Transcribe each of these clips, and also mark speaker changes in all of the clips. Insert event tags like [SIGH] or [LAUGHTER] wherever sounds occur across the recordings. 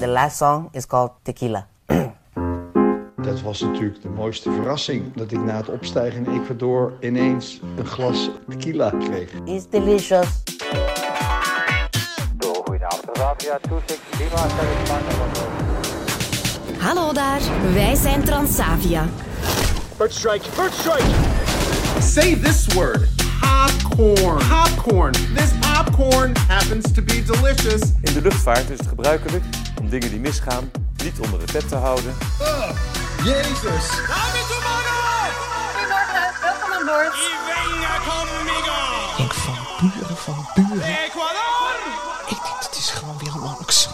Speaker 1: The last song is called Tequila.
Speaker 2: Dat was natuurlijk de mooiste verrassing. Dat ik na het opstijgen in Ecuador ineens een glas tequila kreeg.
Speaker 1: It's delicious.
Speaker 3: Hallo daar, wij zijn Transavia.
Speaker 4: Bird strike, bird strike.
Speaker 5: Say this word popcorn. Popcorn. This popcorn happens to be delicious.
Speaker 6: In de luchtvaart is het gebruikelijk om dingen die misgaan niet onder de pet te houden.
Speaker 5: Jezus.
Speaker 7: Goedemorgen, welkom aan boord.
Speaker 8: Ik van buren, van buren. Ik denk, dit is gewoon weer een zo.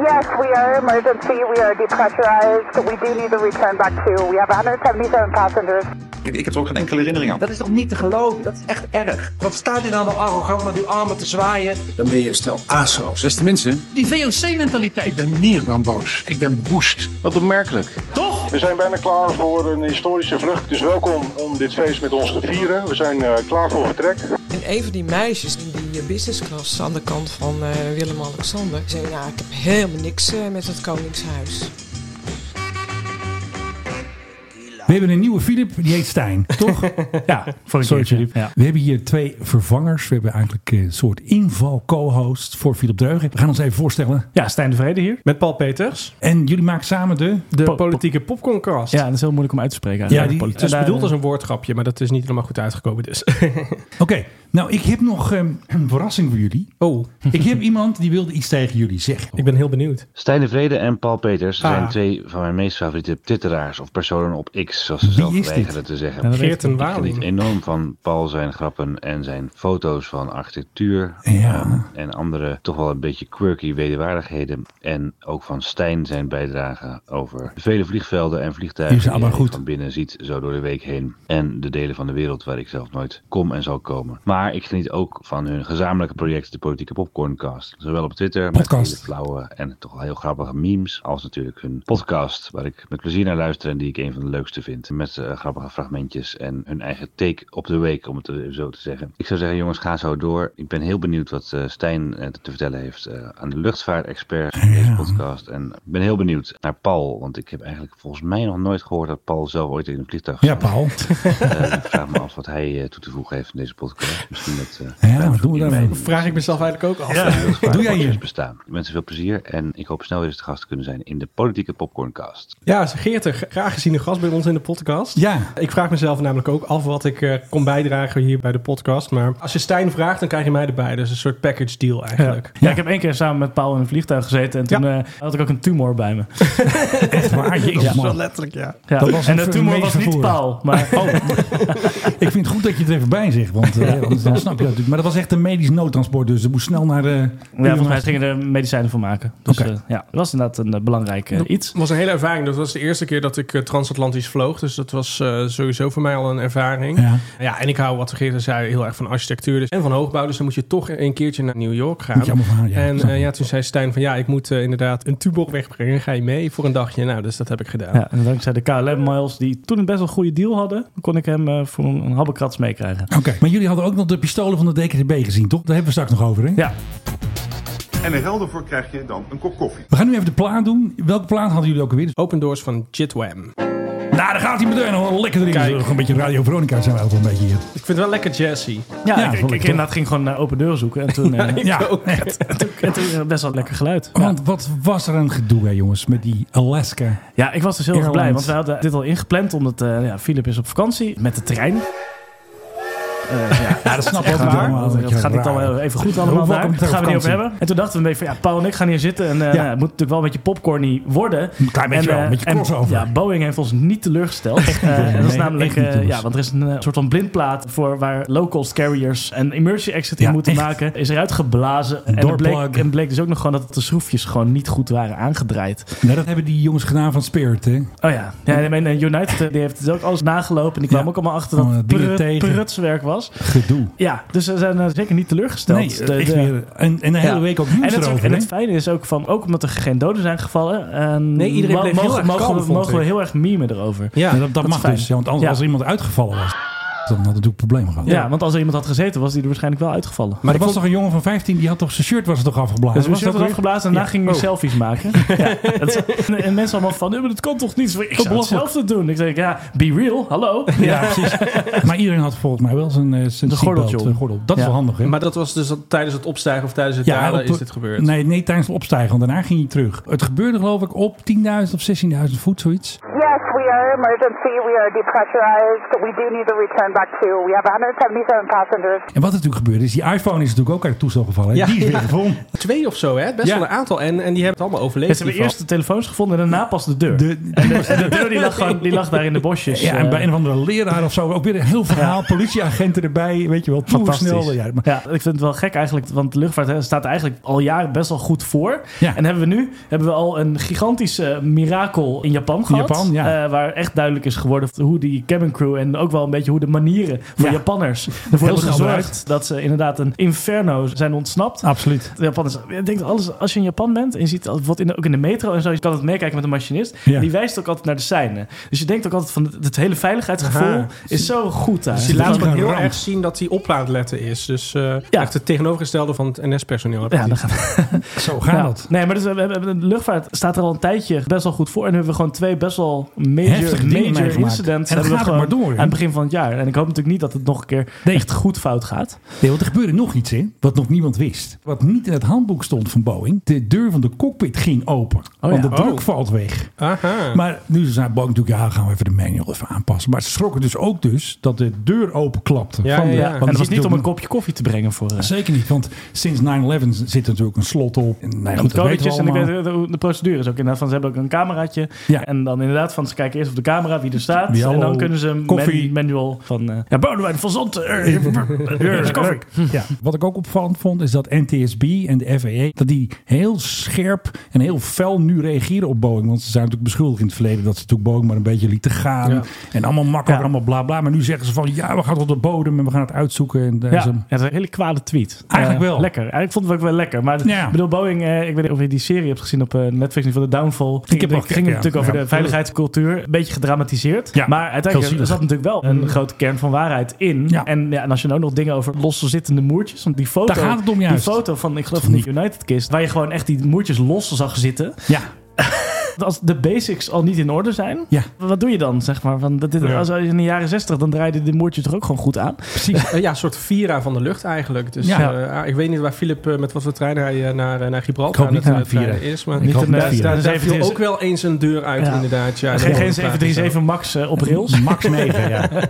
Speaker 9: Yes, we are emergency. We are depressurized. We do need to return back to. We have 177 passengers.
Speaker 10: Ik, ik heb er ook geen enkele herinnering aan.
Speaker 11: Dat is toch niet te geloven? Dat is echt erg. Wat staat hij dan al arrogant met uw armen te zwaaien?
Speaker 12: Dan ben je een stel aso's. Beste mensen.
Speaker 11: Die VOC-mentaliteit.
Speaker 12: Ik ben meer dan boos. Ik ben woest.
Speaker 5: Wat opmerkelijk.
Speaker 11: Toch?
Speaker 13: We zijn bijna klaar voor een historische vlucht. Dus welkom om dit feest met ons te vieren. We zijn uh, klaar voor vertrek.
Speaker 8: En een van die meisjes in die business class aan de kant van uh, Willem-Alexander zei: Ja, ik heb helemaal niks uh, met het Koningshuis.
Speaker 14: We hebben een nieuwe Filip, die heet
Speaker 15: [LAUGHS]
Speaker 14: Stijn, toch? ja,
Speaker 15: van Sorry, Filip. Ja.
Speaker 14: We hebben hier twee vervangers. We hebben eigenlijk eh, een soort inval-co-host voor Filip Dreugen. We gaan ons even voorstellen.
Speaker 15: Ja, Stijn de Vrede hier. Met Paul Peters.
Speaker 14: En jullie maken samen de...
Speaker 15: De po politieke popcorncast.
Speaker 14: Ja,
Speaker 15: dat is heel moeilijk om uit te spreken.
Speaker 14: Ja,
Speaker 15: die, het is daar, bedoeld als een woordgrapje, maar dat is niet helemaal goed uitgekomen dus. [LAUGHS]
Speaker 14: Oké, okay, nou ik heb nog um, een verrassing voor jullie.
Speaker 15: Oh.
Speaker 14: ik
Speaker 15: [LAUGHS]
Speaker 14: heb iemand die wilde iets tegen jullie zeggen.
Speaker 15: Ik ben heel benieuwd.
Speaker 16: Stijn de Vrede en Paul Peters ah. zijn twee van mijn meest favoriete twitteraars of personen op X zoals ze zelf weigeren te zeggen.
Speaker 15: Geert en
Speaker 16: Ik geniet enorm van Paul zijn grappen en zijn foto's van architectuur. Ja. Um, en andere toch wel een beetje quirky wederwaardigheden. En ook van Stijn zijn bijdrage over de vele vliegvelden en vliegtuigen die hij goed. van binnen ziet zo door de week heen. En de delen van de wereld waar ik zelf nooit kom en zal komen. Maar ik geniet ook van hun gezamenlijke project, de Politieke Popcorncast. Zowel op Twitter podcast. met hele flauwe en toch wel heel grappige memes. Als natuurlijk hun podcast waar ik met plezier naar luister en die ik een van de leukste vindt. Met uh, grappige fragmentjes en hun eigen take op de week, om het uh, zo te zeggen. Ik zou zeggen, jongens, ga zo door. Ik ben heel benieuwd wat uh, Stijn te vertellen heeft eh, aan de luchtvaartexpert in deze podcast. En ik ben heel benieuwd naar Paul, want ik heb eigenlijk volgens mij nog nooit gehoord dat Paul zelf ooit in een vliegtuig
Speaker 14: Ja, Paul.
Speaker 15: [LAUGHS]
Speaker 14: ik
Speaker 16: vraag me af wat hij eh, toe te voegen heeft in deze podcast. Misschien dat... eh,
Speaker 14: ja, doen we daarmee.
Speaker 15: Vraag ik mezelf eigenlijk ook af.
Speaker 16: Ja.
Speaker 14: Doe jij hier?
Speaker 16: Bestaan. Mensen veel plezier en ik hoop snel weer eens te gast te kunnen zijn in de Politieke Popcorncast.
Speaker 15: Ja, Geert, graag gezien de gast bij ons in de podcast.
Speaker 14: Ja.
Speaker 15: Ik vraag mezelf namelijk ook af wat ik uh, kon bijdragen hier bij de podcast. Maar als je Stijn vraagt, dan krijg je mij erbij. Dus een soort package deal eigenlijk.
Speaker 14: Ja,
Speaker 15: ja. ja
Speaker 14: ik
Speaker 15: heb één keer samen met Paul in een vliegtuig gezeten. En toen ja. uh, had ik ook een tumor bij me.
Speaker 14: Echt
Speaker 15: [LAUGHS]
Speaker 14: waar? Jezus,
Speaker 15: dat was wel letterlijk, ja.
Speaker 14: Dat was
Speaker 15: en de tumor was niet Paul. [LAUGHS] Maar,
Speaker 14: oh. ik vind het goed dat je het er even bij zegt. [LAUGHS] Want uh, anders dan snap je dat natuurlijk. Maar dat was echt een medisch noodtransport. Dus er moest snel naar de...
Speaker 15: Ja, volgens mij gingen er medicijnen voor maken. Dus okay. ja, dat was inderdaad een belangrijk iets.
Speaker 17: Het was een hele ervaring. Dat was de eerste keer dat ik eh, transatlantisch vloog. Dus dat was uh, sowieso voor mij al een
Speaker 15: eh,
Speaker 17: ervaring.
Speaker 14: Ja.
Speaker 17: ja en ik hou, wat Geert zei, heel erg van architectuur dus, en van hoogbouw. Dus dan moet je toch een keertje naar New York gaan.
Speaker 14: Gaan, ja.
Speaker 17: En uh, ja, toen zei Stijn van ja, ik moet uh, inderdaad een tubor wegbrengen. Ga je mee voor een dagje? Nou, dus dat heb ik gedaan.
Speaker 15: Ja, en dankzij de KLM Miles, die toen een best wel goede deal hadden, kon ik hem voor een, een habbekrats meekrijgen.
Speaker 14: Oké, okay. maar jullie hadden ook nog de pistolen van de DKDB gezien, toch? Daar hebben we straks nog over, hè?
Speaker 15: Ja.
Speaker 10: En er geld voor krijg je dan een kop koffie.
Speaker 14: We gaan nu even de plaat doen. Welke plaat hadden jullie ook alweer? Oh,
Speaker 17: Open Doors van Jitwam.
Speaker 14: Nou, daar gaat hij meteen al lekker erin. Kijk. Nog een beetje Radio Veronica zijn we ook wel een beetje hier. Ik
Speaker 17: vind het wel lekker jazzy.
Speaker 15: Ja, ja ik, ik, ik inderdaad ging gewoon naar open deur zoeken. En toen,
Speaker 14: [LAUGHS]
Speaker 15: eh.
Speaker 17: ja,
Speaker 15: [LAUGHS] ja
Speaker 17: ook.
Speaker 15: Echt, en toen best wel lekker geluid.
Speaker 14: Want wat was er een gedoe, hè, jongens, met die Alaska
Speaker 15: Ja, ik was dus heel erg blij, want we hadden dit al ingepland. Omdat uh, ja, Philip is op vakantie met de trein.
Speaker 14: Uh, ja. ja, dat snap ik allemaal.
Speaker 15: Dat, gaat niet allemaal even goed allemaal daar. Daar gaan we het niet over hebben. En toen dachten we, van, ja, Paul en ik gaan hier zitten. En uh, ja. nou, het moet natuurlijk wel een beetje popcorny worden.
Speaker 14: Een klein beetje en, wel, een beetje crossover.
Speaker 15: eh, ja, Boeing heeft ons niet teleurgesteld. Echt niet, uh, nee, dat is namelijk, niet, ja, want er is een eh, soort van blindplaat voor waar low-cost carriers een emergency exit in ja, moeten echt. maken. Is eruit geblazen. En, en bleek, en bleek dus ook nog gewoon dat de schroefjes gewoon niet goed waren aangedraaid.
Speaker 14: Nou, dat hebben die jongens gedaan van Spirit, hè?
Speaker 15: Oh ja. ja en United die heeft dus ook alles nagelopen. En die kwamen ook allemaal achter dat het prutswerk was.
Speaker 14: Gedoe.
Speaker 15: Ja, dus ze zijn zeker niet teleurgesteld.
Speaker 14: Nee, de, de, weer, en, en de hele ja. week ook nieuws
Speaker 15: en het,
Speaker 14: erover.
Speaker 15: En het fijne is ook, van, ook omdat er geen doden zijn gevallen... En
Speaker 17: nee, iedereen
Speaker 15: mogen,
Speaker 17: bleef heel
Speaker 15: mogen,
Speaker 17: erg kalm,
Speaker 15: mogen we heel erg memen erover.
Speaker 14: Ja, ja dat, dat, dat, mag dus. Ja, want anders als iemand uitgevallen was... Dan hadden we natuurlijk problemen gehad.
Speaker 15: Ja, want als er iemand had gezeten, was die er waarschijnlijk wel uitgevallen.
Speaker 14: Maar er was toch een jongen van 15 die had toch zijn shirt was er toch afgeblazen?
Speaker 15: Dus we
Speaker 14: was
Speaker 15: hebben eraf geblazen en daarna gingen we
Speaker 14: Oh.
Speaker 15: selfies
Speaker 14: [LAUGHS]
Speaker 15: maken. ja, dat is- en, en mensen allemaal van, "Nee, maar dat kan toch niet? Ik zou
Speaker 14: Belachelijk.
Speaker 15: het zelf dat doen. Ik zeg, ja, be real, hallo. [LAUGHS] Dus Ja,
Speaker 16: [LAUGHS]
Speaker 14: precies. maar iedereen had volgens mij wel zijn, eh, zijn
Speaker 16: gordeltje
Speaker 14: seatbelt,
Speaker 16: om.
Speaker 14: eh, gordel. Dat is wel handig, hè?
Speaker 16: Maar dat was dus al tijdens het opstijgen of tijdens het dalen
Speaker 14: op-
Speaker 16: is dit gebeurd.
Speaker 14: Nee, nee, tijdens het opstijgen, want daarna ging hij terug. Het gebeurde geloof ik op 10.000 of 16.000 voet, zoiets.
Speaker 3: Yes, we are emergency. We are depressurized. We do need to return back to. We have 177 passengers.
Speaker 14: En wat er natuurlijk gebeurde is, die iPhone is natuurlijk ook uit het toestel gevallen. hè? die is weer gevonden.
Speaker 16: Twee of zo, hè? Best
Speaker 14: Ja.
Speaker 16: wel een aantal. En, en die hebben het allemaal overleefd.
Speaker 15: ze hebben
Speaker 16: in ieder
Speaker 15: eerst de telefoons gevonden en daarna pas de deur. en de, de deur die lag, gewoon, die lag daar in de bosjes.
Speaker 14: [LAUGHS] Ja, en
Speaker 15: eh.
Speaker 14: bij een of andere leraar of zo. Ook weer een heel verhaal. Politieagenten erbij. Weet je wel, toe snel. Ja, maar-
Speaker 15: Ja, ik vind het wel gek eigenlijk, want de luchtvaart hè, staat eigenlijk al jaren best wel goed voor. En hebben we nu hebben we al een gigantisch eh, mirakel in Japan gehad.
Speaker 14: Japan, ja.
Speaker 15: eh, waar echt duidelijk is geworden hoe die cabin crew en ook wel een beetje hoe de manieren voor
Speaker 14: Ja.
Speaker 15: Japanners ervoor hebben
Speaker 14: snel
Speaker 15: gezorgd
Speaker 14: eruit.
Speaker 15: dat ze inderdaad een inferno zijn ontsnapt.
Speaker 16: Dus
Speaker 14: Absoluut.
Speaker 15: De Japanners, ik denk dat alles, als je in Japan bent en je ziet al- wat in de, ook in de metro en zo, je kan het meekijken met een machinist,
Speaker 14: Ja.
Speaker 15: die wijst ook altijd naar de seinen. Dus je denkt ook altijd van het, het hele veiligheidsgevoel
Speaker 16: Aha.
Speaker 15: is zo goed daar.
Speaker 16: Dus die laat ook
Speaker 15: Gewoon
Speaker 16: heel
Speaker 15: ramp.
Speaker 16: erg zien dat hij op aan het letten is. Dus eh, echt het tegenovergestelde van het NS-personeel.
Speaker 15: Ja, dan
Speaker 14: Zo
Speaker 15: Ja. Nee, maar dus, we hebben- we hebben- de luchtvaart staat er al een tijdje best wel goed voor. En nu hebben we gewoon twee best wel major,
Speaker 14: Heftige dingen
Speaker 15: major
Speaker 14: meegemaakt.
Speaker 15: incidents.
Speaker 14: En dat
Speaker 15: hebben we
Speaker 14: gaat ook
Speaker 15: gewoon
Speaker 14: maar door, hè?
Speaker 15: Aan het begin van het jaar. En ik hoop natuurlijk niet dat het nog een keer echt goed fout gaat.
Speaker 14: Nee, want er gebeurde nog iets in, wat nog niemand wist. Wat niet in het handboek stond van Boeing. De deur van de cockpit ging open.
Speaker 16: ja.
Speaker 14: want de
Speaker 16: Oh.
Speaker 14: druk valt weg.
Speaker 16: Aha.
Speaker 14: Maar nu zei Boeing natuurlijk, ja, gaan we even de manual even aanpassen. Maar ze schrokken dus ook dus dat de deur openklapte.
Speaker 15: Ja,
Speaker 14: van de,
Speaker 15: ja, ja.
Speaker 14: want
Speaker 15: En dat
Speaker 14: er
Speaker 15: was
Speaker 14: zit
Speaker 15: niet om een
Speaker 14: natuurlijk-
Speaker 15: kopje koffie te brengen voor... eh,
Speaker 14: Zeker niet, want sinds 9-11 zit er natuurlijk een slot op. En, nou ja, goed, dat weten we
Speaker 15: codetjes en ik
Speaker 14: allemaal.
Speaker 15: weet hoe de procedure is ook inderdaad van ze hebben ook een cameraatje en dan inderdaad van ze kijken eerst op de camera wie er staat
Speaker 14: Wie,
Speaker 15: en
Speaker 14: hallo,
Speaker 15: dan kunnen ze een
Speaker 14: koffie.
Speaker 15: men- manual van eh ja Boudewijn van Zanten eh, [LAUGHS] eh, is koffie.
Speaker 14: Ja. Wat ik ook opvallend vond is dat NTSB en de FAA... dat die heel scherp en heel fel nu reageren op Boeing. Want ze zijn natuurlijk beschuldigd in het verleden... dat ze natuurlijk Boeing maar een beetje lieten gaan.
Speaker 15: Ja.
Speaker 14: En allemaal makkelijk, allemaal bla bla. Maar nu zeggen ze van ja, we gaan tot de bodem en we gaan het uitzoeken. En, eh,
Speaker 15: Ja,
Speaker 14: ze-
Speaker 15: ja, dat is een hele kwade tweet.
Speaker 14: Eigenlijk
Speaker 15: Eh,
Speaker 14: wel.
Speaker 15: Lekker. Eigenlijk vond ik het ook wel lekker. Maar ik bedoel, Boeing, eh, ik weet niet of je die serie hebt gezien op eh, Netflix, nu van de Downfall. Ik
Speaker 14: heb wel
Speaker 15: ging het
Speaker 14: gekeken,
Speaker 15: natuurlijk
Speaker 14: ja.
Speaker 15: over
Speaker 14: Ja.
Speaker 15: de veiligheidscultuur. Een beetje gedramatiseerd. maar
Speaker 14: heel
Speaker 15: uiteindelijk eh,
Speaker 14: zielig. Mm.
Speaker 15: zat natuurlijk wel een grote kern van waarheid in. En, ja, en als je nou nog dingen over loszittende moertjes, want die foto,
Speaker 14: Daar gaat het om
Speaker 15: die
Speaker 14: juist.
Speaker 15: foto van, ik geloof van die United Kist, waar je gewoon echt die moertjes los zag zitten.
Speaker 14: Ja.
Speaker 15: Als de basics al niet in orde zijn,
Speaker 14: Ja.
Speaker 15: wat doe je dan? Zeg maar? Want dat dit,
Speaker 16: Ja.
Speaker 15: Als als in de jaren zestig, dan draaide de moertjes toch ook gewoon goed aan.
Speaker 16: Precies. Eh, ja, een soort Vira van de lucht eigenlijk. Dus
Speaker 15: Ja.
Speaker 16: eh, ah, ik weet niet waar Philip eh, met wat voor trein hij eh, naar, eh, naar
Speaker 14: Ik
Speaker 16: Gibraltar
Speaker 14: hoop
Speaker 16: aan
Speaker 14: niet
Speaker 16: het eh,
Speaker 14: naar Vira.
Speaker 16: treinen is. Maar
Speaker 14: Ik Niet hoop een, niet eh, naar Vira.
Speaker 16: daar, daar
Speaker 15: 737.
Speaker 16: viel ook wel eens een deur uit
Speaker 15: Ja.
Speaker 16: inderdaad. Ja,
Speaker 15: geen
Speaker 16: dat
Speaker 15: geen
Speaker 16: was vaak zo.
Speaker 15: 737 Max eh, op rails.
Speaker 14: Max 9,
Speaker 16: [LAUGHS]
Speaker 14: ja. Nee,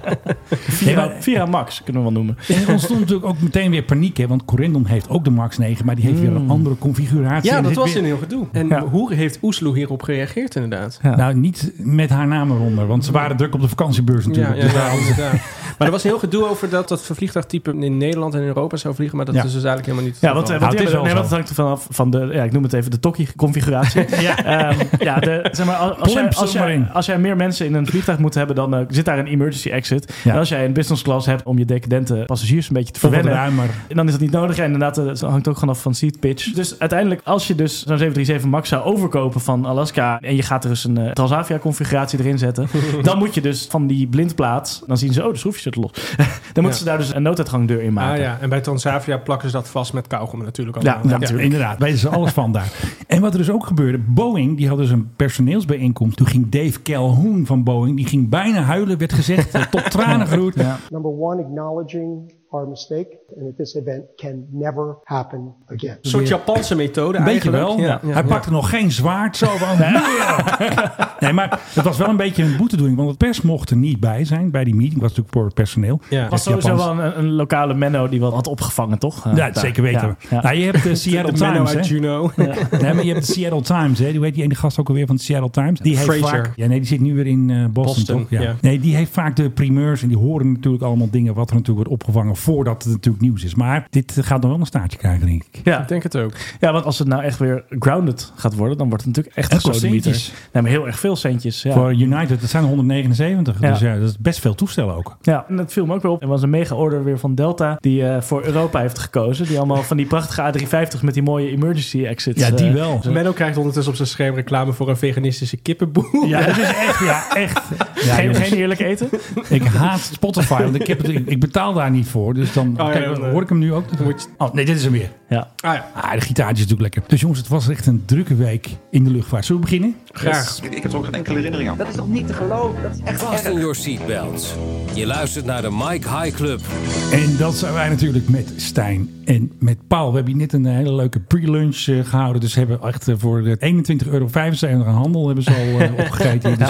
Speaker 15: Vira,
Speaker 14: maar-
Speaker 15: Vira Max kunnen we wel noemen.
Speaker 14: En er ontstond natuurlijk ook meteen weer paniek, hè? want Corendon heeft ook de Max 9, maar die heeft weer een
Speaker 16: Mm.
Speaker 14: andere configuratie. En
Speaker 16: Ja,
Speaker 14: er
Speaker 16: dat
Speaker 14: zit
Speaker 16: was
Speaker 14: weer-
Speaker 16: een heel gedoe. En hoe heeft Oesloe hierop gereageerd inderdaad?
Speaker 14: Nou, niet met haar naam eronder, want ze waren druk op de vakantiebeurs
Speaker 16: Ja,
Speaker 14: natuurlijk.
Speaker 16: ja,
Speaker 14: Dus daar
Speaker 16: ja,
Speaker 14: hadden ze-
Speaker 16: inderdaad. Maar er was een heel gedoe over dat dat vliegtuigtype in Nederland en in Europa zou vliegen. Maar dat
Speaker 14: Ja.
Speaker 16: is dus eigenlijk helemaal niet het
Speaker 15: Ja, want, eh,
Speaker 14: Nou,
Speaker 16: geval.
Speaker 15: want die hebben- nee, want het hangt ervan af van de, ja, ik noem het even de
Speaker 14: [LAUGHS]
Speaker 15: Tokkie-configuratie. ja. Ehm, ja, de, zeg maar, als, als, jij,
Speaker 14: Plimp
Speaker 15: als,
Speaker 14: zomaar
Speaker 15: jij,
Speaker 14: in.
Speaker 15: als jij meer mensen in een vliegtuig moet hebben, dan eh, zit daar een emergency exit.
Speaker 14: Ja.
Speaker 15: En als jij een business class hebt om je decadente passagiers een beetje te
Speaker 14: Toch wat
Speaker 15: verwennen,
Speaker 14: ruimer.
Speaker 15: dan is dat niet nodig. En inderdaad, eh, het hangt ook gewoon af van seat pitch. Dus uiteindelijk, als je dus zo'n 737 MAX zou overkopen van Alaska en je gaat er dus een eh, Transavia-configuratie erin zetten, dan moet je dus van die blindplaat, dan zien ze, oh, de schroefjes zitten los. [LAUGHS] dan moeten
Speaker 16: Ja.
Speaker 15: ze daar dus een nooduitgangdeur in maken.
Speaker 16: Ah ja, en bij Transavia plakken ze dat vast met kauwgom natuurlijk
Speaker 14: Ja,
Speaker 16: allemaal.
Speaker 14: ja, inderdaad. Weten ze alles van daar. En wat er dus ook gebeurde. Boeing, die had dus een personeelsbijeenkomst. Toen ging Dave Calhoun van Boeing, die ging bijna huilen, werd gezegd. eh, tot tranen geroerd.
Speaker 2: Number one, acknowledging our mistake and that this event can never happen again.
Speaker 16: Een soort Japanse methode
Speaker 14: Een beetje
Speaker 16: eigenlijk.
Speaker 14: wel.
Speaker 16: Ja, ja,
Speaker 14: Hij
Speaker 16: ja.
Speaker 14: pakte nog geen zwaard zo van. Nee. nee, maar het was wel een beetje een boetedoening. Want het pers mocht er niet bij zijn. Bij die meeting was natuurlijk voor het personeel.
Speaker 15: Het was
Speaker 14: Echt
Speaker 15: sowieso
Speaker 14: Japans.
Speaker 15: wel een, een lokale Menno die wat had opgevangen, toch? Eh,
Speaker 14: Ja,
Speaker 15: daar.
Speaker 14: zeker weten.
Speaker 15: Ja, ja.
Speaker 14: Nou, je hebt de Seattle
Speaker 15: De Menno
Speaker 14: Times.
Speaker 15: uit
Speaker 14: hè?
Speaker 16: Juno.
Speaker 14: [LAUGHS] Nee, maar je hebt de Seattle Times. Hè? Die weet die ene gast ook alweer van de Seattle Times. Die heeft
Speaker 16: Fraser.
Speaker 14: vaak. Ja, nee, die zit nu weer in eh, Boston,
Speaker 16: Boston,
Speaker 14: toch? Ja.
Speaker 16: ja.
Speaker 14: Nee, die heeft vaak de primeurs en die horen natuurlijk allemaal dingen wat er natuurlijk wordt opgevangen nog voordat het natuurlijk nieuws is. Maar dit eh, gaat nog wel een staartje krijgen, denk ik.
Speaker 15: Ja.
Speaker 17: Ik denk het ook.
Speaker 15: Ja, want als het nou echt weer grounded gaat worden, dan wordt het natuurlijk echt,
Speaker 14: Echt
Speaker 15: een
Speaker 14: wel
Speaker 15: sodemieter.
Speaker 14: centjes.
Speaker 15: Nee, maar heel erg veel centjes. Ja.
Speaker 14: Voor United, dat zijn 179.
Speaker 15: Ja.
Speaker 14: Dus ja, dat is best veel toestellen ook.
Speaker 15: Ja, en dat viel me ook weer op. Er was een mega-order weer van Delta, die eh, voor Europa heeft gekozen. Die allemaal van die prachtige A350 met die mooie emergency exits. eh, zo-
Speaker 17: Menno krijgt ondertussen op zijn scherm reclame voor een veganistische kippenboel.
Speaker 15: Ja, dat is
Speaker 14: echt,
Speaker 17: [LAUGHS]
Speaker 14: ja, echt.
Speaker 15: geen,
Speaker 14: jongens.
Speaker 15: geen eerlijk eten?
Speaker 14: Ik haat Spotify, want ik, heb het, ik, ik betaal daar niet voor. Dus dan
Speaker 15: ja,
Speaker 14: kijk,
Speaker 15: dan, eh,
Speaker 14: hoor ik hem nu ook. Oh, nee, dit is hem weer.
Speaker 15: Ja.
Speaker 14: Ah, de gitaartje is natuurlijk lekker. Dus jongens, het was echt een drukke week in de luchtvaart. Zullen we beginnen?
Speaker 6: Ik, heb er ook geen enkele herinnering aan. Dat is toch niet te geloven? Dat is echt Vast in your seatbelt. Je luistert naar de Mike High Club.
Speaker 14: En dat zijn wij natuurlijk met Stijn en met Paul. We hebben hier net een hele leuke pre-lunch eh, gehouden. Dus hebben echt eh, voor de 21,75 euro aan handel hebben ze al eh, opgegeten. Dus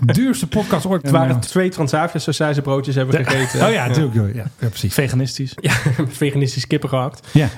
Speaker 14: duurste podcast ooit. eh,
Speaker 17: Het waren twee Transavia sausijzenbroodjes hebben we gegeten.
Speaker 14: Oh ja, natuurlijk. Ja, ja, precies.
Speaker 15: Veganistisch.
Speaker 17: Ja, [LAUGHS] veganistisch kippen gehakt.
Speaker 14: Ja.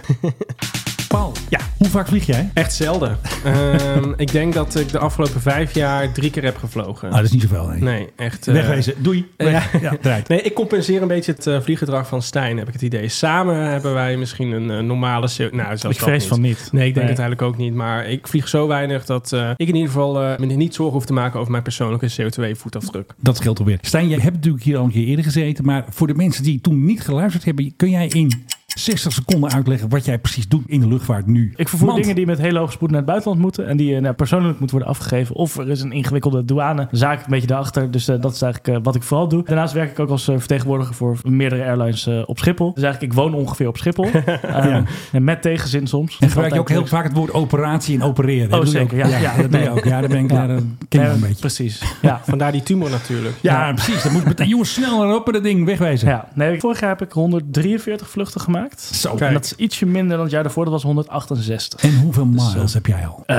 Speaker 14: Paul, ja. hoe vaak vlieg jij?
Speaker 17: Echt zelden. Ehm, ik denk dat ik de afgelopen vijf jaar drie keer heb gevlogen.
Speaker 14: Ah, dat is niet zoveel, nee.
Speaker 17: Nee, echt. eh,
Speaker 14: Wegwezen. Doei. Weg.
Speaker 17: Ja.
Speaker 14: Ja, eruit.
Speaker 17: nee, ik compenseer een beetje het eh, vlieggedrag van Stijn, heb ik het idee. Samen hebben wij misschien een eh, normale... se- Nou, zelfs
Speaker 15: Ik
Speaker 17: dat
Speaker 15: vrees van niet.
Speaker 17: Nee, ik denk
Speaker 15: Nee.
Speaker 17: het eigenlijk ook niet. Maar ik vlieg zo weinig dat eh, ik in ieder geval eh, me niet zorgen hoef te maken over mijn persoonlijke CO2-voetafdruk.
Speaker 14: Dat scheelt alweer. Stijn, jij hebt natuurlijk hier al een keer eerder gezeten. Maar voor de mensen die toen niet geluisterd hebben, kun jij in 60 seconden uitleggen wat jij precies doet in de luchtvaart nu?
Speaker 15: Ik vervoer
Speaker 14: Want-
Speaker 15: dingen die met hele hoge spoed naar het buitenland moeten. En die eh, nou, persoonlijk moeten worden afgegeven. Of er is een ingewikkelde douanezaak een beetje daarachter. Dus eh, dat is eigenlijk eh, wat ik vooral doe. Daarnaast werk ik ook als eh, vertegenwoordiger voor meerdere airlines eh, op Schiphol. Dus eigenlijk, ik woon ongeveer op
Speaker 17: [LAUGHS]
Speaker 15: Schiphol. Eh, En met tegenzin soms.
Speaker 14: En gebruik je ook
Speaker 15: Altijd
Speaker 14: heel
Speaker 15: terug.
Speaker 14: vaak het woord operatie en opereren.
Speaker 15: Oh,
Speaker 14: Dat doe je
Speaker 15: zeker.
Speaker 14: ook.
Speaker 15: Ja, ja,
Speaker 14: dat doe je
Speaker 15: nee.
Speaker 14: ook. Ja, daar ben ik
Speaker 15: Ja.
Speaker 14: daar eh, ken ik
Speaker 15: Nee,
Speaker 14: een beetje.
Speaker 15: Precies. Ja.
Speaker 17: Vandaar die tumor natuurlijk.
Speaker 14: Ja, precies. Dan moet met jongens sneller op en dat ding wegwijzen.
Speaker 15: Ja, nee, vorig jaar heb ik 143 vluchten gemaakt.
Speaker 14: Zo.
Speaker 15: En dat is ietsje minder dan het jaar daarvoor. Dat was 168.
Speaker 14: En hoeveel miles
Speaker 15: eh,
Speaker 14: heb jij al?
Speaker 15: Eh,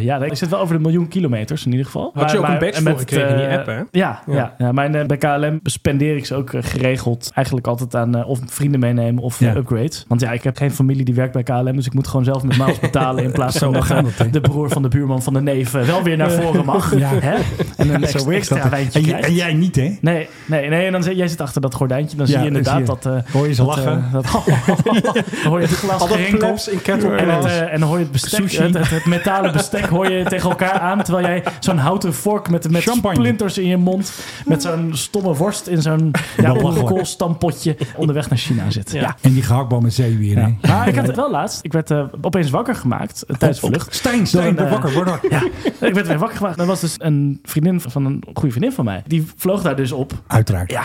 Speaker 15: ja, ik zit wel over de miljoen kilometers in ieder geval.
Speaker 17: Had je ook een badge
Speaker 15: en
Speaker 17: voor gekregen in die
Speaker 15: eh,
Speaker 17: app, hè?
Speaker 15: Ja, ja. ja. mijn, eh, bij KLM spendeer ik ze ook eh, geregeld eigenlijk altijd aan eh, of vrienden meenemen of eh,
Speaker 14: Ja.
Speaker 15: upgrades. Want ja, ik heb geen familie die werkt bij KLM, dus ik moet gewoon zelf met miles betalen in plaats
Speaker 14: [LAUGHS] Zo
Speaker 15: van dat,
Speaker 14: gaat
Speaker 15: eh,
Speaker 14: dat, hè?
Speaker 15: de broer van de buurman van de neef eh, wel weer naar voren
Speaker 14: [LAUGHS]
Speaker 15: mag.
Speaker 14: Ja.
Speaker 15: Hè? En een
Speaker 14: Ja, zo
Speaker 15: extra,
Speaker 14: werkt
Speaker 15: extra
Speaker 14: dat.
Speaker 15: wijntje
Speaker 14: En je-
Speaker 15: krijgt.
Speaker 14: en jij niet, hè?
Speaker 15: Nee, nee, nee. En dan zit, jij zit achter dat gordijntje. Dan
Speaker 14: Ja,
Speaker 15: zie je
Speaker 14: dan
Speaker 15: inderdaad
Speaker 14: zie je-
Speaker 15: dat... eh,
Speaker 14: hoor je ze
Speaker 15: dat, eh,
Speaker 14: lachen. [LAUGHS]
Speaker 15: dat- [LAUGHS] dan hoor je het glas
Speaker 17: Al dat
Speaker 15: gerinkel.
Speaker 17: plebs in kettle
Speaker 15: En, het,
Speaker 17: class.
Speaker 15: eh, en dan hoor je het bestek,
Speaker 17: Sushi.
Speaker 15: het, het, het metalen bestek hoor je tegen elkaar aan. Terwijl jij zo'n houten vork met, met
Speaker 14: Champagne.
Speaker 15: splinters in je mond. Met zo'n stomme worst
Speaker 14: [LAUGHS]
Speaker 15: in zo'n ja,
Speaker 14: Belachelijk.
Speaker 15: onderkoolstampotje onderweg naar China zit. Ja.
Speaker 14: En die gehaktbal met zeewier. hè?
Speaker 15: Maar ik had het wel laatst. Ik werd eh, opeens wakker gemaakt eh, tijdens
Speaker 14: [LAUGHS]
Speaker 15: de vlucht.
Speaker 14: Stijn, Stijn,
Speaker 15: Door een, eh,
Speaker 14: wakker, word wakker.
Speaker 15: ik werd weer wakker gemaakt. Dat was dus een vriendin van een goede vriendin van mij. Die vloog daar dus op.
Speaker 14: Uiteraard. Ja.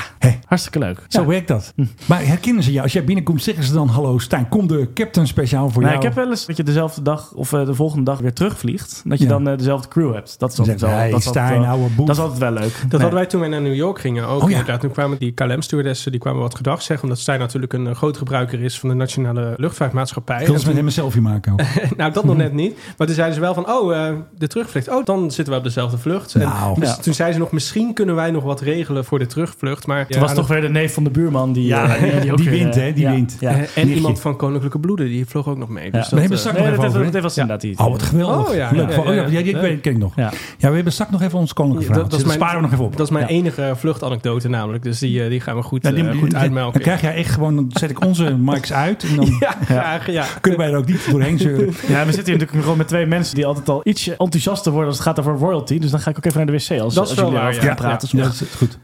Speaker 15: Hartstikke leuk.
Speaker 14: Zo
Speaker 15: Ja.
Speaker 14: werkt dat. Maar herkennen ze jou? Als jij binnenkomt, zeggen ze dan... Hallo Stijn, kom de captain speciaal voor
Speaker 15: Nou, ik
Speaker 14: jou.
Speaker 15: heb wel eens dat je dezelfde dag of eh, de volgende dag weer terugvliegt. Dat je
Speaker 14: Ja.
Speaker 15: dan eh, dezelfde crew hebt. Dat is altijd wel,
Speaker 14: zeggen, hey,
Speaker 15: dat is altijd
Speaker 14: Stijn,
Speaker 15: wel-
Speaker 14: ouwe boef.
Speaker 15: dat is altijd wel leuk.
Speaker 17: Dat hadden wij toen wij naar New York gingen
Speaker 14: Oh,
Speaker 17: ook inderdaad. Toen kwamen die KLM-stewardessen, die kwamen wat gedag zeggen. Omdat zij natuurlijk een eh, groot gebruiker is van de Nationale Luchtvaartmaatschappij.
Speaker 14: Wil
Speaker 17: En
Speaker 14: ze met
Speaker 17: toen-
Speaker 14: hem een selfie maken ook?
Speaker 17: [LAUGHS] nou, dat nog net niet. Maar toen zeiden ze wel van, oh, eh, de terugvlucht. Oh, dan zitten we op dezelfde vlucht. En
Speaker 14: Nou.
Speaker 17: dus
Speaker 14: Ja.
Speaker 17: Toen zeiden ze nog, misschien kunnen wij nog wat regelen voor de terugvlucht. Maar
Speaker 15: Toen was toch weer de neef van de buurman die,
Speaker 17: Ja,
Speaker 15: eh, die, ook
Speaker 14: die
Speaker 15: weer,
Speaker 14: wint,
Speaker 15: eh,
Speaker 14: hè, die
Speaker 15: ja,
Speaker 14: wint.
Speaker 15: Ja.
Speaker 17: Eh, en iemand van Koninklijke Bloeden, die vloog ook nog mee.
Speaker 15: Ja.
Speaker 17: Dus
Speaker 15: We
Speaker 17: dat,
Speaker 15: hebben
Speaker 17: eh,
Speaker 15: straks nog
Speaker 17: nee,
Speaker 15: even
Speaker 17: dat-
Speaker 15: over, hè?
Speaker 17: dat was inderdaad die.
Speaker 14: Oh, wat geweldig.
Speaker 17: Oh, ja,
Speaker 14: Leuk.
Speaker 17: ja, ja,
Speaker 14: Oh, ja,
Speaker 17: ja.
Speaker 14: die- die ken ik- ken ik nog. Ja. we hebben straks nog even ons koninklijke
Speaker 17: Ja,
Speaker 14: verhaal.
Speaker 17: dat, dat is mijn,
Speaker 14: sparen we nog even op.
Speaker 17: Dat is mijn
Speaker 14: Ja.
Speaker 17: enige vluchtanekdote namelijk. Dus die, eh, die gaan we goed,
Speaker 14: Ja, die-
Speaker 17: eh,
Speaker 14: die-
Speaker 17: goed
Speaker 14: die-
Speaker 17: uitmelken.
Speaker 14: Dan krijg jij echt gewoon, dan zet ik onze mics uit en dan
Speaker 17: [LAUGHS] ja, ja.
Speaker 14: kunnen wij er ook niet doorheen zeuren.
Speaker 15: Ja, we zitten hier natuurlijk gewoon met twee mensen die altijd al ietsje enthousiaster worden als het gaat over royalty. Dus dan ga ik ook even naar de wc als,
Speaker 17: Dat is
Speaker 15: als
Speaker 17: wel
Speaker 15: jullie
Speaker 17: waar,
Speaker 15: erover
Speaker 17: ja.
Speaker 15: gaan praten.
Speaker 14: Ja, dat is goed.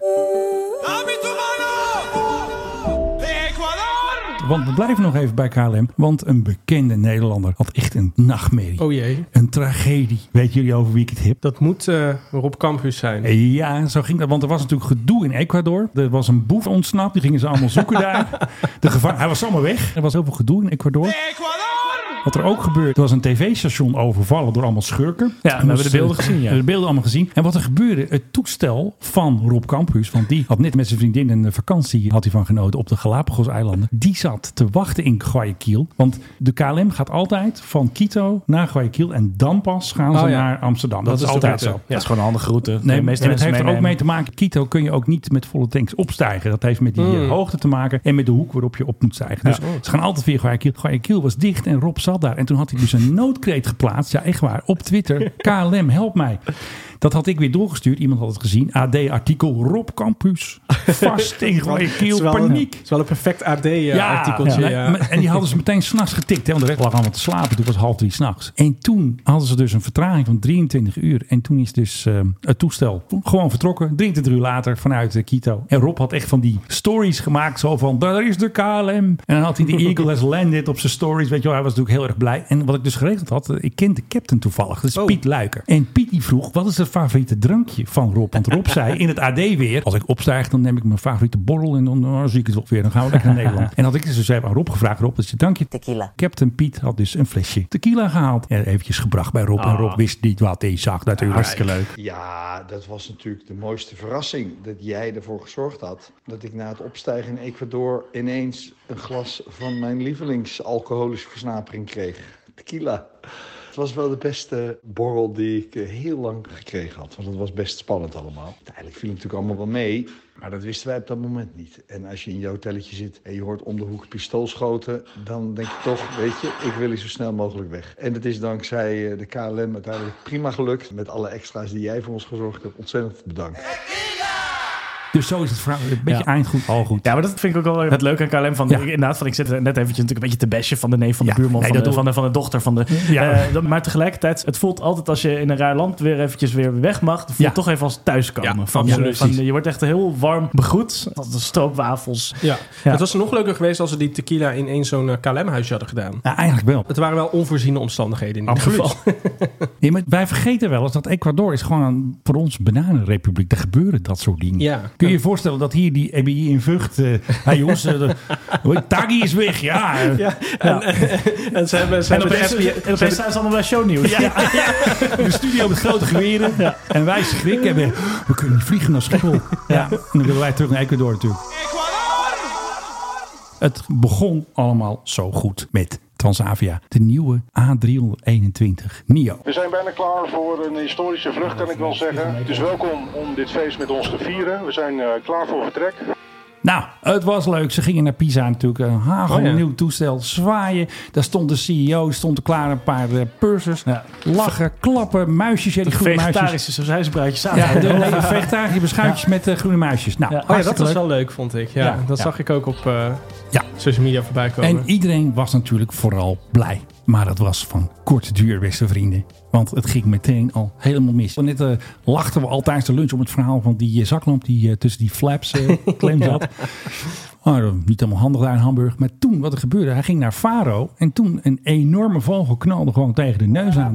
Speaker 14: Want we blijven nog even bij KLM. Want een bekende Nederlander had echt een nachtmerrie.
Speaker 17: Oh jee.
Speaker 14: Een tragedie. Weet jullie over wie ik het heb? Eh,
Speaker 17: Dat moet eh, Rob Campus zijn.
Speaker 14: Ja, zo ging dat. Want er was natuurlijk gedoe in Ecuador. Er was een boef ontsnapt. Die gingen ze allemaal zoeken [LAUGHS] daar. De gevangen, hij was allemaal weg. Er was heel veel gedoe in Ecuador. Wat er ook gebeurde, er was een tv-station overvallen door allemaal schurken.
Speaker 15: we hebben de beelden gezien, ja.
Speaker 14: We hebben de beelden allemaal gezien. En wat er gebeurde, het toestel van Rob Campus, want die had net met zijn vriendin een eh, vakantie had hij van genoten op de Galapagos-eilanden. Die zat te wachten in Guayaquil. Want de KLM gaat altijd van Quito naar Guayaquil en dan pas gaan ze
Speaker 15: Oh ja.
Speaker 14: naar Amsterdam. Dat, is
Speaker 15: de
Speaker 14: altijd
Speaker 15: route.
Speaker 14: zo.
Speaker 15: Ja. Dat is gewoon een handige route.
Speaker 14: Nee,
Speaker 15: De
Speaker 14: en
Speaker 15: meeste
Speaker 14: het
Speaker 15: mensen
Speaker 14: heeft er ook
Speaker 15: meenemen.
Speaker 14: mee te maken. Quito kun je ook niet met volle tanks opstijgen. Dat heeft met die eh,
Speaker 15: Mm.
Speaker 14: hoogte te maken en met de hoek waarop je op moet stijgen. Dus
Speaker 15: Ja. Oh.
Speaker 14: ze gaan altijd weer Guayaquil. Guayaquil was dicht en Rob zat zat daar. En toen had hij dus een noodkreet geplaatst. Ja, echt waar. Op
Speaker 15: [LAUGHS]
Speaker 14: Twitter. KLM, help mij. Dat had ik weer doorgestuurd. Iemand had het gezien. AD-artikel. Rob
Speaker 15: [LAUGHS]
Speaker 14: Campus. Vast in Guayaquil. Paniek.
Speaker 18: Het is wel een perfect eh, AD-artikeltje.
Speaker 14: Ja, maar- maar- En die hadden ze meteen s'nachts getikt. Hè, want de weg lag allemaal te slapen. Toen was het half drie s'nachts. En toen hadden ze dus een vertraging van 23 uur. En toen is dus ehm, het toestel gewoon vertrokken. 23 uur later vanuit eh, Quito. En Rob had echt van die stories gemaakt. Zo van, daar is de KLM. En dan had [LAUGHS] hij de Eagle has landed op zijn stories. Weet je wel, hij was natuurlijk heel erg blij. En wat ik dus geregeld had. eh, Ik ken de captain toevallig. Dat is Piet Luiker. En Piet die vroeg, wat is het favoriete drankje van Rob? Want Rob zei in het AD weer. Als ik opstijg, dan neem ik mijn favoriete borrel. En dan oh, zie ik het wel weer. Dan gaan we lekker naar Nederland. En had ik dus even aan Rob gevraagd. Rob, dat is je
Speaker 1: [LAUGHS]
Speaker 14: drankje. Tequila. Captain Piet had dus een flesje tequila gehaald. En eventjes gebracht bij Rob. En
Speaker 2: Ah.
Speaker 14: Rob wist niet wat hij zag natuurlijk.
Speaker 2: Ja, dat was natuurlijk de mooiste verrassing. Dat jij ervoor gezorgd had dat ik na het opstijgen in Ecuador ineens een glas van mijn lievelingsalcoholische versnapering kreeg. Tequila. Het was wel de beste borrel die ik eh, heel lang gekregen had. Want het was best spannend allemaal. Uiteindelijk viel het natuurlijk allemaal wel mee. Maar dat wisten wij op dat moment niet. En als je in je hotelletje zit en je hoort om de hoek pistoolschoten... dan denk je toch, weet je, ik wil hier zo snel mogelijk weg. En het is dankzij eh, de KLM uiteindelijk prima gelukt. Met alle extra's die jij voor ons gezorgd hebt. Ontzettend bedankt.
Speaker 14: Dus zo is het verhaal. Een beetje
Speaker 15: Ja.
Speaker 14: eindgoed, al goed.
Speaker 15: Ja, maar dat vind ik ook wel het leuke aan KLM. Van, ik- Inderdaad, van, ik zit er net eventjes natuurlijk een beetje te bashen van de neef van de buurman,
Speaker 14: nee,
Speaker 15: van,
Speaker 14: dat
Speaker 15: de,
Speaker 14: doe-
Speaker 15: van, de, van de dochter. Van de,
Speaker 14: Ja.
Speaker 15: Eh, dat- maar tegelijkertijd, het voelt altijd als je in een raar land weer eventjes weer weg mag. Het voelt toch even als thuiskomen. van,
Speaker 18: absoluut.
Speaker 15: van- je wordt echt heel warm begroet. Dat is stroopwafels.
Speaker 18: Ja.
Speaker 15: Ja.
Speaker 18: het was nog leuker geweest als ze die tequila in één zo'n eh, KLM-huisje hadden gedaan.
Speaker 14: Ja, eigenlijk wel.
Speaker 18: Het waren wel onvoorziene omstandigheden in ieder
Speaker 14: Absoluut.
Speaker 18: geval.
Speaker 14: [LAUGHS] Nee, maar wij vergeten wel eens dat Ecuador is gewoon een, voor ons bananenrepubliek. Daar gebeuren dat soort dingen.
Speaker 18: Ja.
Speaker 14: Kun je je voorstellen dat hier die EBI in Vught... eh hey jongens,
Speaker 18: [LAUGHS]
Speaker 14: eh, de- hoe- Taggi is weg, ja. eh,
Speaker 18: Ja, en, en ze hebben, ze
Speaker 14: En
Speaker 18: hebben de
Speaker 14: opeens-
Speaker 18: FBI
Speaker 14: en
Speaker 18: ze
Speaker 14: opeens
Speaker 18: hebben-
Speaker 15: staan ze allemaal bij shownieuws.
Speaker 14: Ja. De studio met grote geweren. En wij schrikken. En we, we kunnen niet vliegen naar Schiphol. Ja. En dan willen wij terug naar Ecuador natuurlijk. Het begon allemaal zo goed met Transavia. De nieuwe A321 NIO.
Speaker 16: We zijn bijna klaar voor een historische vlucht, kan ik wel zeggen. Dus welkom om dit feest met ons te vieren. We zijn eh, klaar voor vertrek.
Speaker 14: Nou, het was leuk. Ze gingen naar Pisa natuurlijk. Een hagel,
Speaker 16: Oh ja.
Speaker 14: nieuw toestel, zwaaien. Daar stond de CEO, stond er klaar een paar eh, pursers. Lachen, klappen, muisjes. Ja, die
Speaker 15: De
Speaker 14: groene
Speaker 15: vegetarische
Speaker 14: muisjes.
Speaker 15: sausijsbruidjes
Speaker 14: Ja, de
Speaker 15: samen.
Speaker 14: nee, vegetarische beschuitjes met eh, groene muisjes. Nou,
Speaker 18: Oh ja, dat
Speaker 14: hartstikke
Speaker 18: was
Speaker 14: leuk.
Speaker 18: wel leuk, vond ik. Ja,
Speaker 14: Ja,
Speaker 18: dat
Speaker 14: ja.
Speaker 18: zag ik ook op eh, social media voorbij komen.
Speaker 14: En iedereen was natuurlijk vooral blij. Maar dat was van korte duur, beste vrienden. Want het ging meteen al helemaal mis. Net eh, lachten we al tijdens de lunch om het verhaal van die eh, zaklamp die eh, tussen die flaps
Speaker 15: [LAUGHS]
Speaker 14: eh, klem zat. Maar dat was niet helemaal handig daar in Hamburg. Maar toen, wat er gebeurde, hij ging naar Faro. En toen een enorme vogel knalde gewoon tegen de neus aan.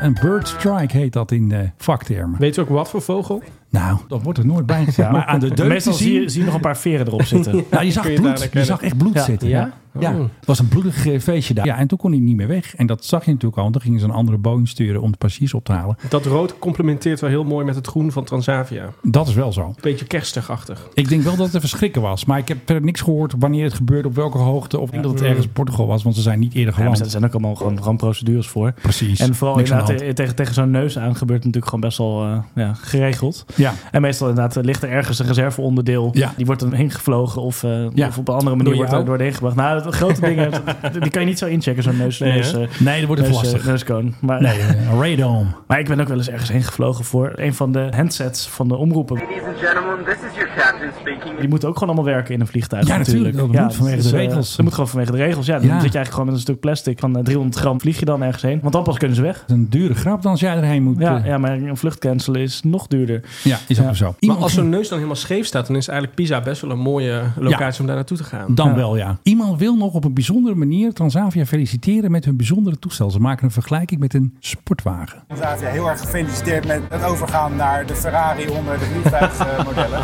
Speaker 14: Een bird strike heet dat in eh, vaktermen.
Speaker 18: Weet je ook wat voor vogel?
Speaker 14: Nou, dat wordt er nooit bij
Speaker 15: [LAUGHS]
Speaker 14: gezegd. Maar aan de deuk
Speaker 15: Meestal
Speaker 14: te
Speaker 15: zie je,
Speaker 14: zien-
Speaker 15: zie je nog een paar veren erop
Speaker 18: [LAUGHS]
Speaker 15: zitten.
Speaker 14: nou, je zag bloed. Je, zag echt bloed zitten. Ja? Ja. Het was een bloedig eh, feestje daar. Ja, en toen kon hij niet meer weg. En dat zag je natuurlijk al. Want dan gingen ze een andere Boeing sturen om de passagiers op te halen.
Speaker 18: Dat rood complementeert wel heel mooi met het groen van Transavia.
Speaker 14: Dat is wel zo.
Speaker 18: Beetje kerstigachtig.
Speaker 14: Ik denk wel dat het even schrikken was. Maar ik heb verder niks gehoord wanneer het gebeurde, op welke hoogte. Of ik denk dat het ergens in Portugal was, want ze zijn niet eerder
Speaker 15: Ja, maar
Speaker 14: geland.
Speaker 15: er zijn ook allemaal gewoon rampprocedures voor.
Speaker 14: Precies.
Speaker 15: En vooral
Speaker 14: Niks aan de
Speaker 15: inderdaad te- tegen, tegen zo'n neus aan gebeurt natuurlijk gewoon best wel eh, ja, geregeld.
Speaker 14: Ja.
Speaker 15: En meestal inderdaad eh, ligt er ergens een reserveonderdeel.
Speaker 14: Ja.
Speaker 15: Die wordt dan heen gevlogen of, eh,
Speaker 14: Ja.
Speaker 15: of op een andere manier
Speaker 14: Door
Speaker 15: wordt
Speaker 14: jou?
Speaker 15: er doorheen gebracht. Nou, dat- grote
Speaker 14: [LAUGHS]
Speaker 15: dingen, dat- die kan je niet zo inchecken, zo'n neus.
Speaker 14: Nee, hè?
Speaker 15: neus eh,
Speaker 14: Nee, dat wordt even
Speaker 15: neus, eh,
Speaker 14: lastig.
Speaker 15: Neuskoon. Maar,
Speaker 14: Nee, eh, een radome.
Speaker 15: Maar ik ben ook wel eens ergens heen gevlogen voor een van de handsets van de omroepen.
Speaker 19: Ladies and gentlemen, this is your captain speaking.
Speaker 15: Die moeten ook gewoon allemaal werken in een vliegtuig.
Speaker 14: Ja, natuurlijk.
Speaker 15: natuurlijk.
Speaker 14: Dat moet vanwege de
Speaker 15: eh,
Speaker 14: regels.
Speaker 15: dat moet gewoon vanwege de regels. Ja, dan
Speaker 14: Ja.
Speaker 15: zit je eigenlijk gewoon met een stuk plastic van eh, 300 gram vlieg je dan ergens heen. Want dan pas kunnen ze weg.
Speaker 14: Een dure grap dan als jij erheen moet.
Speaker 15: Ja,
Speaker 14: eh.
Speaker 15: ja maar een vlucht cancelen is nog duurder.
Speaker 14: Ja, is ook zo.
Speaker 18: maar als zo'n neus dan helemaal scheef staat, dan is eigenlijk Pisa best wel een mooie locatie om daar naartoe te gaan.
Speaker 14: Dan wel, ja. Iemand wil nog op een bijzondere manier Transavia feliciteren met hun bijzondere toestel. Ze maken een vergelijking met een sportwagen.
Speaker 6: Transavia heel erg gefeliciteerd met het overgaan naar de Ferrari
Speaker 20: [LAUGHS]
Speaker 6: onder de vliegtuigmodellen.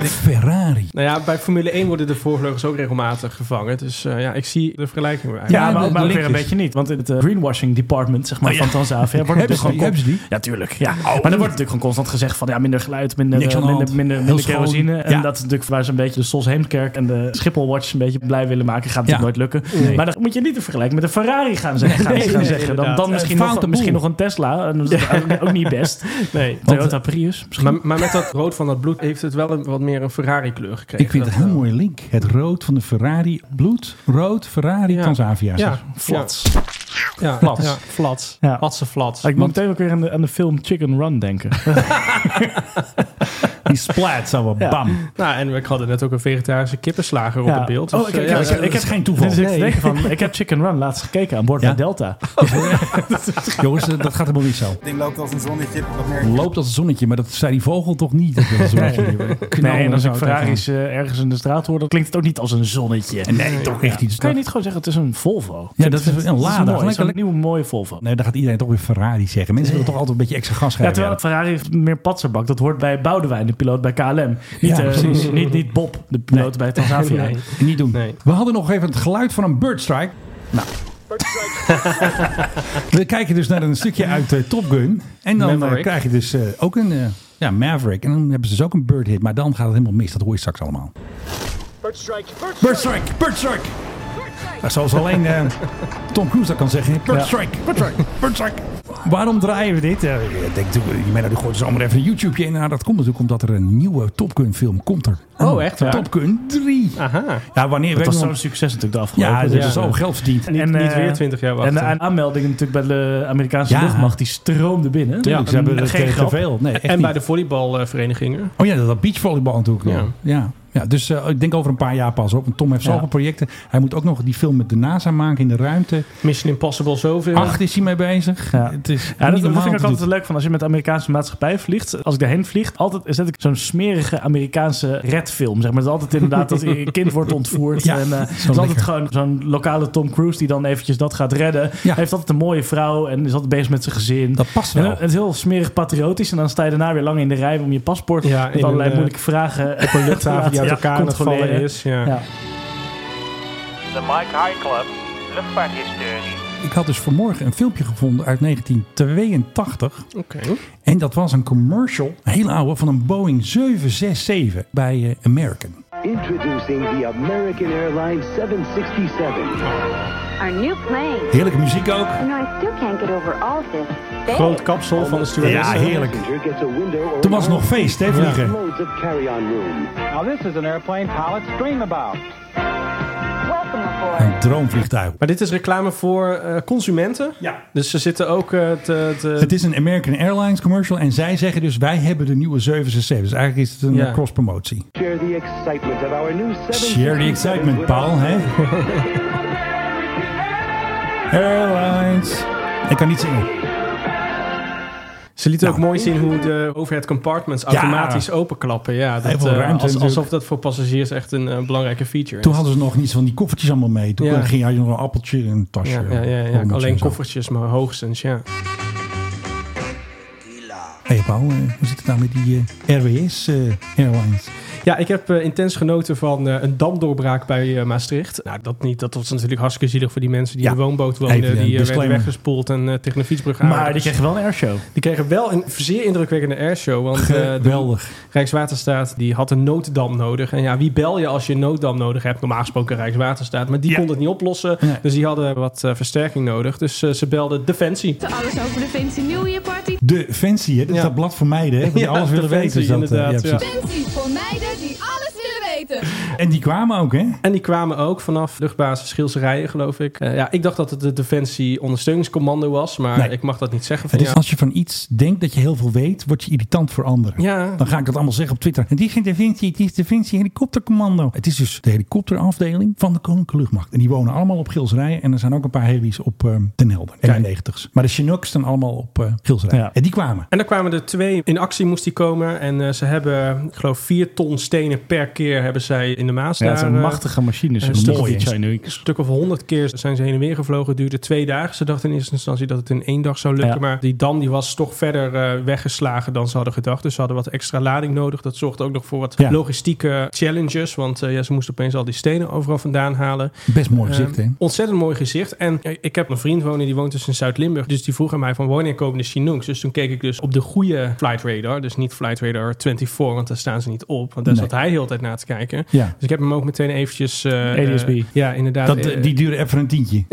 Speaker 14: Ferrari.
Speaker 18: Nou ja, bij Formule 1 worden de voorvleugels ook regelmatig gevangen. Dus eh, ja, ik zie de vergelijking wel.
Speaker 15: Ja,
Speaker 18: eigenlijk.
Speaker 15: maar, maar ook weer een beetje niet. Want in het eh, greenwashing department zeg maar,
Speaker 18: Oh, ja.
Speaker 15: van Transavia... Wordt
Speaker 18: Hebben
Speaker 6: dus
Speaker 15: natuurlijk
Speaker 18: ze die?
Speaker 15: gewoon
Speaker 18: Hebben ze die?
Speaker 15: Ja, tuurlijk. Ja. Maar er wordt natuurlijk gewoon constant gezegd van... ja, minder
Speaker 6: geluid, minder,
Speaker 14: Niks aan de
Speaker 6: minder,
Speaker 14: hand.
Speaker 6: minder,
Speaker 14: Heel
Speaker 6: minder
Speaker 14: schoon.
Speaker 6: kerosine. En
Speaker 14: Ja.
Speaker 6: dat is natuurlijk waar ze een beetje de Sos Heemkerk en de Schiphol Watch een beetje blij willen maken. Gaat natuurlijk nooit lukken.
Speaker 14: Nee.
Speaker 6: Maar dat moet je niet te vergelijken met een Ferrari gaan, ze- gaan,
Speaker 14: Nee,
Speaker 6: gaan
Speaker 14: nee,
Speaker 6: zeggen. Dan,
Speaker 14: inderdaad.
Speaker 6: dan
Speaker 14: Een
Speaker 6: misschien,
Speaker 14: foute
Speaker 6: nog,
Speaker 14: boel.
Speaker 6: misschien nog een Tesla. En Dat is ook, ook niet best. eh,
Speaker 15: Nee,
Speaker 6: Toyota Prius misschien.
Speaker 15: Maar, maar met dat rood van dat bloed heeft het wel een, wat meer een Ferrari kleur gekregen.
Speaker 14: Ik vind het
Speaker 15: Dat- eh,
Speaker 14: een heel mooie link. Het rood van de Ferrari. Bloed, rood, Ferrari, Transavia.
Speaker 15: Ja,
Speaker 6: flats.
Speaker 15: Ja,
Speaker 14: Flats.
Speaker 15: Ja, flats.
Speaker 6: Ja.
Speaker 15: Hatse flats.
Speaker 6: Ik moet meteen ook weer aan de, aan de film Chicken Run [LAUGHS] denken.
Speaker 14: Die splat zou wel
Speaker 6: Ja.
Speaker 14: bam.
Speaker 15: Nou, en we hadden net ook een vegetarische kippenslager op
Speaker 6: Ja.
Speaker 15: het beeld.
Speaker 6: Oh,
Speaker 15: Dus,
Speaker 6: ik
Speaker 15: eh,
Speaker 6: heb,
Speaker 15: ja,
Speaker 6: ik, heb-
Speaker 15: dat
Speaker 6: ik heb [LAUGHS]
Speaker 15: is
Speaker 6: Dus
Speaker 15: Nee.
Speaker 6: ik denk van, ik heb Chicken Run laatst gekeken aan boord van Delta.
Speaker 14: Jongens, eh, dat gaat helemaal niet zo.
Speaker 21: Het ding loopt als een zonnetje. Dat merk je.
Speaker 14: Loopt als een zonnetje, maar dat zei die vogel toch niet. Dat wil zo'n zonnetje. Knallen
Speaker 6: Nee, en als
Speaker 14: zou
Speaker 6: ik
Speaker 14: het
Speaker 6: Ferraris eh, ergens in de straat hoor, dan klinkt het ook niet als een zonnetje. Dus
Speaker 14: Nee, toch echt Dus iets.
Speaker 6: Kan je niet gewoon zeggen, het is een Volvo?
Speaker 14: Ja, dat is een Lada.
Speaker 6: Lada.
Speaker 14: Gelijk-
Speaker 6: een nieuwe mooie Volvo.
Speaker 14: Nee, dan gaat iedereen toch weer Ferrari zeggen. Mensen willen toch altijd een beetje extra gas
Speaker 6: Ja,
Speaker 14: geven.
Speaker 6: terwijl het Ferrari heeft meer patserbak. Dat hoort bij Boudewijn, de piloot bij KLM. Niet,
Speaker 14: Ja,
Speaker 6: eh,
Speaker 14: precies.
Speaker 6: niet, niet Bob, de piloot bij [LAUGHS] Transavia.
Speaker 14: [LAUGHS]
Speaker 15: [LAUGHS]
Speaker 14: Nee, niet doen. We hadden nog even het geluid van een birdstrike. Nou. We kijken dus naar een stukje uit eh, Top Gun. En dan eh,
Speaker 15: Maverick.
Speaker 14: krijg je dus eh, ook een eh, ja, Maverick. En dan hebben ze dus ook een bird hit. Maar dan gaat het helemaal mis. Dat hoor je straks allemaal.
Speaker 4: Bird strike. Bird strike.
Speaker 14: Bird strike, bird strike. Nou, zoals alleen eh, Tom Cruise dat kan zeggen. Bird
Speaker 4: Ja.
Speaker 14: strike, bird strike, bird strike. Waarom draaien we dit? Eh, ik denk, doe- je meent, nou, gooit ze allemaal even een YouTube in. Nou, dat komt natuurlijk omdat er een nieuwe Top Gun film komt er.
Speaker 15: Oh, echt waar?
Speaker 14: Top Gun 3.
Speaker 15: Aha.
Speaker 14: Ja, wanneer
Speaker 6: Dat
Speaker 14: weet
Speaker 6: was
Speaker 14: ik nog-
Speaker 6: zo'n succes natuurlijk de afgelopen
Speaker 14: Ja, dat is zo geld verdiend.
Speaker 6: En,
Speaker 15: Niet- niet
Speaker 6: eh,
Speaker 15: weer 20 jaar wachten.
Speaker 6: En de aanmeldingen natuurlijk bij de Amerikaanse
Speaker 14: Ja.
Speaker 6: luchtmacht, die stroomde binnen.
Speaker 14: Tuurlijk, ze hebben
Speaker 6: En
Speaker 14: het,
Speaker 6: geen
Speaker 14: eh, te
Speaker 6: grap.
Speaker 14: veel. Nee, echt
Speaker 15: en bij
Speaker 14: niet.
Speaker 15: de volleybalverenigingen.
Speaker 14: Oh ja, dat- dat beachvolleybal natuurlijk. nog.
Speaker 15: Ja.
Speaker 14: Ja. Ja. dus eh, ik denk over een paar jaar pas op. Want Tom heeft
Speaker 15: Ja.
Speaker 14: zoveel projecten. Hij moet ook nog die film met de NASA maken in de ruimte.
Speaker 15: Mission Impossible zoveel.
Speaker 14: Acht is hij mee bezig.
Speaker 6: Ja.
Speaker 14: Het is
Speaker 6: Ja, dat,
Speaker 14: niet
Speaker 6: dat
Speaker 14: normaal
Speaker 6: vind ik ook
Speaker 14: te
Speaker 6: altijd
Speaker 14: doen.
Speaker 6: leuk van als je met de Amerikaanse maatschappij vliegt. Als ik daarheen vlieg, altijd zet ik zo'n smerige Amerikaanse redfilm. Zeg maar. Het is altijd inderdaad dat
Speaker 14: [LAUGHS]
Speaker 6: een kind wordt ontvoerd.
Speaker 14: Ja,
Speaker 6: en, eh,
Speaker 14: zo
Speaker 6: het is altijd
Speaker 14: lekker.
Speaker 6: gewoon zo'n lokale Tom Cruise die dan eventjes dat gaat redden. Hij heeft altijd een mooie vrouw en is altijd bezig met zijn gezin.
Speaker 14: Dat past
Speaker 6: En
Speaker 14: wel.
Speaker 6: het is heel smerig patriotisch. En dan sta je daarna weer lang in de rij om je paspoort
Speaker 15: Ja, in
Speaker 6: met allerlei
Speaker 15: een, eh,
Speaker 6: moeilijke vragen
Speaker 15: op
Speaker 6: [LAUGHS]
Speaker 15: een luchthaven die uit
Speaker 6: Ja,
Speaker 15: elkaar aan het
Speaker 6: controleren.
Speaker 15: vallen is, ja.
Speaker 20: De Mike High Club, luchtvaarthistorie.
Speaker 14: Ik had dus vanmorgen een filmpje gevonden uit 1982.
Speaker 15: Oké.
Speaker 14: En dat was een commercial, een heel oude, van een Boeing 767 bij eh, American.
Speaker 22: Introducing the American Airlines 767.
Speaker 23: Our new plane.
Speaker 14: Heerlijke muziek ook.
Speaker 23: You know, I still can't get over all of this. Thanks.
Speaker 15: Groot kapsel van de stewardess.
Speaker 14: Ja, heerlijk.
Speaker 22: Toen
Speaker 14: Toen was het nog feest, hè, vliegen.
Speaker 22: Loads of carry-on room. Now this is an airplane pilots dream about.
Speaker 14: Een droomvliegtuig.
Speaker 15: Maar dit is reclame voor eh, consumenten. Ja. Dus ze zitten ook eh, te, te-
Speaker 14: Het is een American Airlines commercial en zij zeggen dus wij hebben de nieuwe 767. Dus eigenlijk is het een
Speaker 22: Ja.
Speaker 14: eh, cross-promotie.
Speaker 22: Share the excitement of our new 767.
Speaker 14: Share the excitement, Paul,
Speaker 22: [LAUGHS]
Speaker 14: hè? Airlines. Ik kan niet zingen.
Speaker 15: Ze lieten ook mooi zien hoe de overhead compartments automatisch openklappen. Ja, dat,
Speaker 14: Heel veel
Speaker 15: eh,
Speaker 14: ruimte
Speaker 15: als-
Speaker 14: natuurlijk.
Speaker 15: alsof dat voor passagiers echt een eh, belangrijke feature is.
Speaker 14: Toen hadden ze nog niet van die koffertjes allemaal mee. Toen
Speaker 15: Ja.
Speaker 14: ging je had je nog een appeltje in een tasje.
Speaker 15: ja, ja, ja, ja,
Speaker 14: Appelmoes en
Speaker 15: alleen
Speaker 14: zo.
Speaker 15: koffertjes, maar hoogstens, ja.
Speaker 14: Hé hey Paul, eh, hoe zit het nou met die eh, RWS eh, Airlines?
Speaker 15: Ja, ik heb eh, intens genoten van eh, een damdoorbraak bij eh, Maastricht. Nou, dat niet. Dat was natuurlijk hartstikke zielig voor die mensen die
Speaker 14: Ja.
Speaker 15: in de woonboot woonden.
Speaker 14: Even een
Speaker 15: die eh, werden
Speaker 14: disclaimer.
Speaker 15: weggespoeld en eh, tegen een fietsbrug
Speaker 6: Maar die kregen wel een airshow.
Speaker 15: Die kregen wel een zeer indrukwekkende airshow. Want eh, de
Speaker 14: Geweldig.
Speaker 15: Rijkswaterstaat die had een nooddam nodig. En ja, wie bel je als je een nooddam nodig hebt? Normaal gesproken Rijkswaterstaat. Maar die kon het niet oplossen. Dus die hadden wat eh, versterking nodig. Dus eh, ze belden Defensie.
Speaker 24: Alles over de Fancy New Year Party.
Speaker 14: De Fancy, hè? Dat, is dat blad voor meiden, hè? Die
Speaker 15: [LAUGHS] Ja,
Speaker 14: alles willen
Speaker 15: de
Speaker 14: weten.
Speaker 15: Fancy,
Speaker 14: is dat, eh,
Speaker 15: inderdaad,
Speaker 14: precies.
Speaker 24: Fancy voor meiden die alles willen weten.
Speaker 14: En die kwamen ook, hè?
Speaker 15: En die kwamen ook vanaf luchtbasis Schilse Rijen, geloof ik. Eh, ja, ik dacht dat het de Defensie ondersteuningscommando was. Maar
Speaker 14: Nee.
Speaker 15: ik mag dat niet zeggen. Van,
Speaker 14: Het is
Speaker 15: ja.
Speaker 14: dus als je van iets denkt dat je heel veel weet, word je irritant voor anderen.
Speaker 15: Ja.
Speaker 14: Dan ga ik dat allemaal zeggen op Twitter. En die is geen Defensie, het is Defensie Helikoptercommando. Het is dus de helikopterafdeling van de Koninklijke Luchtmacht. En die wonen allemaal op Gilsrijen. En er zijn ook een paar heli's op ehm Den Helder, M90's. Maar de Chinooks staan allemaal op eh Gilsrijen. En die kwamen.
Speaker 15: En er kwamen er twee in actie, moest die komen. En eh, ze hebben, ik geloof, vier ton stenen per keer hebben zij in de Maas.
Speaker 6: Ja, het is
Speaker 15: daar,
Speaker 6: een
Speaker 15: eh,
Speaker 6: machtige machine, zo'n
Speaker 15: stuk
Speaker 6: mooi,
Speaker 15: of-
Speaker 6: hè?
Speaker 15: Een stuk of honderd keer zijn ze heen en weer gevlogen. Het duurde twee dagen. Ze dachten in eerste instantie dat het in één dag zou lukken.
Speaker 6: Ja.
Speaker 15: Maar die dam die was toch verder eh, weggeslagen dan ze hadden gedacht. Dus ze hadden wat extra lading nodig. Dat zorgde ook nog voor wat
Speaker 14: Ja.
Speaker 15: logistieke challenges. Want eh, ja, ze moesten opeens al die stenen overal vandaan halen.
Speaker 14: Best mooi gezicht,
Speaker 15: Ehm,
Speaker 14: hè?
Speaker 15: Ontzettend mooi gezicht. En eh, ik heb een vriend wonen, die woont dus in Zuid-Limburg. Dus die vroeg aan mij van wanneer komen de Chinooks? Dus toen keek ik dus op de goede Flight Radar. Dus niet Flight Radar 24, want daar staan ze niet op. Want daar
Speaker 14: Nee.
Speaker 15: zat hij heel de tijd naar te kijken.
Speaker 14: Ja.
Speaker 15: Dus ik heb hem ook meteen eventjes... eh,
Speaker 14: ADSB.
Speaker 15: eh, ja, inderdaad.
Speaker 14: Dat,
Speaker 15: eh,
Speaker 14: eh, die duurde even een tientje.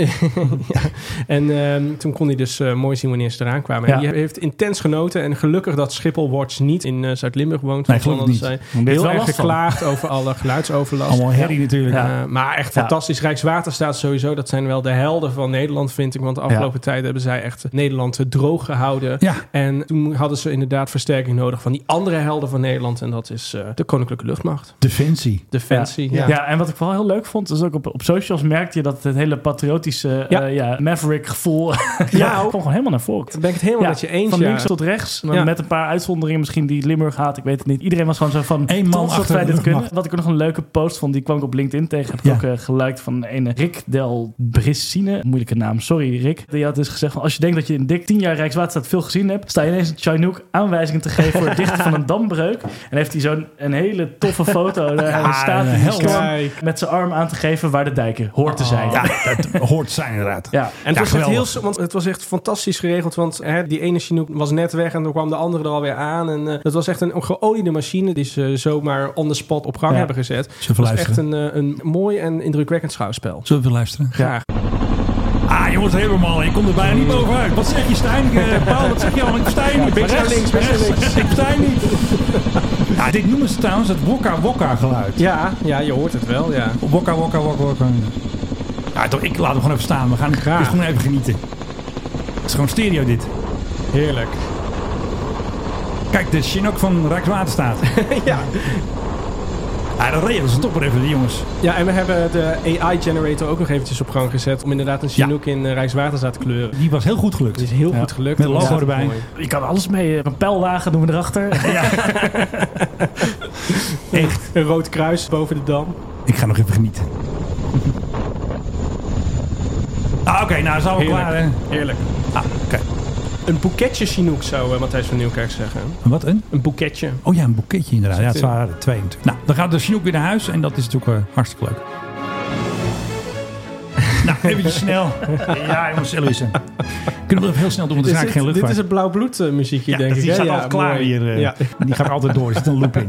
Speaker 15: en ehm, toen kon hij dus eh, mooi zien wanneer ze eraan kwamen. En
Speaker 14: Ja.
Speaker 15: die heeft intens genoten. En gelukkig dat Schiphol Watch niet in eh, Zuid-Limburg woont.
Speaker 14: Nee,
Speaker 15: want dan
Speaker 14: gelukkig
Speaker 15: hadden
Speaker 14: niet.
Speaker 15: zij
Speaker 14: Want dit is
Speaker 15: Heel
Speaker 14: wel
Speaker 15: erg
Speaker 14: last van.
Speaker 15: geklaagd over alle geluidsoverlast.
Speaker 14: Allemaal herrie natuurlijk.
Speaker 15: Eh,
Speaker 14: Ja.
Speaker 15: maar echt
Speaker 14: Ja.
Speaker 15: fantastisch. Rijkswaterstaat sowieso. Dat zijn wel de helden van Nederland, vind ik. Want de afgelopen tijd hebben zij echt Nederland eh, droog gehouden. En toen hadden ze inderdaad versterking nodig van die andere helden van Nederland. En dat is eh, de Koninklijke Luchtmacht.
Speaker 14: Defensie.
Speaker 15: Defensie,
Speaker 6: Ja.
Speaker 15: ja.
Speaker 6: Ja, en wat ik vooral heel leuk vond, is ook op, op socials merkte je dat het hele patriotische
Speaker 15: Ja.
Speaker 6: eh, ja, [LAUGHS] Maverick-gevoel ja, kwam gewoon helemaal naar voren.
Speaker 15: Daar ben ik het helemaal met je eens,
Speaker 6: Van
Speaker 15: ja.
Speaker 6: links tot rechts, maar
Speaker 15: Ja.
Speaker 6: met een paar uitzonderingen misschien die Limburg haat, ik weet het niet. Iedereen was gewoon zo van, Eén
Speaker 14: man
Speaker 6: dat
Speaker 14: achter
Speaker 6: wij
Speaker 14: de
Speaker 6: dit kunnen.
Speaker 14: luchtmacht.
Speaker 6: Wat ik ook nog een leuke post vond, die kwam ik op LinkedIn tegen. Heb ik ook eh, geliked van een Rick Del Brissine. Moeilijke naam, sorry Rick. Die had dus gezegd van, als je denkt dat je in dik 10 jaar Rijkswaterstaat veel gezien hebt, sta je ineens een Chinook aanwijzingen te geven voor het dichten van een
Speaker 14: [LAUGHS]
Speaker 6: dambreuk. En heeft hij zo'n een hele toffe foto. Daar
Speaker 14: Ja,
Speaker 6: hij staat in
Speaker 14: een
Speaker 6: die
Speaker 14: held.
Speaker 6: storm
Speaker 14: Kijk. Oh.
Speaker 6: met zijn arm aan te geven waar de dijken hoort te zijn.
Speaker 14: Ja, dat hoort zijn inderdaad.
Speaker 6: Ja.
Speaker 15: En het, was echt heel, s- want het was echt fantastisch geregeld. Want hè, die ene Chinook was net weg en dan kwam de andere er alweer aan. En eh, dat was echt een geoliede machine die ze zomaar on the spot op gang
Speaker 14: Ja.
Speaker 15: hebben gezet.
Speaker 14: Zullen we
Speaker 15: Het was echt een,
Speaker 14: luisteren?
Speaker 15: eh, een mooi en indrukwekkend schouwspel.
Speaker 14: Zullen we luisteren?
Speaker 15: Graag.
Speaker 14: Ah, jongens, helemaal. Je komt er bijna niet bovenuit. Wat zeg je, Stijn? Eh, Paul, wat zeg je allemaal? Ik versta je niet.
Speaker 15: Beetje naar
Speaker 14: Rechts,
Speaker 15: links, beetje naar
Speaker 14: rechts,
Speaker 15: links.
Speaker 14: rechts. Ik versta je niet. Ja, dit noemen ze trouwens het wokka-wokka-geluid.
Speaker 15: Ja, ja, je hoort het wel, ja.
Speaker 14: Wokka, wokka, wokka, wokka. Ja, toch, ik laat hem gewoon even staan. We gaan Graag. gewoon even genieten. Het is gewoon stereo dit.
Speaker 15: Heerlijk.
Speaker 14: Kijk, de Chinook van Rijkswaterstaat.
Speaker 15: [LAUGHS] ja.
Speaker 14: Ja, dat regelen ze toch maar even, die jongens.
Speaker 15: Ja, en we hebben de AI-generator ook nog eventjes op gang gezet. om inderdaad een Chinook in eh, Rijkswaterstaat te kleuren. [LAUGHS]
Speaker 14: Die was heel goed gelukt.
Speaker 15: Die is heel goed gelukt.
Speaker 14: Met logo
Speaker 15: Inderdaad,
Speaker 14: erbij.
Speaker 15: mooi.
Speaker 6: Je kan alles mee. eh, Een pijlwagen doen we erachter.
Speaker 15: Echt. Een rood kruis boven de dam.
Speaker 14: Ik ga nog even genieten. Ah, oké, nou, zijn we
Speaker 15: Heerlijk.
Speaker 14: klaar, hè?
Speaker 15: Heerlijk.
Speaker 14: Ah,
Speaker 15: Een boeketje Chinook zou eh, Matthijs van Nieuwkerk zeggen.
Speaker 14: Wat een?
Speaker 15: Een boeketje.
Speaker 14: Oh ja, een boeketje inderdaad. Ja,
Speaker 15: Zit
Speaker 14: het
Speaker 15: in.
Speaker 14: waren er twee natuurlijk. Nou, dan gaat de Chinook weer naar huis en dat is natuurlijk eh, hartstikke leuk. [LAUGHS] nou, eventjes snel. Ja, jongens, Eloise. Kunnen we dat heel snel doen, want er is
Speaker 15: dit,
Speaker 14: eigenlijk geen luchtvaart.
Speaker 15: dit is het blauw bloed eh, muziekje,
Speaker 14: Ja,
Speaker 15: denk
Speaker 14: dus
Speaker 15: ik.
Speaker 14: die
Speaker 15: hè?
Speaker 14: staat
Speaker 15: ja,
Speaker 14: al klaar
Speaker 15: mooi.
Speaker 14: hier. eh.
Speaker 15: Ja.
Speaker 14: Die gaat altijd door. Er zit een loop in.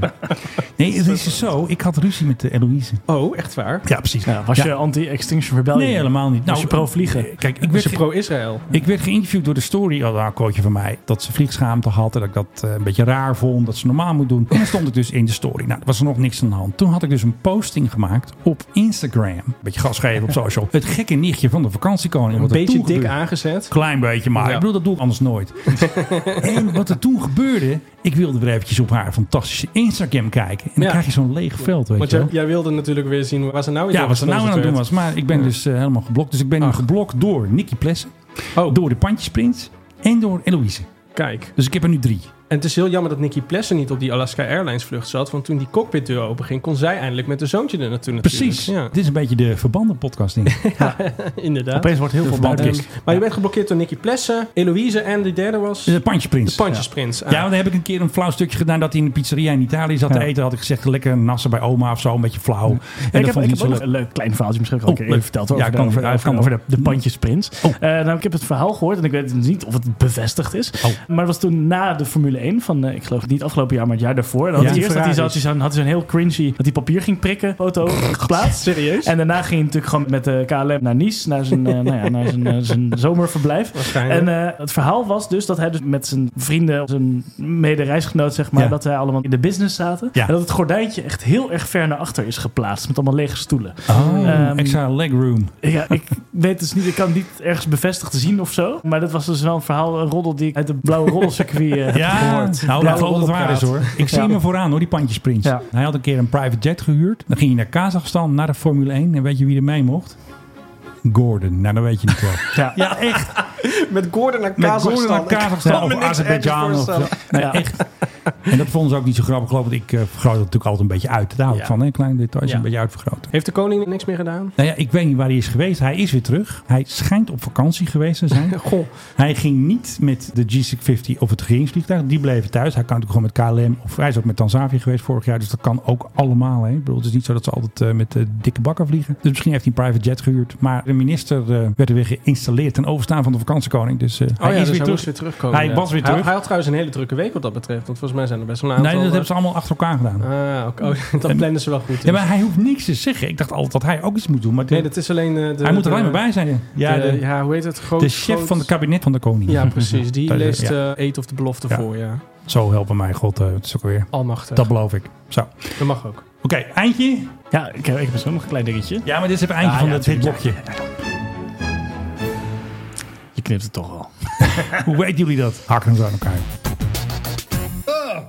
Speaker 14: Nee, het is dus zo. Ik had ruzie met de Eloïse.
Speaker 15: Oh, echt waar?
Speaker 14: Ja, precies.
Speaker 6: was
Speaker 14: Ja.
Speaker 6: je anti-extinction rebellion?
Speaker 14: Nee, helemaal niet.
Speaker 6: was je pro-vliegen?
Speaker 14: eh, Kijk, ik werd,
Speaker 15: Dus je
Speaker 14: ge-
Speaker 15: pro-Israël?
Speaker 14: ik werd geïnterviewd door de story. Oh, een quoteje van mij. Dat ze vliegschaamte had. En dat ik dat eh, een beetje raar vond. Dat ze normaal moet doen. En dan stond ik dus in de story. Nou, er was nog niks aan de hand. Toen had ik dus een posting gemaakt op Instagram. Een beetje gas geven op social. Het gekke nichtje van de vakantiekoning.
Speaker 15: Een
Speaker 14: wat er
Speaker 15: beetje
Speaker 14: toen
Speaker 15: dik
Speaker 14: gebeurde.
Speaker 15: aangezet.
Speaker 14: Klein beetje, maar
Speaker 15: Ja.
Speaker 14: ik bedoel, dat doe ik anders nooit. en wat er toen gebeurde, ik wilde weer eventjes op haar fantastische Instagram kijken. En dan
Speaker 15: Ja.
Speaker 14: krijg je zo'n leeg veld, weet
Speaker 15: Want
Speaker 14: je
Speaker 15: jij,
Speaker 14: wel.
Speaker 15: jij wilde natuurlijk weer zien waar ze nou iets
Speaker 14: Ja,
Speaker 15: over
Speaker 14: wat ze nou aan het doen was.
Speaker 15: gesponsord
Speaker 14: Maar ik ben dus eh, helemaal geblokt. Dus ik ben nu geblokt door Nicky Plessen,
Speaker 6: Oh.
Speaker 14: door de Pandjesprins en door Eloïse.
Speaker 15: werd. Kijk.
Speaker 14: Dus ik heb er nu drie.
Speaker 15: En het is heel jammer dat Nicky Plessen niet op die Alaska Airlines vlucht zat. Want toen die cockpitdeur openging, kon zij eindelijk met de zoontje er naartoe natuurlijk.
Speaker 14: Precies.
Speaker 15: Ja,
Speaker 14: Dus Dit is een beetje de
Speaker 6: [LAUGHS]
Speaker 14: verbanden podcasting.
Speaker 15: [LAUGHS] inderdaad.
Speaker 14: Opeens wordt heel
Speaker 15: De
Speaker 14: veel
Speaker 15: verbanden.
Speaker 14: bandkist.
Speaker 15: Maar je bent geblokkeerd door Nicky Plessen, Eloïse en die derde was...
Speaker 14: De Pandjesprins.
Speaker 15: De Pandjesprins,
Speaker 14: Ja,
Speaker 15: ah.
Speaker 14: ja want daar heb ik een keer een flauw stukje gedaan dat hij in de pizzeria in Italië zat te
Speaker 6: Ja.
Speaker 14: eten. Had ik gezegd, lekker nassen bij oma of zo, een beetje flauw. En dat
Speaker 6: ik heb,
Speaker 14: vond
Speaker 6: ik
Speaker 14: ik
Speaker 6: heb
Speaker 14: zo
Speaker 6: ook nog
Speaker 14: leuk.
Speaker 6: een leuk klein verhaaltje misschien ook al
Speaker 14: Oh,
Speaker 6: een keer even
Speaker 14: leuk.
Speaker 6: verteld over,
Speaker 14: Ja,
Speaker 6: de,
Speaker 14: kan
Speaker 6: over,
Speaker 14: vertellen,
Speaker 6: over,
Speaker 14: kan hmm. Oh.
Speaker 6: over de, de pandjesprins. Eh, nou, ik heb het verhaal gehoord en ik weet niet of het bevestigd is.
Speaker 14: Oh.
Speaker 6: Maar het was toen na de Formule 1 van, eh, ik geloof niet afgelopen jaar, maar het jaar daarvoor. Dan had
Speaker 15: Ja,
Speaker 6: hij
Speaker 15: die
Speaker 6: eerst dat hij zat,
Speaker 15: Ferraris.
Speaker 6: hij zo'n- had hij zo'n heel cringy, dat hij papier ging prikken, foto
Speaker 14: [LAUGHS]
Speaker 6: geplaatst.
Speaker 15: Serieus?
Speaker 6: En daarna ging hij natuurlijk gewoon met eh, de KLM naar Nice, naar zijn, eh, nou ja, naar zijn, eh,
Speaker 14: [LAUGHS]
Speaker 6: zijn zomerverblijf.
Speaker 15: Waarschijnlijk.
Speaker 6: En eh, het verhaal was dus dat hij dus met zijn vrienden, zijn medereisgenoot zeg maar,
Speaker 14: Ja.
Speaker 6: dat zij allemaal in de business zaten.
Speaker 14: Ja.
Speaker 6: En dat het gordijntje echt heel erg ver naar achter is geplaatst met allemaal lege stoelen.
Speaker 14: Oh,
Speaker 6: Ehm,
Speaker 14: extra leg room.
Speaker 6: ja, ik [LAUGHS] weet dus niet, ik kan niet ergens bevestigd zien of zo. Maar dat was dus wel een verhaal, een roddel die ik uit de blauwe roddelcircuit eh, heb gehoord.
Speaker 14: nou, ik
Speaker 6: Blauwe
Speaker 14: geloof dat het waar is hoor.
Speaker 6: roddelpraat.
Speaker 14: Ik zie
Speaker 6: Ja.
Speaker 14: hem er vooraan hoor, die pandjesprins. Hij had een keer een private jet gehuurd. Dan ging hij naar Kazachstan, naar de Formule 1. En weet je wie er mee mocht? Gordon. Nou, dan weet je niet
Speaker 6: [LAUGHS]
Speaker 14: wel.
Speaker 6: Ja.
Speaker 14: echt.
Speaker 15: [LAUGHS] Met Gordon naar
Speaker 14: Met Gordon naar Kazachstan of Azerbeidzjan. of zo. Nee,
Speaker 6: Ja.
Speaker 14: echt. En dat vonden ze ook niet zo grappig, geloof ik. Want ik eh, vergroot het natuurlijk altijd een beetje uit. Daar hou ik
Speaker 15: Ja.
Speaker 14: van, hè? Kleine details,
Speaker 15: Ja.
Speaker 14: een beetje uitvergroten.
Speaker 15: Heeft de koning niks meer gedaan?
Speaker 14: Nou ja, ik weet niet waar hij is geweest. Hij is weer terug. Hij schijnt op vakantie geweest te
Speaker 6: [LAUGHS]
Speaker 14: zijn.
Speaker 15: Goh.
Speaker 14: Hij ging niet met de G650 of het regeringsvliegtuig. Die bleven thuis. Hij kan natuurlijk gewoon met KLM. Of hij is ook met Tanzania geweest vorig jaar. Dus dat kan ook allemaal. Hè. Ik bedoel, het is niet zo dat ze altijd eh, met eh, dikke bakken vliegen. Dus misschien heeft hij een private jet gehuurd. Maar de minister eh, werd er weer geïnstalleerd ten overstaan van de vakantiekoning. Dus eh,
Speaker 15: Oh
Speaker 14: hij
Speaker 15: ja,
Speaker 14: is
Speaker 15: dus
Speaker 14: weer,
Speaker 15: hij
Speaker 14: terug.
Speaker 15: moest weer terugkomen.
Speaker 14: Hij
Speaker 15: ja.
Speaker 14: was weer
Speaker 15: hij,
Speaker 14: terug.
Speaker 15: Hij had trouwens een hele drukke week wat dat betreft. Want volgens mij zijn er best wel een
Speaker 14: Nee,
Speaker 15: aantal...
Speaker 14: dat hebben ze
Speaker 15: eh,
Speaker 14: allemaal achter elkaar gedaan.
Speaker 15: Ah, oké. [LAUGHS] Oh, dat plannen ze wel goed.
Speaker 14: Ja, maar hij hoeft niks te zeggen. Ik dacht altijd dat hij ook iets moet doen. Maar
Speaker 15: dus- Nee, dat is alleen... eh, de,
Speaker 14: hij moet er
Speaker 15: de-
Speaker 14: alleen maar bij zijn.
Speaker 15: Ja, de,
Speaker 14: de-
Speaker 15: ja, hoe heet het? Groot,
Speaker 14: de chef
Speaker 15: groot-
Speaker 14: van het kabinet van de koning.
Speaker 15: Ja, precies. Die
Speaker 14: Mhm. [LAUGHS] Dat is-
Speaker 15: leest
Speaker 14: ja.
Speaker 15: eh Eet of de Belofte
Speaker 14: Ja.
Speaker 15: voor, ja.
Speaker 14: Zo helpen mij God, eh, het is ook weer.
Speaker 15: Almachtig.
Speaker 14: Dat beloof ik. Zo. Oké,
Speaker 15: Dat mag ook.
Speaker 14: eindje.
Speaker 6: Ja, ik heb, ik heb zo nog een klein dingetje.
Speaker 14: Ja, maar dit is het eindje
Speaker 6: Ah,
Speaker 14: van
Speaker 6: ja,
Speaker 14: het
Speaker 6: tuurlijk.
Speaker 14: hitblokje.
Speaker 6: Je knipt het toch al.
Speaker 14: Hoe weten jullie dat? Hakken ze aan elkaar.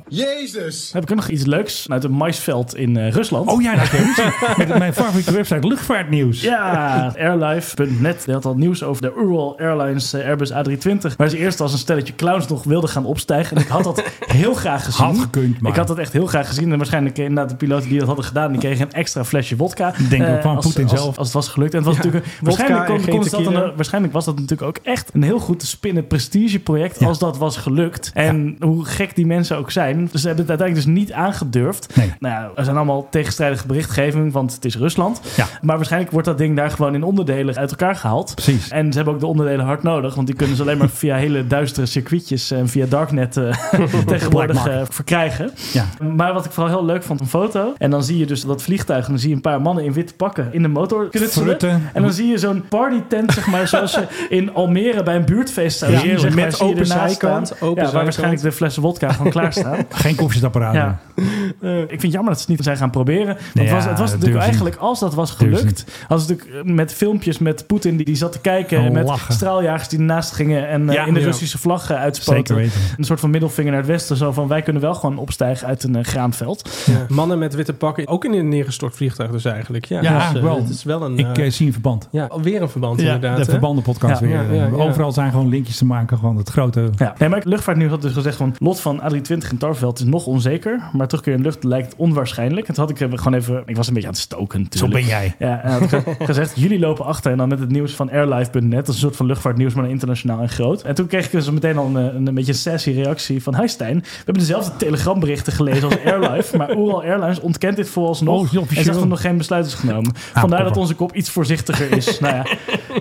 Speaker 6: Jezus! Heb ik ook nog iets leuks uit het maisveld in eh, Rusland?
Speaker 14: Oh ja, dat ken ik. [LAUGHS] Met mijn favoriete website Luchtvaartnieuws.
Speaker 6: Ja, airlife.net die had al nieuws over de Ural Airlines eh, Airbus A320. Waar ze eerst als een stelletje clowns nog wilden gaan opstijgen. En ik had
Speaker 14: [LAUGHS]
Speaker 6: dat heel graag gezien.
Speaker 14: Had gekund, maar.
Speaker 6: Ik had dat echt heel graag gezien. En waarschijnlijk eh, inderdaad de piloten die dat hadden gedaan, die kregen een extra flesje wodka.
Speaker 14: Denk ook
Speaker 6: Eh,
Speaker 14: van
Speaker 6: als-
Speaker 14: Poetin
Speaker 6: als-
Speaker 14: zelf.
Speaker 6: Als het was gelukt. En het was
Speaker 14: Ja,
Speaker 6: natuurlijk,
Speaker 14: wodka
Speaker 6: waarschijnlijk,
Speaker 14: en
Speaker 6: kon-
Speaker 14: geen
Speaker 6: kon ze dat dan,
Speaker 14: tequila.
Speaker 6: eh, waarschijnlijk was dat natuurlijk ook echt een heel goed te spinnen prestigeproject. Als dat was gelukt. En hoe gek die mensen ook zijn. Ze hebben het uiteindelijk dus niet aangedurfd. Nou ja, er zijn allemaal tegenstrijdige berichtgeving, want het is Rusland. Maar waarschijnlijk wordt dat ding daar gewoon in onderdelen uit elkaar gehaald.
Speaker 14: Precies.
Speaker 6: En ze hebben ook de onderdelen hard nodig, want die kunnen ze alleen maar via hele duistere circuitjes en via darknet
Speaker 14: [LAUGHS]
Speaker 6: eh, tegenwoordig
Speaker 14: Black
Speaker 6: eh, verkrijgen.
Speaker 14: Ja.
Speaker 6: Maar wat ik vooral heel leuk vond, een foto. En dan zie je dus dat vliegtuig en dan zie je een paar mannen in witte pakken in de motor knutselen.
Speaker 14: Frutten.
Speaker 6: En dan zie je zo'n partytent, zeg maar, zoals
Speaker 14: [LAUGHS]
Speaker 6: ze in Almere bij een buurtfeest zouden zien.
Speaker 14: Heerlijk.
Speaker 6: Zeg maar,
Speaker 14: Met
Speaker 6: zie je
Speaker 14: open
Speaker 6: ernaast
Speaker 14: zijkant,
Speaker 6: staan.
Speaker 14: open
Speaker 6: ja, waar
Speaker 14: zijkant.
Speaker 6: waarschijnlijk de flessen wodka gewoon
Speaker 14: [LAUGHS]
Speaker 6: klaarstaan.
Speaker 14: Geen koffiezetapparaten.
Speaker 6: Ja. Eh, ik vind het jammer dat ze het niet zijn gaan proberen. Want
Speaker 14: Nee,
Speaker 6: het was,
Speaker 14: Ah, ja,
Speaker 6: het was
Speaker 14: dat
Speaker 6: natuurlijk
Speaker 14: durven ze
Speaker 6: eigenlijk, als dat was
Speaker 14: Durven ze
Speaker 6: gelukt, als het natuurlijk eh, met filmpjes met Poetin die, die zat te kijken, en met
Speaker 14: Oh, Lachen.
Speaker 6: straaljagers die ernaast gingen en eh,
Speaker 14: Ja.
Speaker 6: in de
Speaker 14: Ja.
Speaker 6: Russische vlag eh, uitspoten.
Speaker 14: Zeker weten.
Speaker 6: Een soort van middelvinger naar het westen, zo van wij kunnen wel gewoon opstijgen uit een eh, graanveld.
Speaker 15: Mannen met witte pakken, ook in een neergestort vliegtuig dus eigenlijk. Ja,
Speaker 14: Ja,
Speaker 15: Dus, eh,
Speaker 14: eigenlijk wel.
Speaker 15: Het is wel een...
Speaker 14: ik
Speaker 15: eh,
Speaker 14: eh, zie een verband.
Speaker 15: ja, weer een verband
Speaker 14: Ja,
Speaker 15: inderdaad.
Speaker 14: de
Speaker 15: hè?
Speaker 14: verbandenpodcast
Speaker 15: Ja,
Speaker 14: weer. eh,
Speaker 15: ja, ja, ja.
Speaker 14: Overal zijn gewoon linkjes te maken. Gewoon het grote...
Speaker 6: Ja. Nee, maar luchtvaart nu had dus gezegd van lot van A320 in Tarveld is nog onzeker, maar terugkeer in de lucht lijkt onwaarschijnlijk. En toen had ik eh, gewoon even, ik was een beetje aan het stoken. natuurlijk.
Speaker 14: ben jij.
Speaker 6: Ja, en had ik ge- [LAUGHS] gezegd, jullie lopen achter en dan met het nieuws van airlife.net, dat is een soort van luchtvaartnieuws, maar dan internationaal en groot. En toen kreeg ik dus meteen al een, eh, een, beetje een sassy reactie van, hi Stijn, we hebben dezelfde telegramberichten gelezen als Airlife, maar Oeral Airlines ontkent dit
Speaker 14: Oh, is
Speaker 6: vooralsnog
Speaker 14: het
Speaker 6: en
Speaker 14: officieel? Ah,
Speaker 6: zegt dat nog geen besluit is genomen. Vandaar dat
Speaker 14: popper.
Speaker 6: onze kop iets voorzichtiger
Speaker 14: [LAUGHS]
Speaker 6: is. nou ja,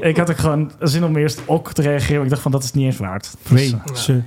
Speaker 6: [LAUGHS] ik had ook gewoon zin om eerst ook te reageren, maar ik dacht van, dat is niet eens waard. Dus, eh,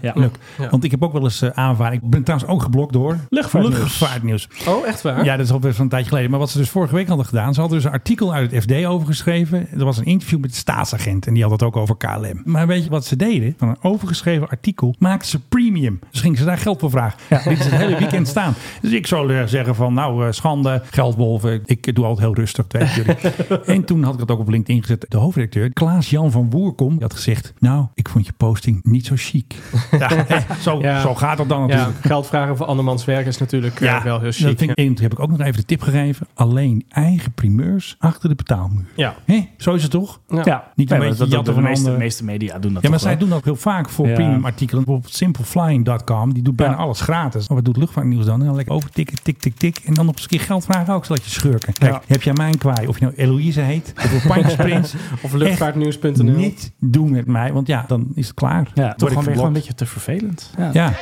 Speaker 6: ja.
Speaker 14: Vreselijk. Want ik heb ook wel eens eh, aanvaring. Ik ben trouwens ook geblokt door
Speaker 6: Luchtvaartnieuws.
Speaker 14: luchtvaartnieuws.
Speaker 15: Oh, echt waar?
Speaker 14: Ja, dat is alweer van een tijdje geleden. Maar wat ze dus vorige week hadden gedaan, ze hadden dus een artikel uit het FD over geschreven. Er was een interview met de staatsagent en die had het ook over KLM. Maar weet je wat ze deden? Van een overgeschreven artikel maakten ze premium. Dus gingen ze daar geld voor vragen. Ja. Dit is het hele weekend staan. Dus ik zou eh, zeggen van nou eh, schande, geldwolven. Ik doe altijd heel rustig, dat weten
Speaker 15: [LAUGHS]
Speaker 14: jullie. en toen had ik het ook op LinkedIn gezet. De hoofdredacteur, Klaas-Jan van Woerkom, die had gezegd nou, ik vond je posting niet zo
Speaker 15: [LAUGHS]
Speaker 14: chic. ja, hè, zo,
Speaker 15: Ja.
Speaker 14: zo gaat het dan
Speaker 15: Ja,
Speaker 14: natuurlijk.
Speaker 15: geld vragen voor andermans werk is natuurlijk eh, wel heel chic.
Speaker 14: Dat vind ik, en toen heb ik ook nog even de tip gegeven. Alleen eigen primeurs achter de betaalmuur.
Speaker 15: Ja.
Speaker 14: Hé, zo is het toch?
Speaker 6: Ja.
Speaker 14: Niet een
Speaker 6: Nee, maar
Speaker 14: beetje
Speaker 6: dat- dat
Speaker 14: jatten
Speaker 6: doen
Speaker 14: van
Speaker 6: de meeste,
Speaker 14: anderen.
Speaker 6: meeste media doen dat
Speaker 14: ja, maar
Speaker 6: toch
Speaker 14: zij
Speaker 6: wel?
Speaker 14: doen dat heel vaak voor
Speaker 6: Ja.
Speaker 14: premium artikelen. Bijvoorbeeld simpleflying.com, die doet bijna alles gratis. Maar wat doet luchtvaartnieuws dan? En dan lekker overtikken, tik, tik, tik. En dan op een keer geld vragen ook, zodat je schurken. Kijk,
Speaker 15: Ja.
Speaker 14: heb jij mijn kwaai? Of je nou Eloïse heet, of Pines
Speaker 6: [LAUGHS]
Speaker 14: Prins.
Speaker 15: Of luchtvaartnieuws.nl.
Speaker 14: Niet doen met mij, want ja, dan is het klaar.
Speaker 6: Ja,
Speaker 14: Word
Speaker 6: toch
Speaker 14: ik
Speaker 6: gewoon weer
Speaker 14: geblokt.
Speaker 6: gewoon een beetje te vervelend. Ja.
Speaker 14: Ja.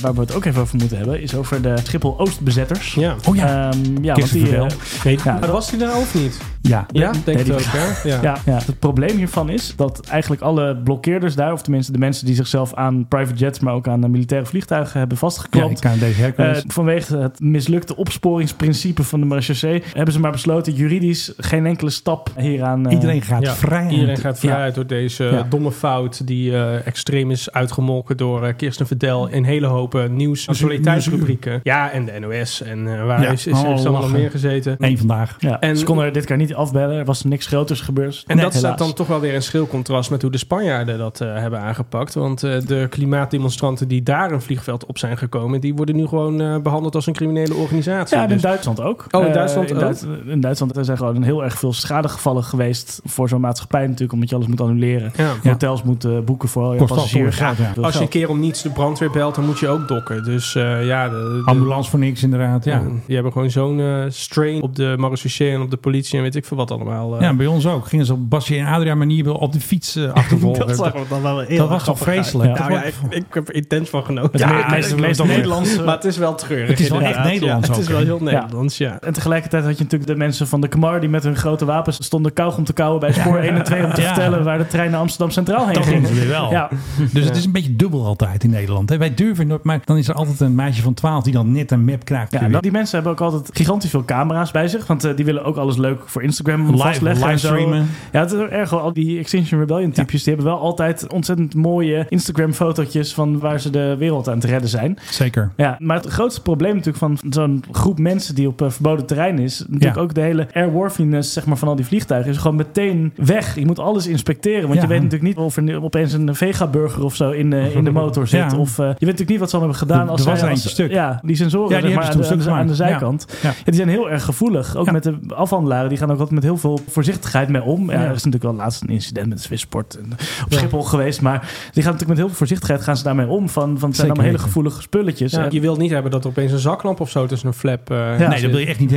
Speaker 6: Waar we het ook even over moeten hebben, is over de Schiphol Oostbezetters.
Speaker 15: Ja.
Speaker 14: Oh
Speaker 6: ja. Eh, ja, want die,
Speaker 14: Christopher
Speaker 6: eh, ja,
Speaker 15: Maar was hij daar of niet?
Speaker 14: Ja,
Speaker 15: Ja, denk het
Speaker 6: die-
Speaker 15: ook, hè?
Speaker 6: Ja.
Speaker 15: Ja.
Speaker 6: Ja, Het probleem hiervan is dat eigenlijk alle blokkeerders daar, of tenminste de mensen die zichzelf aan private jets, maar ook aan eh, militaire vliegtuigen hebben
Speaker 14: Ja,
Speaker 6: vastgeklampt,
Speaker 14: ik kan deze Hercules.
Speaker 6: Eh, vanwege het mislukte opsporingsprincipe van de marechaussee hebben ze maar besloten juridisch geen enkele stap hieraan. eh,
Speaker 14: Iedereen gaat
Speaker 6: ja.
Speaker 14: vrij uit.
Speaker 15: Iedereen gaat
Speaker 6: Ja.
Speaker 15: vooruit door deze
Speaker 6: Ja.
Speaker 15: domme fout die eh, extreem is uitgemolken door eh, Kirsten Verdel in hele hoop eh, nieuws- en solidariteitsrubrieken. Ja, en de NOS en eh, waar
Speaker 14: Ja.
Speaker 15: is, is, is
Speaker 14: Oh,
Speaker 15: allemaal
Speaker 14: lachen.
Speaker 15: meer gezeten.
Speaker 14: Eén vandaag.
Speaker 6: Ja,
Speaker 15: En-
Speaker 6: ze konden er dit keer niet niet afbellen. Er was niks groters gebeurd.
Speaker 15: En dat staat dan toch wel weer in schril contrast met hoe de Spanjaarden dat eh, hebben aangepakt. Want eh, de klimaatdemonstranten die daar een vliegveld op zijn gekomen, die worden nu gewoon eh, behandeld als een criminele organisatie.
Speaker 6: Ja, en in
Speaker 15: Dus-
Speaker 6: Duitsland ook.
Speaker 15: Oh, in
Speaker 6: Eh,
Speaker 15: Duitsland
Speaker 6: in,
Speaker 15: ook?
Speaker 6: Duits- in Duitsland er zijn gewoon heel erg veel schadegevallen geweest voor zo'n maatschappij natuurlijk, omdat je alles moet annuleren.
Speaker 15: Ja.
Speaker 6: Hotels moet eh, boeken voor al je
Speaker 15: Kost al
Speaker 6: passagiers.
Speaker 15: voor je geld, ja.
Speaker 6: Veel
Speaker 15: Als je een
Speaker 6: geld.
Speaker 15: keer om niets de brandweer belt, dan moet je ook dokken. Dus eh, ja, de,
Speaker 14: Ambulance voor niks inderdaad, ja.
Speaker 15: Die hebben gewoon zo'n eh, strain op de marechaussee en op de politie en weet ik veel wat allemaal. eh.
Speaker 14: Ja, bij ons ook. Gingen ze op Basje en Adria manier wel op de fiets eh, achtervolgen.
Speaker 15: Dat zag ik dan wel heel
Speaker 14: Dat was toch
Speaker 15: grappig uit.
Speaker 14: vreselijk?
Speaker 15: Ja.
Speaker 14: Dat
Speaker 15: Nou ja,
Speaker 14: was-
Speaker 15: ik, ik heb er intens van genoten.
Speaker 6: Het me- meest- meest
Speaker 15: [LAUGHS]
Speaker 6: Nederlandse-
Speaker 15: Maar het is wel treurig.
Speaker 6: Het is wel echt
Speaker 15: inderdaad. Ja,
Speaker 6: Nederlands
Speaker 15: Het
Speaker 6: ook,
Speaker 15: is wel
Speaker 6: hè?
Speaker 15: heel
Speaker 6: Ja.
Speaker 15: Nederlands, eh. ja.
Speaker 6: En tegelijkertijd had je natuurlijk de mensen van de Kamar die met hun grote wapens stonden kauwgom te kauwen bij spoor 1 en 2 om te
Speaker 14: Ja.
Speaker 6: vertellen waar de trein naar Amsterdam Centraal heen
Speaker 14: Dat
Speaker 6: ging.
Speaker 14: doen ze weer wel.
Speaker 6: Ja.
Speaker 14: Dus het is een beetje dubbel altijd in Nederland. Hè? Wij durven nooit, maar dan is er altijd een meisje van 12 die dan net een map krijgt.
Speaker 6: Ja, en dat- die mensen hebben ook altijd gigantisch veel camera's bij zich. Want eh, die willen ook alles leuk voor Instagram
Speaker 14: Live-
Speaker 6: vastleggen. en zo.
Speaker 14: livestreamen.
Speaker 6: Ja, het is ook erg. wel. Al die Extinction Rebellion types, die hebben wel altijd ontzettend mooie Instagram fotootjes van waar ze de wereld aan het redden zijn.
Speaker 14: Zeker.
Speaker 6: Ja, maar het grootste probleem natuurlijk van zo'n groep mensen die op eh, verboden terrein is, natuurlijk ook de hele airworthiness zeg maar, van al die vliegtuigen, is gewoon meteen weg. Je moet alles inspecteren, want
Speaker 14: Ja.
Speaker 6: je weet natuurlijk niet of er nu opeens een Vega-burger of zo in, eh, in de motor zit.
Speaker 14: Ja.
Speaker 6: Of, eh, je weet natuurlijk niet wat ze allemaal hebben gedaan.
Speaker 14: Er-
Speaker 6: als
Speaker 14: er was
Speaker 6: zij-
Speaker 14: er
Speaker 6: als-
Speaker 14: eentje stuk.
Speaker 6: Ja, die sensoren
Speaker 14: Ja, die
Speaker 6: zeg
Speaker 14: hebben
Speaker 6: maar,
Speaker 14: ze toen
Speaker 6: aan, de,
Speaker 14: stuk
Speaker 6: aan de
Speaker 14: gemaakt.
Speaker 6: zijkant.
Speaker 14: Ja.
Speaker 6: Ja, die zijn heel erg gevoelig. Ook met de afhandelaren, die gaan ook altijd met heel veel voorzichtigheid mee om. Ja,
Speaker 14: Ja.
Speaker 6: Er is natuurlijk wel laatst een incident met Swissport en op Schiphol geweest. Maar die gaan natuurlijk met heel veel voorzichtigheid gaan ze daarmee om. Van, van het zijn
Speaker 15: Zeker
Speaker 6: allemaal hele
Speaker 15: weten.
Speaker 6: gevoelige spulletjes.
Speaker 15: Ja,
Speaker 6: En-
Speaker 15: je wilt niet hebben dat er opeens een zaklamp of zo tussen een flap... eh,
Speaker 6: Ja.
Speaker 15: zit.
Speaker 6: Ja. Dus die mensen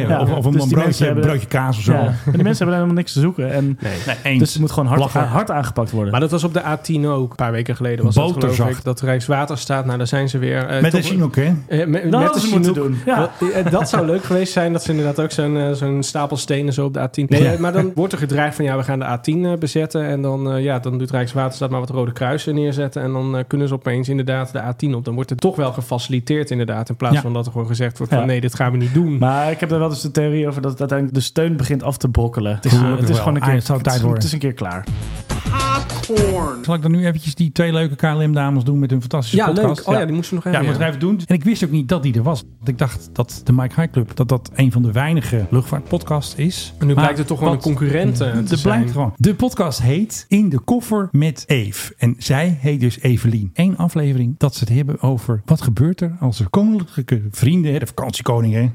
Speaker 6: hebben- Ja. Maar die mensen hebben helemaal niks te zoeken. En, Dus het moet gewoon hard,
Speaker 15: Lachen.
Speaker 6: hard aangepakt worden.
Speaker 15: Maar dat was op de A10 ook, een paar weken geleden was dat geloof
Speaker 14: Boterzak.
Speaker 15: ik. Dat Rijkswaterstaat, nou daar zijn ze weer. eh,
Speaker 14: Met
Speaker 15: toch-
Speaker 14: een Chinook, hè?
Speaker 15: Eh, me-
Speaker 14: Dat
Speaker 15: met
Speaker 14: hadden
Speaker 15: een
Speaker 14: ze moeten
Speaker 15: Chinook.
Speaker 14: doen, ja.
Speaker 15: Dat, eh, dat zou leuk geweest zijn, dat ze inderdaad ook zo'n eh, zo'n stapel stenen zo op de A10. Nee,
Speaker 14: Ja.
Speaker 15: eh, maar dan wordt er gedreigd van ja, we gaan de A10 eh, bezetten. En dan, eh, ja, dan doet Rijkswaterstaat maar wat rode kruisen neerzetten. En dan eh, kunnen ze opeens inderdaad de A10 op. Dan wordt het toch wel gefaciliteerd inderdaad. In plaats
Speaker 6: Ja.
Speaker 15: van dat er gewoon gezegd wordt
Speaker 6: Ja.
Speaker 15: van nee, dit gaan we niet doen.
Speaker 6: Maar ik heb daar wel eens de theorie over dat uiteindelijk de steun begint af te brokkelen. Het is,
Speaker 14: Gelukkig
Speaker 6: het is
Speaker 14: wel.
Speaker 6: gewoon een
Speaker 14: Ah,
Speaker 6: keer,
Speaker 14: het zou tijd
Speaker 6: het is-
Speaker 14: worden.
Speaker 6: het is een keer klaar.
Speaker 14: Zal ik dan nu eventjes die twee leuke KLM-dames doen met hun fantastische
Speaker 15: Ja,
Speaker 14: podcast?
Speaker 15: leuk. Oh ja, die moesten we nog even,
Speaker 14: Ja,
Speaker 15: ja.
Speaker 14: moeten we even doen. En ik wist ook niet dat die er was. Want ik dacht dat de Mike High Club dat dat een van de weinige luchtvaartpodcasts is.
Speaker 15: En nu
Speaker 14: Maar
Speaker 15: blijkt het toch gewoon
Speaker 14: wat-
Speaker 15: een concurrent, eh, te
Speaker 14: Er
Speaker 15: zijn.
Speaker 14: blijkt gewoon. De podcast heet In de koffer met Eve. En zij heet dus Evelien. Eén aflevering dat ze het hebben over wat gebeurt er als er koninklijke vrienden, hè, de vakantiekoning, hè?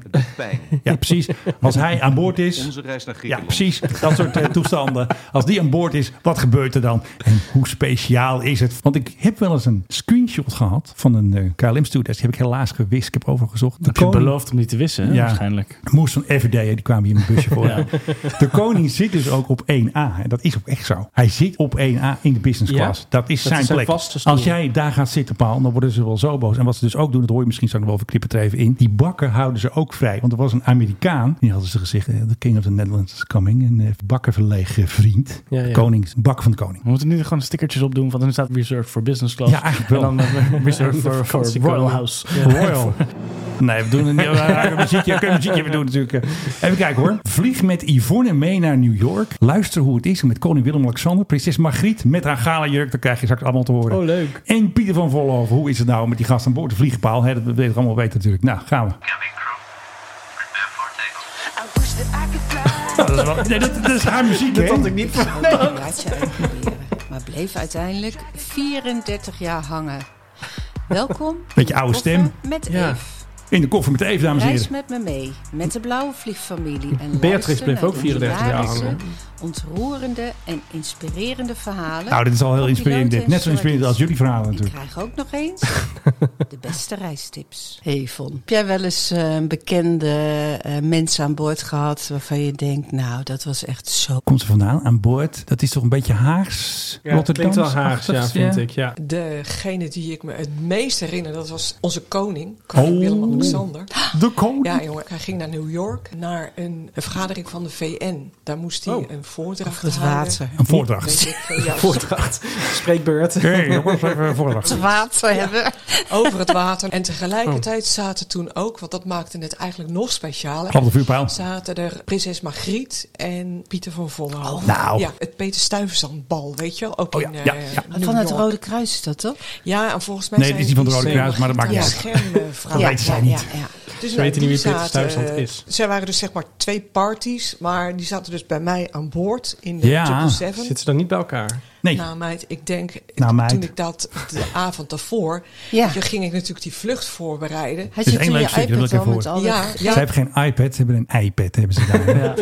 Speaker 14: Ja, precies. Als hij aan boord is.
Speaker 25: Onze reis naar
Speaker 14: Ja, precies. Dat soort eh, toestanden. Als die aan boord is, wat gebeurt er dan? En hoe speciaal is het? Want ik heb wel eens een screenshot gehad van een eh, KLM-stewardess. Die heb ik helaas gewist. Ik heb overgezocht. De
Speaker 6: Heb je beloofd om die te wissen, hè?
Speaker 14: Ja.
Speaker 6: waarschijnlijk.
Speaker 14: Moest van Everyday, hè, die kwamen hier in een busje
Speaker 15: [LAUGHS]
Speaker 14: voor.
Speaker 6: Ja.
Speaker 14: De koning zit dus ook op 1A. En dat is ook echt zo. Hij zit op 1A in de business
Speaker 15: Ja?
Speaker 14: class. Dat is
Speaker 15: Dat
Speaker 14: zijn
Speaker 15: is zijn
Speaker 14: plek.
Speaker 15: vaste stoel.
Speaker 14: Als jij daar gaat zitten, Paul, dan worden ze wel zo boos. En wat ze dus ook doen, dat hoor je misschien straks nog wel even knippen er even in. Die bakken houden ze ook vrij. Want er was een Amerikaan, die hadden ze gezegd, eh, the king of the Netherlands is coming. Een eh, bakken verlegen vriend.
Speaker 6: Ja, ja.
Speaker 14: Koning, bak van de koning.
Speaker 6: We moeten nu gewoon stickertjes opdoen, want dan staat reserved for business class.
Speaker 14: Ja, eigenlijk wel.
Speaker 6: En dan
Speaker 14: [LAUGHS]
Speaker 6: eh, reserved
Speaker 14: De
Speaker 6: for, for
Speaker 14: vakantiekoning.
Speaker 6: Royal House.
Speaker 14: Royal. Nee, we doen een, we maken een muziekje. Kun je een muziekje we doen natuurlijk. eh. Even kijken hoor. Vlieg met Yvonne mee naar New York. Luister hoe het is met koning Willem-Alexander. Prinses Margriet met haar gala jurk. Dat krijg je straks allemaal te horen.
Speaker 15: Oh, leuk.
Speaker 14: En Pieter van Vollenhoven. Hoe is het nou met die gast aan boord? De vliegpaal. Hè? Dat weet ik allemaal weten natuurlijk. Nou, gaan we. [LAUGHS] Dat is wel- nee, dat, dat is haar muziek,
Speaker 26: Dat
Speaker 14: hè?
Speaker 26: had ik niet verwacht.
Speaker 1: Ik laat je uitproberen, maar bleef uiteindelijk 34 jaar hangen. Welkom.
Speaker 14: Beetje oude
Speaker 1: Koffer
Speaker 14: stem.
Speaker 1: Met
Speaker 14: Ja.
Speaker 1: Eve.
Speaker 14: In de koffer met Eve, dames en
Speaker 1: Reis
Speaker 14: heren.
Speaker 1: met me mee, met de blauwe vliegfamilie. En
Speaker 14: Beatrix
Speaker 1: luister
Speaker 14: bleef
Speaker 1: naar
Speaker 14: ook
Speaker 1: de
Speaker 14: 34 jaar
Speaker 1: hilarische,
Speaker 14: hangen.
Speaker 1: Ontroerende en inspirerende verhalen.
Speaker 14: Nou, dit is al heel
Speaker 1: van
Speaker 14: inspirerend.
Speaker 1: piloten
Speaker 14: Dit.
Speaker 1: en
Speaker 14: Net zo inspirerend als jullie
Speaker 1: Ik
Speaker 14: verhalen natuurlijk.
Speaker 1: krijg ook nog eens de beste reistips. Hey Yvonne, heb jij wel eens eh, een bekende eh, mensen aan boord gehad waarvan je denkt, nou dat was echt zo
Speaker 14: Komt ze vandaan aan boord? Dat is toch een beetje Haags?
Speaker 1: Ja, het
Speaker 14: Rotterdams?
Speaker 1: klinkt wel Haags,
Speaker 14: Ach, dat is-
Speaker 15: ja, vind ik, ja.
Speaker 8: Degene die ik me het meest herinner, dat was onze koning, koning
Speaker 14: Oh,
Speaker 8: Willem-Alexander.
Speaker 14: De koning?
Speaker 15: Oh.
Speaker 8: Ja, jongen. Hij ging naar New York naar een, een vergadering van de VN. Daar moest hij een voordracht
Speaker 1: Over het
Speaker 8: houden.
Speaker 1: water.
Speaker 14: Een voordracht.
Speaker 8: Weet ik veel, ja, voordracht.
Speaker 15: [LAUGHS]
Speaker 8: Spreekbeurt.
Speaker 14: Hey, jongens, even een voordracht.
Speaker 1: Het water
Speaker 8: hebben. Over het water. En tegelijkertijd zaten toen ook, want dat maakte het eigenlijk nog specialer.
Speaker 14: Klap de vuurpijl.
Speaker 8: Zaten er prinses Margriet en Pieter van Vollenhoven.
Speaker 14: Nou. Oh,
Speaker 8: Ja, het Peter Stuyvesantbal, weet je wel? Ook in, eh, New
Speaker 1: Van het
Speaker 8: York.
Speaker 1: Rode Kruis is dat toch?
Speaker 8: Ja, en volgens mij
Speaker 14: Nee,
Speaker 8: zijn
Speaker 14: het is niet van het Rode
Speaker 8: die
Speaker 14: Kruis, maar dat maakt niet uit.
Speaker 8: schermvrouw.
Speaker 14: Dat weten zij niet.
Speaker 8: Dus
Speaker 15: Ze
Speaker 8: nou,
Speaker 15: weten niet
Speaker 8: die
Speaker 15: wie Peter
Speaker 8: zaten,
Speaker 15: Stuyvesant is.
Speaker 8: Zij waren dus zeg maar twee parties, maar die zaten dus bij mij aan boord in de
Speaker 15: Ja.
Speaker 8: 777.
Speaker 15: Zitten ze dan niet bij elkaar?
Speaker 14: Nee.
Speaker 8: Nou meid, ik denk,
Speaker 15: Nou, meid.
Speaker 8: toen ik dat de avond daarvoor, ja. ging ik natuurlijk die vlucht voorbereiden.
Speaker 14: Het is één leuk stukje, dat wil ik even horen.
Speaker 8: Ja, ja.
Speaker 14: Ze hebben geen iPad, ze hebben een iPad. Hebben ze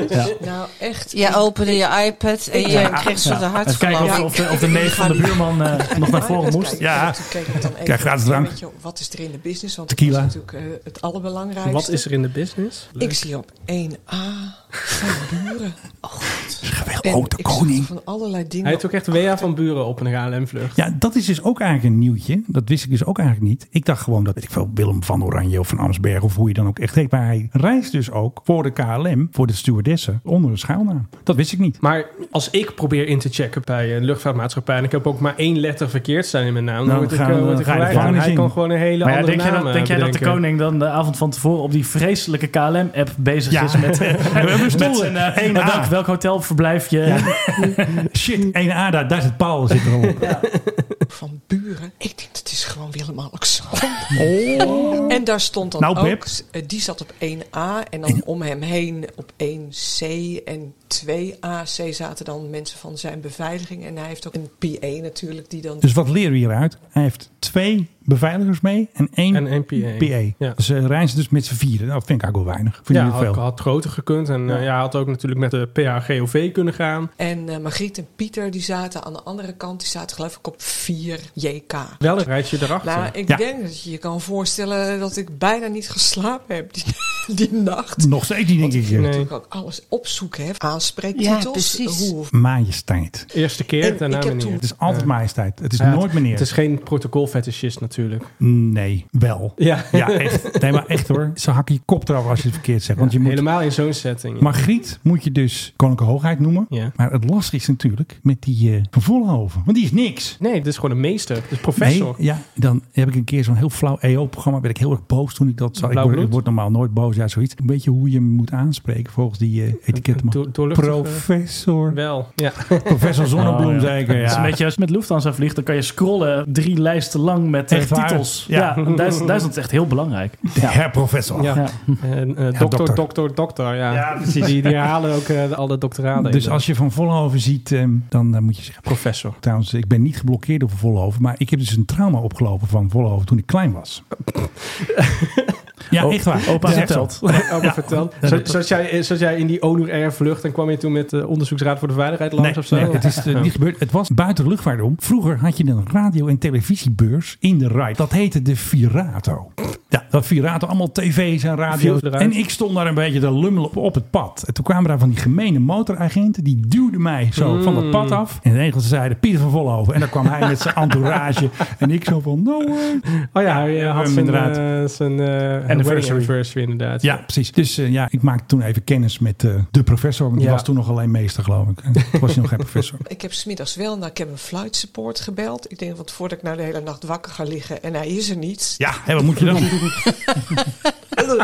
Speaker 14: daar.
Speaker 8: Nou echt.
Speaker 1: Jij opende je iPad en je kreeg zo de hart
Speaker 14: Even kijken of, of de, of de neef van de buurman eh, nog naar voren moest. Ja,
Speaker 8: Toen keek ik dan even,
Speaker 14: krijg gratis
Speaker 8: een
Speaker 14: drank.
Speaker 8: beetje, Wat is er in de business? Want
Speaker 14: Tequila.
Speaker 8: dat is natuurlijk eh, het allerbelangrijkste.
Speaker 15: Wat is er in de business?
Speaker 8: Ik zie op 1A van buren. Oh,
Speaker 14: En oh, de
Speaker 8: ik
Speaker 14: koning.
Speaker 8: zag Van allerlei dingen.
Speaker 15: Hij heeft ook echt WA van buren op een KLM-vlucht.
Speaker 14: Ja, dat is dus ook eigenlijk een nieuwtje. Dat wist ik dus ook eigenlijk niet. Ik dacht gewoon dat, weet ik veel, Willem van Oranje of van Amsberg of hoe je dan ook echt heet. Maar hij reist dus ook voor de KLM, voor de stewardessen, onder een schuilnaam. Dat wist ik niet.
Speaker 15: Maar als ik probeer in te checken bij een luchtvaartmaatschappij... en ik heb ook maar één letter verkeerd staan in mijn naam... dan
Speaker 14: Nou,
Speaker 15: word ik,
Speaker 14: dan
Speaker 15: eh,
Speaker 14: gaan we-
Speaker 15: word ik
Speaker 14: dan ga je de
Speaker 15: gelijk aan.
Speaker 14: gevangenis
Speaker 15: Hij
Speaker 14: in.
Speaker 15: kan gewoon een hele
Speaker 6: Maar ja,
Speaker 15: andere
Speaker 6: denk jij,
Speaker 15: naam
Speaker 6: dat, denk jij dat de
Speaker 15: bedenken.
Speaker 6: koning dan de avond van tevoren op die vreselijke KLM-app bezig
Speaker 14: Ja.
Speaker 6: is
Speaker 14: [LAUGHS]
Speaker 6: met,
Speaker 14: We hebben stoelen.
Speaker 6: met zijn, eh,
Speaker 14: 1A.
Speaker 6: welk, welk hotel verblijf je?
Speaker 14: Shit, 1A, daar, daar zit Paul zit er al
Speaker 15: [LAUGHS]
Speaker 14: op.
Speaker 8: Van buren. Ik denk dat is gewoon Willem-Alexander.
Speaker 14: Oh.
Speaker 8: En daar stond dan
Speaker 14: Nou,
Speaker 8: ook...
Speaker 14: Pip.
Speaker 8: eh, Die zat op 1A en dan om hem heen op 1C en 2AC zaten dan mensen van zijn beveiliging. En hij heeft ook een PA natuurlijk die dan...
Speaker 14: Dus wat leren we hieruit? Hij heeft twee beveiligers mee en één,
Speaker 15: En één PA. Ja.
Speaker 14: Dus eh, reizen dus met z'n vieren. Nou, vind ik eigenlijk wel weinig. Vind
Speaker 15: Ja,
Speaker 14: je niet
Speaker 15: had,
Speaker 14: veel?
Speaker 15: had groter gekund. En eh, ja, had ook natuurlijk met de PHGOV kunnen gaan.
Speaker 8: En eh, Margriet en Pieter die zaten aan de andere kant. Die zaten geloof ik op 4JK.
Speaker 15: Welk rijtje erachter?
Speaker 8: Nou, ik denk dat je je kan voorstellen dat ik bijna niet geslapen heb die, [LAUGHS] die nacht.
Speaker 14: Nog steeds niet, denk ik. eh.
Speaker 8: Natuurlijk ook alles opzoeken, hè. aanspreektitels.
Speaker 1: Ja, precies.
Speaker 8: Hoe,
Speaker 14: Majesteit.
Speaker 15: Eerste keer,
Speaker 8: En
Speaker 15: daarna
Speaker 8: ik heb
Speaker 15: meneer.
Speaker 8: toen- Het
Speaker 14: is altijd majesteit. Het is nooit meneer.
Speaker 15: Eh, Het is geen protocolfetischist natuurlijk.
Speaker 14: Nee, wel.
Speaker 15: Ja.
Speaker 14: ja, echt. Nee, maar echt hoor. Ze hakken je kop eraf als je het verkeerd zegt. Want je moet...
Speaker 15: Helemaal in zo'n setting. ja.
Speaker 14: Margriet moet je dus koninklijke hoogheid noemen. Maar het lastige is natuurlijk met die eh, van Vollenhoven. Want die is niks.
Speaker 15: Nee, dit is gewoon een meester. Dit is professor.
Speaker 14: Nee, ja, dan heb ik een keer zo'n heel flauw EO-programma. werd ik heel erg boos toen ik dat zag. Ik
Speaker 15: Blauw
Speaker 14: word, ik
Speaker 15: bloed?
Speaker 14: word normaal nooit boos. Ja, zoiets. Een beetje hoe je hem moet aanspreken volgens die eh etikettenman.
Speaker 15: Door- doorluchtige-
Speaker 14: Professor.
Speaker 15: Wel, ja.
Speaker 14: Professor Zonnebloem,
Speaker 6: Oh,
Speaker 14: zeker. Ja.
Speaker 6: Het is een beetje als je met Lufthansa vliegt, dan kan je scrollen drie lijsten lang met eh,
Speaker 14: Echt waar?
Speaker 6: titels.
Speaker 14: Ja.
Speaker 6: Ja, Duits- Duitsland, is echt heel belangrijk.
Speaker 14: Herr professor. Dus
Speaker 15: Ja. En, eh, dokter,
Speaker 14: dokter.
Speaker 15: dokter, dokter. Ja,
Speaker 14: Ja, precies.
Speaker 15: Die, die herhalen ook eh, alle doctoraten.
Speaker 14: Dus als je van Vollenhoven ziet, ehm, dan eh, moet je zeggen...
Speaker 15: [LAUGHS] Professor.
Speaker 14: Trouwens, ik ben niet geblokkeerd door Vollenhoven. Maar ik heb dus een trauma opgelopen van Vollenhoven toen ik klein
Speaker 15: [LAUGHS]
Speaker 14: was. ja,
Speaker 15: O-
Speaker 14: echt waar.
Speaker 15: Oh, opa
Speaker 14: Het is echt
Speaker 15: vertelt.
Speaker 14: zo.
Speaker 15: Opa
Speaker 14: Ja.
Speaker 15: vertelt. Zat, zat jij, zat jij in die onur air vlucht en kwam je toen met de Onderzoeksraad voor de Veiligheid langs
Speaker 14: Nee,
Speaker 15: of zo?
Speaker 14: nee, het is eh,
Speaker 15: Ja.
Speaker 14: niet gebeurd. Het was buiten de luchtvaart om. Vroeger had je een radio- en televisiebeurs in de rij. Dat heette de Virato. Ja, dat Virato, allemaal tv's en radio's.
Speaker 15: Viel eruit.
Speaker 14: En ik stond daar een beetje te lummelen op, op het pad. En toen kwamen daar van die gemene motoragenten. Die duwden mij zo
Speaker 15: Mm.
Speaker 14: van dat pad af. En de Engels zeiden Pieter van Vollenhoven. En dan kwam hij met zijn
Speaker 15: [LAUGHS]
Speaker 14: entourage. En ik zo van, "Nou, no way.
Speaker 15: Oh ja, hij eh, had
Speaker 14: hem
Speaker 15: zijn,
Speaker 14: Um, inderdaad.
Speaker 15: eh, zijn eh, wedding
Speaker 14: Anniversary.
Speaker 15: anniversary. inderdaad.
Speaker 14: Ja, precies. Dus eh, ja, ik maakte toen even kennis met eh, de professor. Want die
Speaker 15: Ja.
Speaker 14: was toen nog alleen meester, geloof ik. En Toen was hij nog geen professor.
Speaker 8: ik heb smiddags wel naar Cabin Flight Support gebeld. Ik denk, want voordat ik nou de hele nacht wakker ga liggen en hij is er niet.
Speaker 14: Ja, hè, wat moet je dan?
Speaker 8: Dat moet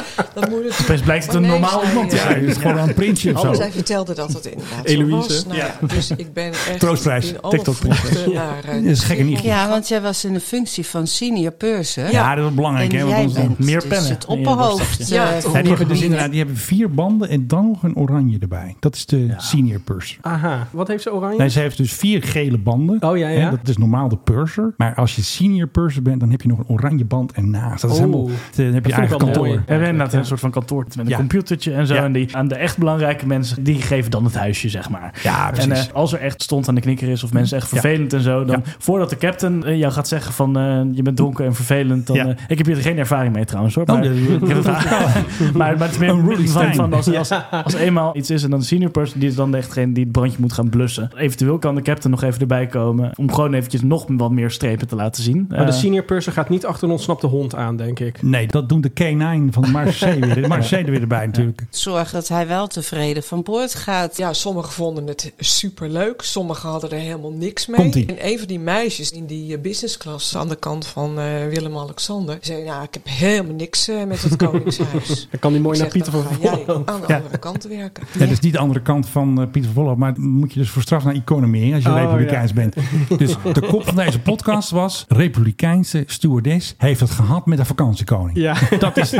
Speaker 8: natuurlijk...
Speaker 14: Opeens blijkt het een
Speaker 8: Maar nee,
Speaker 14: normaal
Speaker 8: zij,
Speaker 14: iemand te
Speaker 8: eh,
Speaker 14: zijn. Het is gewoon een prinsje of zo.
Speaker 8: Zij vertelde dat het inderdaad
Speaker 14: Eloïse.
Speaker 8: zo was. Nou ja,
Speaker 14: Ja.
Speaker 8: Dus ik ben echt
Speaker 14: Troostprijs.
Speaker 8: in alle
Speaker 14: TikTok-prijs.
Speaker 8: vroegte
Speaker 14: Ja.
Speaker 8: naar... eh,
Speaker 14: Dat is gekke niet.
Speaker 1: Ja, want jij was in de functie van senior purser.
Speaker 14: Ja, dat is belangrijk.
Speaker 1: En
Speaker 14: hè,
Speaker 1: jij
Speaker 14: want
Speaker 1: bent
Speaker 14: meer
Speaker 1: dus
Speaker 14: pennen.
Speaker 1: het opperhoofd. Ja,
Speaker 14: Ja, die hebben dus inderdaad die hebben vier banden en dan nog een oranje erbij. Dat is de senior purser.
Speaker 15: Aha, wat heeft ze oranje?
Speaker 14: Nee, ze heeft dus vier gele banden.
Speaker 15: Oh ja, ja.
Speaker 14: Hè, dat is normaal de purser. Maar als je senior purser bent, dan heb je nog een oranje band ernaast. Dat is
Speaker 6: Oh.
Speaker 14: helemaal, dan heb je eigen kantoor.
Speaker 6: We hebben inderdaad een soort van kantoor met een
Speaker 14: Ja.
Speaker 6: computertje en zo.
Speaker 14: Ja.
Speaker 6: En die, aan de echt belangrijke mensen, die geven dan het huisje, zeg maar.
Speaker 14: Ja, precies.
Speaker 6: En eh, als er echt stond aan de knikker is of mensen echt
Speaker 14: Ja.
Speaker 6: vervelend en zo, dan voordat de captain eh, jou gaat zeggen van eh, je bent dronken en vervelend, dan...
Speaker 14: Ja.
Speaker 6: eh, ik heb hier geen ervaring mee trouwens hoor.
Speaker 14: Oh,
Speaker 6: Maar,
Speaker 14: dat-
Speaker 6: [LAUGHS] ik heb het maar, [LAUGHS] maar het is meer
Speaker 14: Een Roelie
Speaker 6: van,
Speaker 14: Stein.
Speaker 6: van als, als,
Speaker 14: Ja.
Speaker 6: als eenmaal iets is en dan de senior person, die is dan degene die het brandje moet gaan blussen. Eventueel kan de captain nog even erbij komen om gewoon eventjes nog wat meer strepen te laten zien.
Speaker 15: Maar de
Speaker 6: Eh,
Speaker 15: senior purser gaat niet achter een ontsnapte hond aan, denk ik.
Speaker 14: Nee, dat doen de K9 pijn van Marseille
Speaker 15: [LAUGHS]
Speaker 14: weer, de Marseille er weer erbij natuurlijk.
Speaker 1: Zorg dat hij wel tevreden van boord gaat.
Speaker 8: Ja, sommigen vonden het superleuk. Sommigen hadden er helemaal niks
Speaker 14: Komt-ie.
Speaker 8: mee. En een van die meisjes in die eh, businessclass aan de kant van eh, Willem-Alexander... zei, nou, ik heb helemaal niks eh, met
Speaker 15: [LAUGHS]
Speaker 8: het Koningshuis.
Speaker 15: Dan kan die mooi
Speaker 8: Ik
Speaker 15: naar
Speaker 8: zeg,
Speaker 15: Pieter
Speaker 8: dan
Speaker 15: van
Speaker 8: ga jij
Speaker 15: Vollenhoven.
Speaker 8: aan de
Speaker 14: Ja.
Speaker 8: andere kant werken.
Speaker 14: Ja, dus- dat is niet de andere kant van eh, Pieter van Vollenhoven, maar dan moet je dus voor straf naar economie als je
Speaker 15: Oh,
Speaker 14: republikeins
Speaker 15: ja.
Speaker 14: bent. Dus de kop van deze podcast was: Republikeinse stewardess heeft het gehad met een vakantiekoning.
Speaker 15: Ja.
Speaker 14: [LAUGHS] Dat is
Speaker 15: [LAUGHS] ja,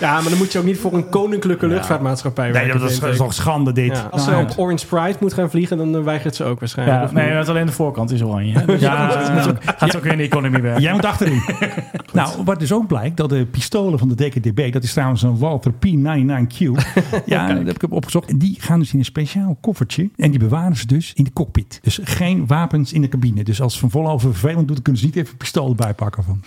Speaker 15: maar dan moet je ook niet voor een koninklijke luchtvaartmaatschappij
Speaker 14: Nee, dat
Speaker 15: werken,
Speaker 14: is-
Speaker 15: vind
Speaker 14: dat is
Speaker 15: ik.
Speaker 14: toch schande dit.
Speaker 15: Ja, als
Speaker 14: Nou,
Speaker 15: ze op Orange Pride moet gaan vliegen, dan eh, weigert ze ook waarschijnlijk.
Speaker 6: Ja,
Speaker 15: of
Speaker 6: nee,
Speaker 15: niet?
Speaker 6: want alleen de voorkant is oranje. hè. Dus
Speaker 15: Ja.
Speaker 6: dat moet ook- gaat ook weer in de economie werken.
Speaker 14: Jij moet [LAUGHS] achterin. nou, wat dus ook blijkt, dat de pistolen van de DKDB, dat is trouwens een Walter [LAUGHS] P99Q. ja, dat heb ik opgezocht. Die gaan dus in een speciaal koffertje en die bewaren ze dus in de cockpit. Dus geen wapens in de cabine. Dus als Van Vollenhoven vervelend doet, kunnen ze niet even een pistool erbij pakken van.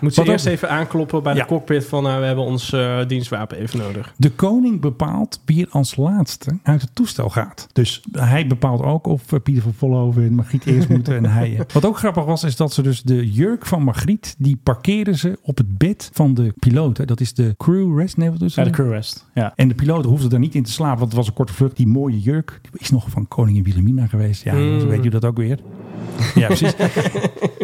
Speaker 15: Moet ze
Speaker 14: Wat
Speaker 15: eerst
Speaker 14: ook-
Speaker 15: even aankloppen bij de cockpit van nou, we hebben ons eh, dienstwapen even nodig.
Speaker 14: De koning bepaalt wie er als laatste uit het toestel gaat. Dus hij bepaalt ook of eh, Pieter van Vollenhoven en Margriet eerst moeten en
Speaker 6: [LAUGHS]
Speaker 14: hij. eh. Wat ook grappig was, is dat ze dus de jurk van Margriet, die parkeren ze op het bed van de piloot. hè. Dat is de crew rest, nee, wat is
Speaker 6: Ja, de
Speaker 14: dat?
Speaker 6: crew rest. Ja.
Speaker 14: En de piloot hoefde daar niet in te slapen, want het was een korte vlucht. Die mooie jurk die is nog van koningin Wilhelmina geweest. Ja,
Speaker 6: Mm.
Speaker 14: zo weet je dat ook weer. Ja,
Speaker 6: [LAUGHS]
Speaker 14: precies.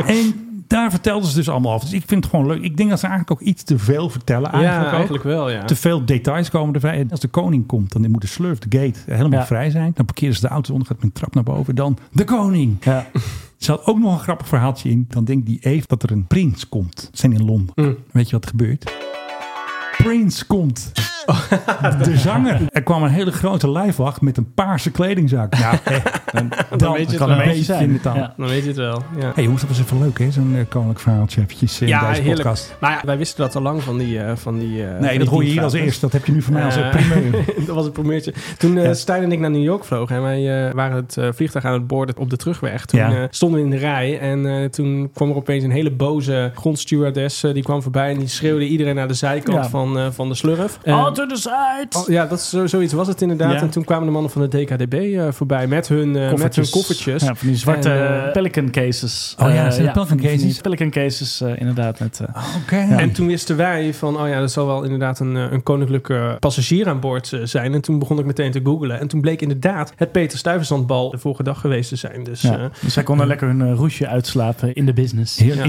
Speaker 14: en daar vertelden ze dus allemaal over. Dus ik vind het gewoon leuk. Ik denk dat ze eigenlijk ook iets te veel vertellen.
Speaker 15: Ja,
Speaker 14: Eigenlijk ook.
Speaker 15: eigenlijk wel, ja.
Speaker 14: Te veel details komen erbij. En als de koning komt, dan moet de slurf, de gate, helemaal
Speaker 6: Ja.
Speaker 14: vrij zijn. Dan parkeren ze de auto onder, gaat met een trap naar boven. Dan de koning. Ze had ook nog een grappig verhaaltje in. Dan denkt die Eve dat er een prins komt. Ze zijn in Londen.
Speaker 15: Mm.
Speaker 14: Weet je wat er gebeurt? Prince
Speaker 15: [LAUGHS]
Speaker 14: komt. De zanger. Er kwam een hele grote lijfwacht met een paarse kledingzak. [LAUGHS] Nou, hè, dan, dan
Speaker 15: weet je
Speaker 14: kan
Speaker 15: het
Speaker 14: een
Speaker 15: wel.
Speaker 14: beetje in het aan.
Speaker 15: Ja, dan weet je het wel. Ja.
Speaker 14: Hey jongens, dat was even leuk hè, zo'n eh, koninklijk verhaaltje eventjes eh, in deze podcast.
Speaker 15: Maar ja, wij wisten dat al lang van die... eh, van die eh, van
Speaker 14: Nee,
Speaker 15: die
Speaker 14: dat hoor je hier als
Speaker 15: dienstwapens.
Speaker 14: eerst. Dat heb je nu van mij als
Speaker 15: Eh,
Speaker 14: een
Speaker 15: [LAUGHS]
Speaker 14: primeur.
Speaker 15: dat was een primeurtje. Toen eh, Stijn en ik naar New York vlogen en wij eh, waren het eh, vliegtuig aan het boorden op de terugweg. Toen
Speaker 14: Ja.
Speaker 15: eh, stonden we in de rij en eh, toen kwam er opeens een hele boze grondstewardess. eh, die kwam voorbij en die schreeuwde iedereen naar de zijkant
Speaker 6: Ja.
Speaker 15: van, eh, van de slurf.
Speaker 6: All
Speaker 15: En-
Speaker 6: to the side!
Speaker 15: Oh, ja, dat is, zo- zoiets was het inderdaad.
Speaker 6: Ja.
Speaker 15: En toen kwamen de mannen van de DKDB eh, voorbij met hun, eh, met hun koffertjes.
Speaker 6: Ja, van die zwarte
Speaker 15: En, eh,
Speaker 6: pelican cases.
Speaker 15: Oh ja,
Speaker 6: Eh,
Speaker 15: zijn dat pelican
Speaker 6: van die- van die
Speaker 15: cases?
Speaker 6: Pelican cases, eh, inderdaad. Met, eh,
Speaker 14: Ja.
Speaker 15: En toen wisten wij van, oh ja, dat zal wel inderdaad een, eh, een koninklijke passagier aan boord eh, zijn. En toen begon ik meteen te googlen. En toen bleek inderdaad het Peter Stuyvesantbal de vorige dag geweest te zijn. Dus,
Speaker 6: ja.
Speaker 15: eh,
Speaker 6: dus zij konden lekker hun eh, roesje uitslapen in de business.
Speaker 15: ja.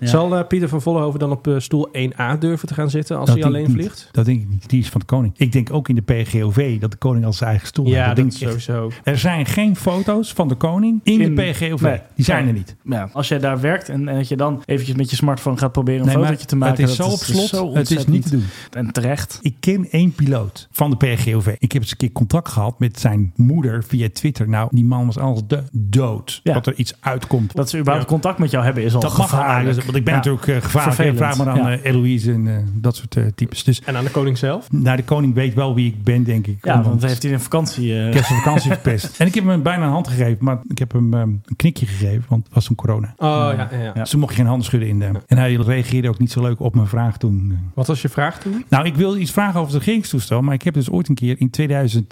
Speaker 15: Ja. Zal eh, Pieter van Vollenhoven dan op eh, stoel 1A durven te gaan zitten als
Speaker 14: Dat
Speaker 15: hij
Speaker 14: denk
Speaker 15: alleen
Speaker 14: ik niet.
Speaker 15: vliegt?
Speaker 14: Dat denk ik niet. Die is van de koning. Ik denk ook in de PGOV dat de koning als zijn eigen stoel
Speaker 15: Ja,
Speaker 14: heeft.
Speaker 15: dat
Speaker 14: denk
Speaker 15: is
Speaker 14: ik echt.
Speaker 15: sowieso.
Speaker 14: Er zijn geen foto's van de koning in, de PGOV.
Speaker 6: Nee.
Speaker 14: Die zijn er niet.
Speaker 6: Ja, als jij daar werkt en, en dat je dan eventjes met je smartphone gaat proberen een
Speaker 14: Nee, maar
Speaker 6: fotootje te maken.
Speaker 14: Het is
Speaker 6: dat
Speaker 14: zo op
Speaker 6: dus
Speaker 14: slot.
Speaker 6: zo
Speaker 14: het is niet te doen.
Speaker 6: En terecht.
Speaker 14: Ik ken één piloot van de PGOV. Ik heb eens een keer contact gehad met zijn moeder via Twitter. Nou, die man was als de dood. Dat er iets uitkomt.
Speaker 6: Dat ze überhaupt
Speaker 14: Ja.
Speaker 6: contact met jou hebben is al
Speaker 14: Dat mag
Speaker 6: gevaarlijk.
Speaker 14: eigenlijk. Want ik ben
Speaker 6: Ja.
Speaker 14: natuurlijk eh, gevaarlijk. hè.
Speaker 6: Vervelend.
Speaker 14: Vraag maar aan
Speaker 6: Ja.
Speaker 14: eh, Eloise en eh, dat soort eh, types. Dus
Speaker 15: En aan de koning zelf?
Speaker 14: nou, de koning weet wel wie ik ben, denk ik.
Speaker 6: Ja, want heeft hij een vakantie... eh,
Speaker 14: Ik heb zijn vakantie verpest. En ik heb hem bijna een hand gegeven, maar ik heb hem ehm, een knikje gegeven, want het was toen corona.
Speaker 15: Oh, ja, ja, ja.
Speaker 14: Ze mocht geen handen schudden in de En hij reageerde ook niet zo leuk op mijn vraag toen.
Speaker 15: Wat was je vraag toen?
Speaker 14: Nou, ik wilde iets vragen over het regeringstoestel, maar ik heb dus ooit een keer in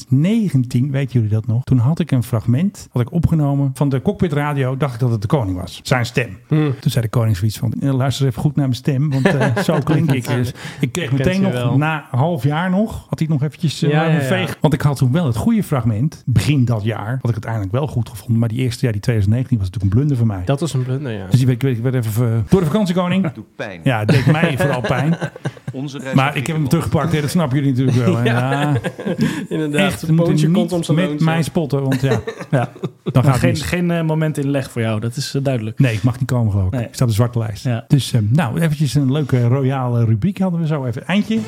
Speaker 14: 2019, weten jullie dat nog? Toen had ik een fragment, had ik opgenomen van de cockpitradio, dacht ik dat het de koning was. Zijn stem.
Speaker 15: Hmm.
Speaker 14: Toen zei de koning zoiets van, "Eh, luister even goed naar mijn stem, want
Speaker 15: [LAUGHS]
Speaker 14: eh, zo klink ik. Dus ik kreeg
Speaker 15: Ik ken
Speaker 14: meteen
Speaker 15: je
Speaker 14: nog,
Speaker 15: wel.
Speaker 14: na een half jaar nog, had hij nog eventjes eh,
Speaker 15: Ja,
Speaker 14: laten
Speaker 15: ja, ja.
Speaker 14: vegen. Want ik had toen wel het goede fragment, begin dat jaar, had ik het uiteindelijk wel goed gevonden. Maar die eerste, ja, die 2019 was natuurlijk een blunder van mij.
Speaker 15: Dat was een blunder, ja.
Speaker 14: Dus die werd, ik werd, ik werd even eh, ver- door de vakantiekoning.
Speaker 15: Doet pijn.
Speaker 14: Ja, het deed
Speaker 15: [LAUGHS]
Speaker 14: mij vooral pijn.
Speaker 15: Onze reis naar
Speaker 14: maar ik heb hem teruggepakt. hè, Dat snappen jullie natuurlijk wel. hè.
Speaker 15: [LAUGHS] Ja.
Speaker 14: Ja.
Speaker 15: [LAUGHS] Inderdaad,
Speaker 14: Echt,
Speaker 15: het
Speaker 14: we moeten
Speaker 15: poontje
Speaker 14: niet
Speaker 15: komt om zijn
Speaker 14: met
Speaker 15: loontje.
Speaker 14: mij spotten. Want ja, ja dan
Speaker 6: Maar
Speaker 14: gaat
Speaker 6: geen,
Speaker 14: het mis.
Speaker 6: geen eh, moment in leg voor jou, dat is eh, duidelijk.
Speaker 14: Nee, ik mag niet komen geloof ik. Ik sta op de zwarte lijst. Dus ehm, nou, eventjes een leuke royale rubriek hadden we zo even. Eindje.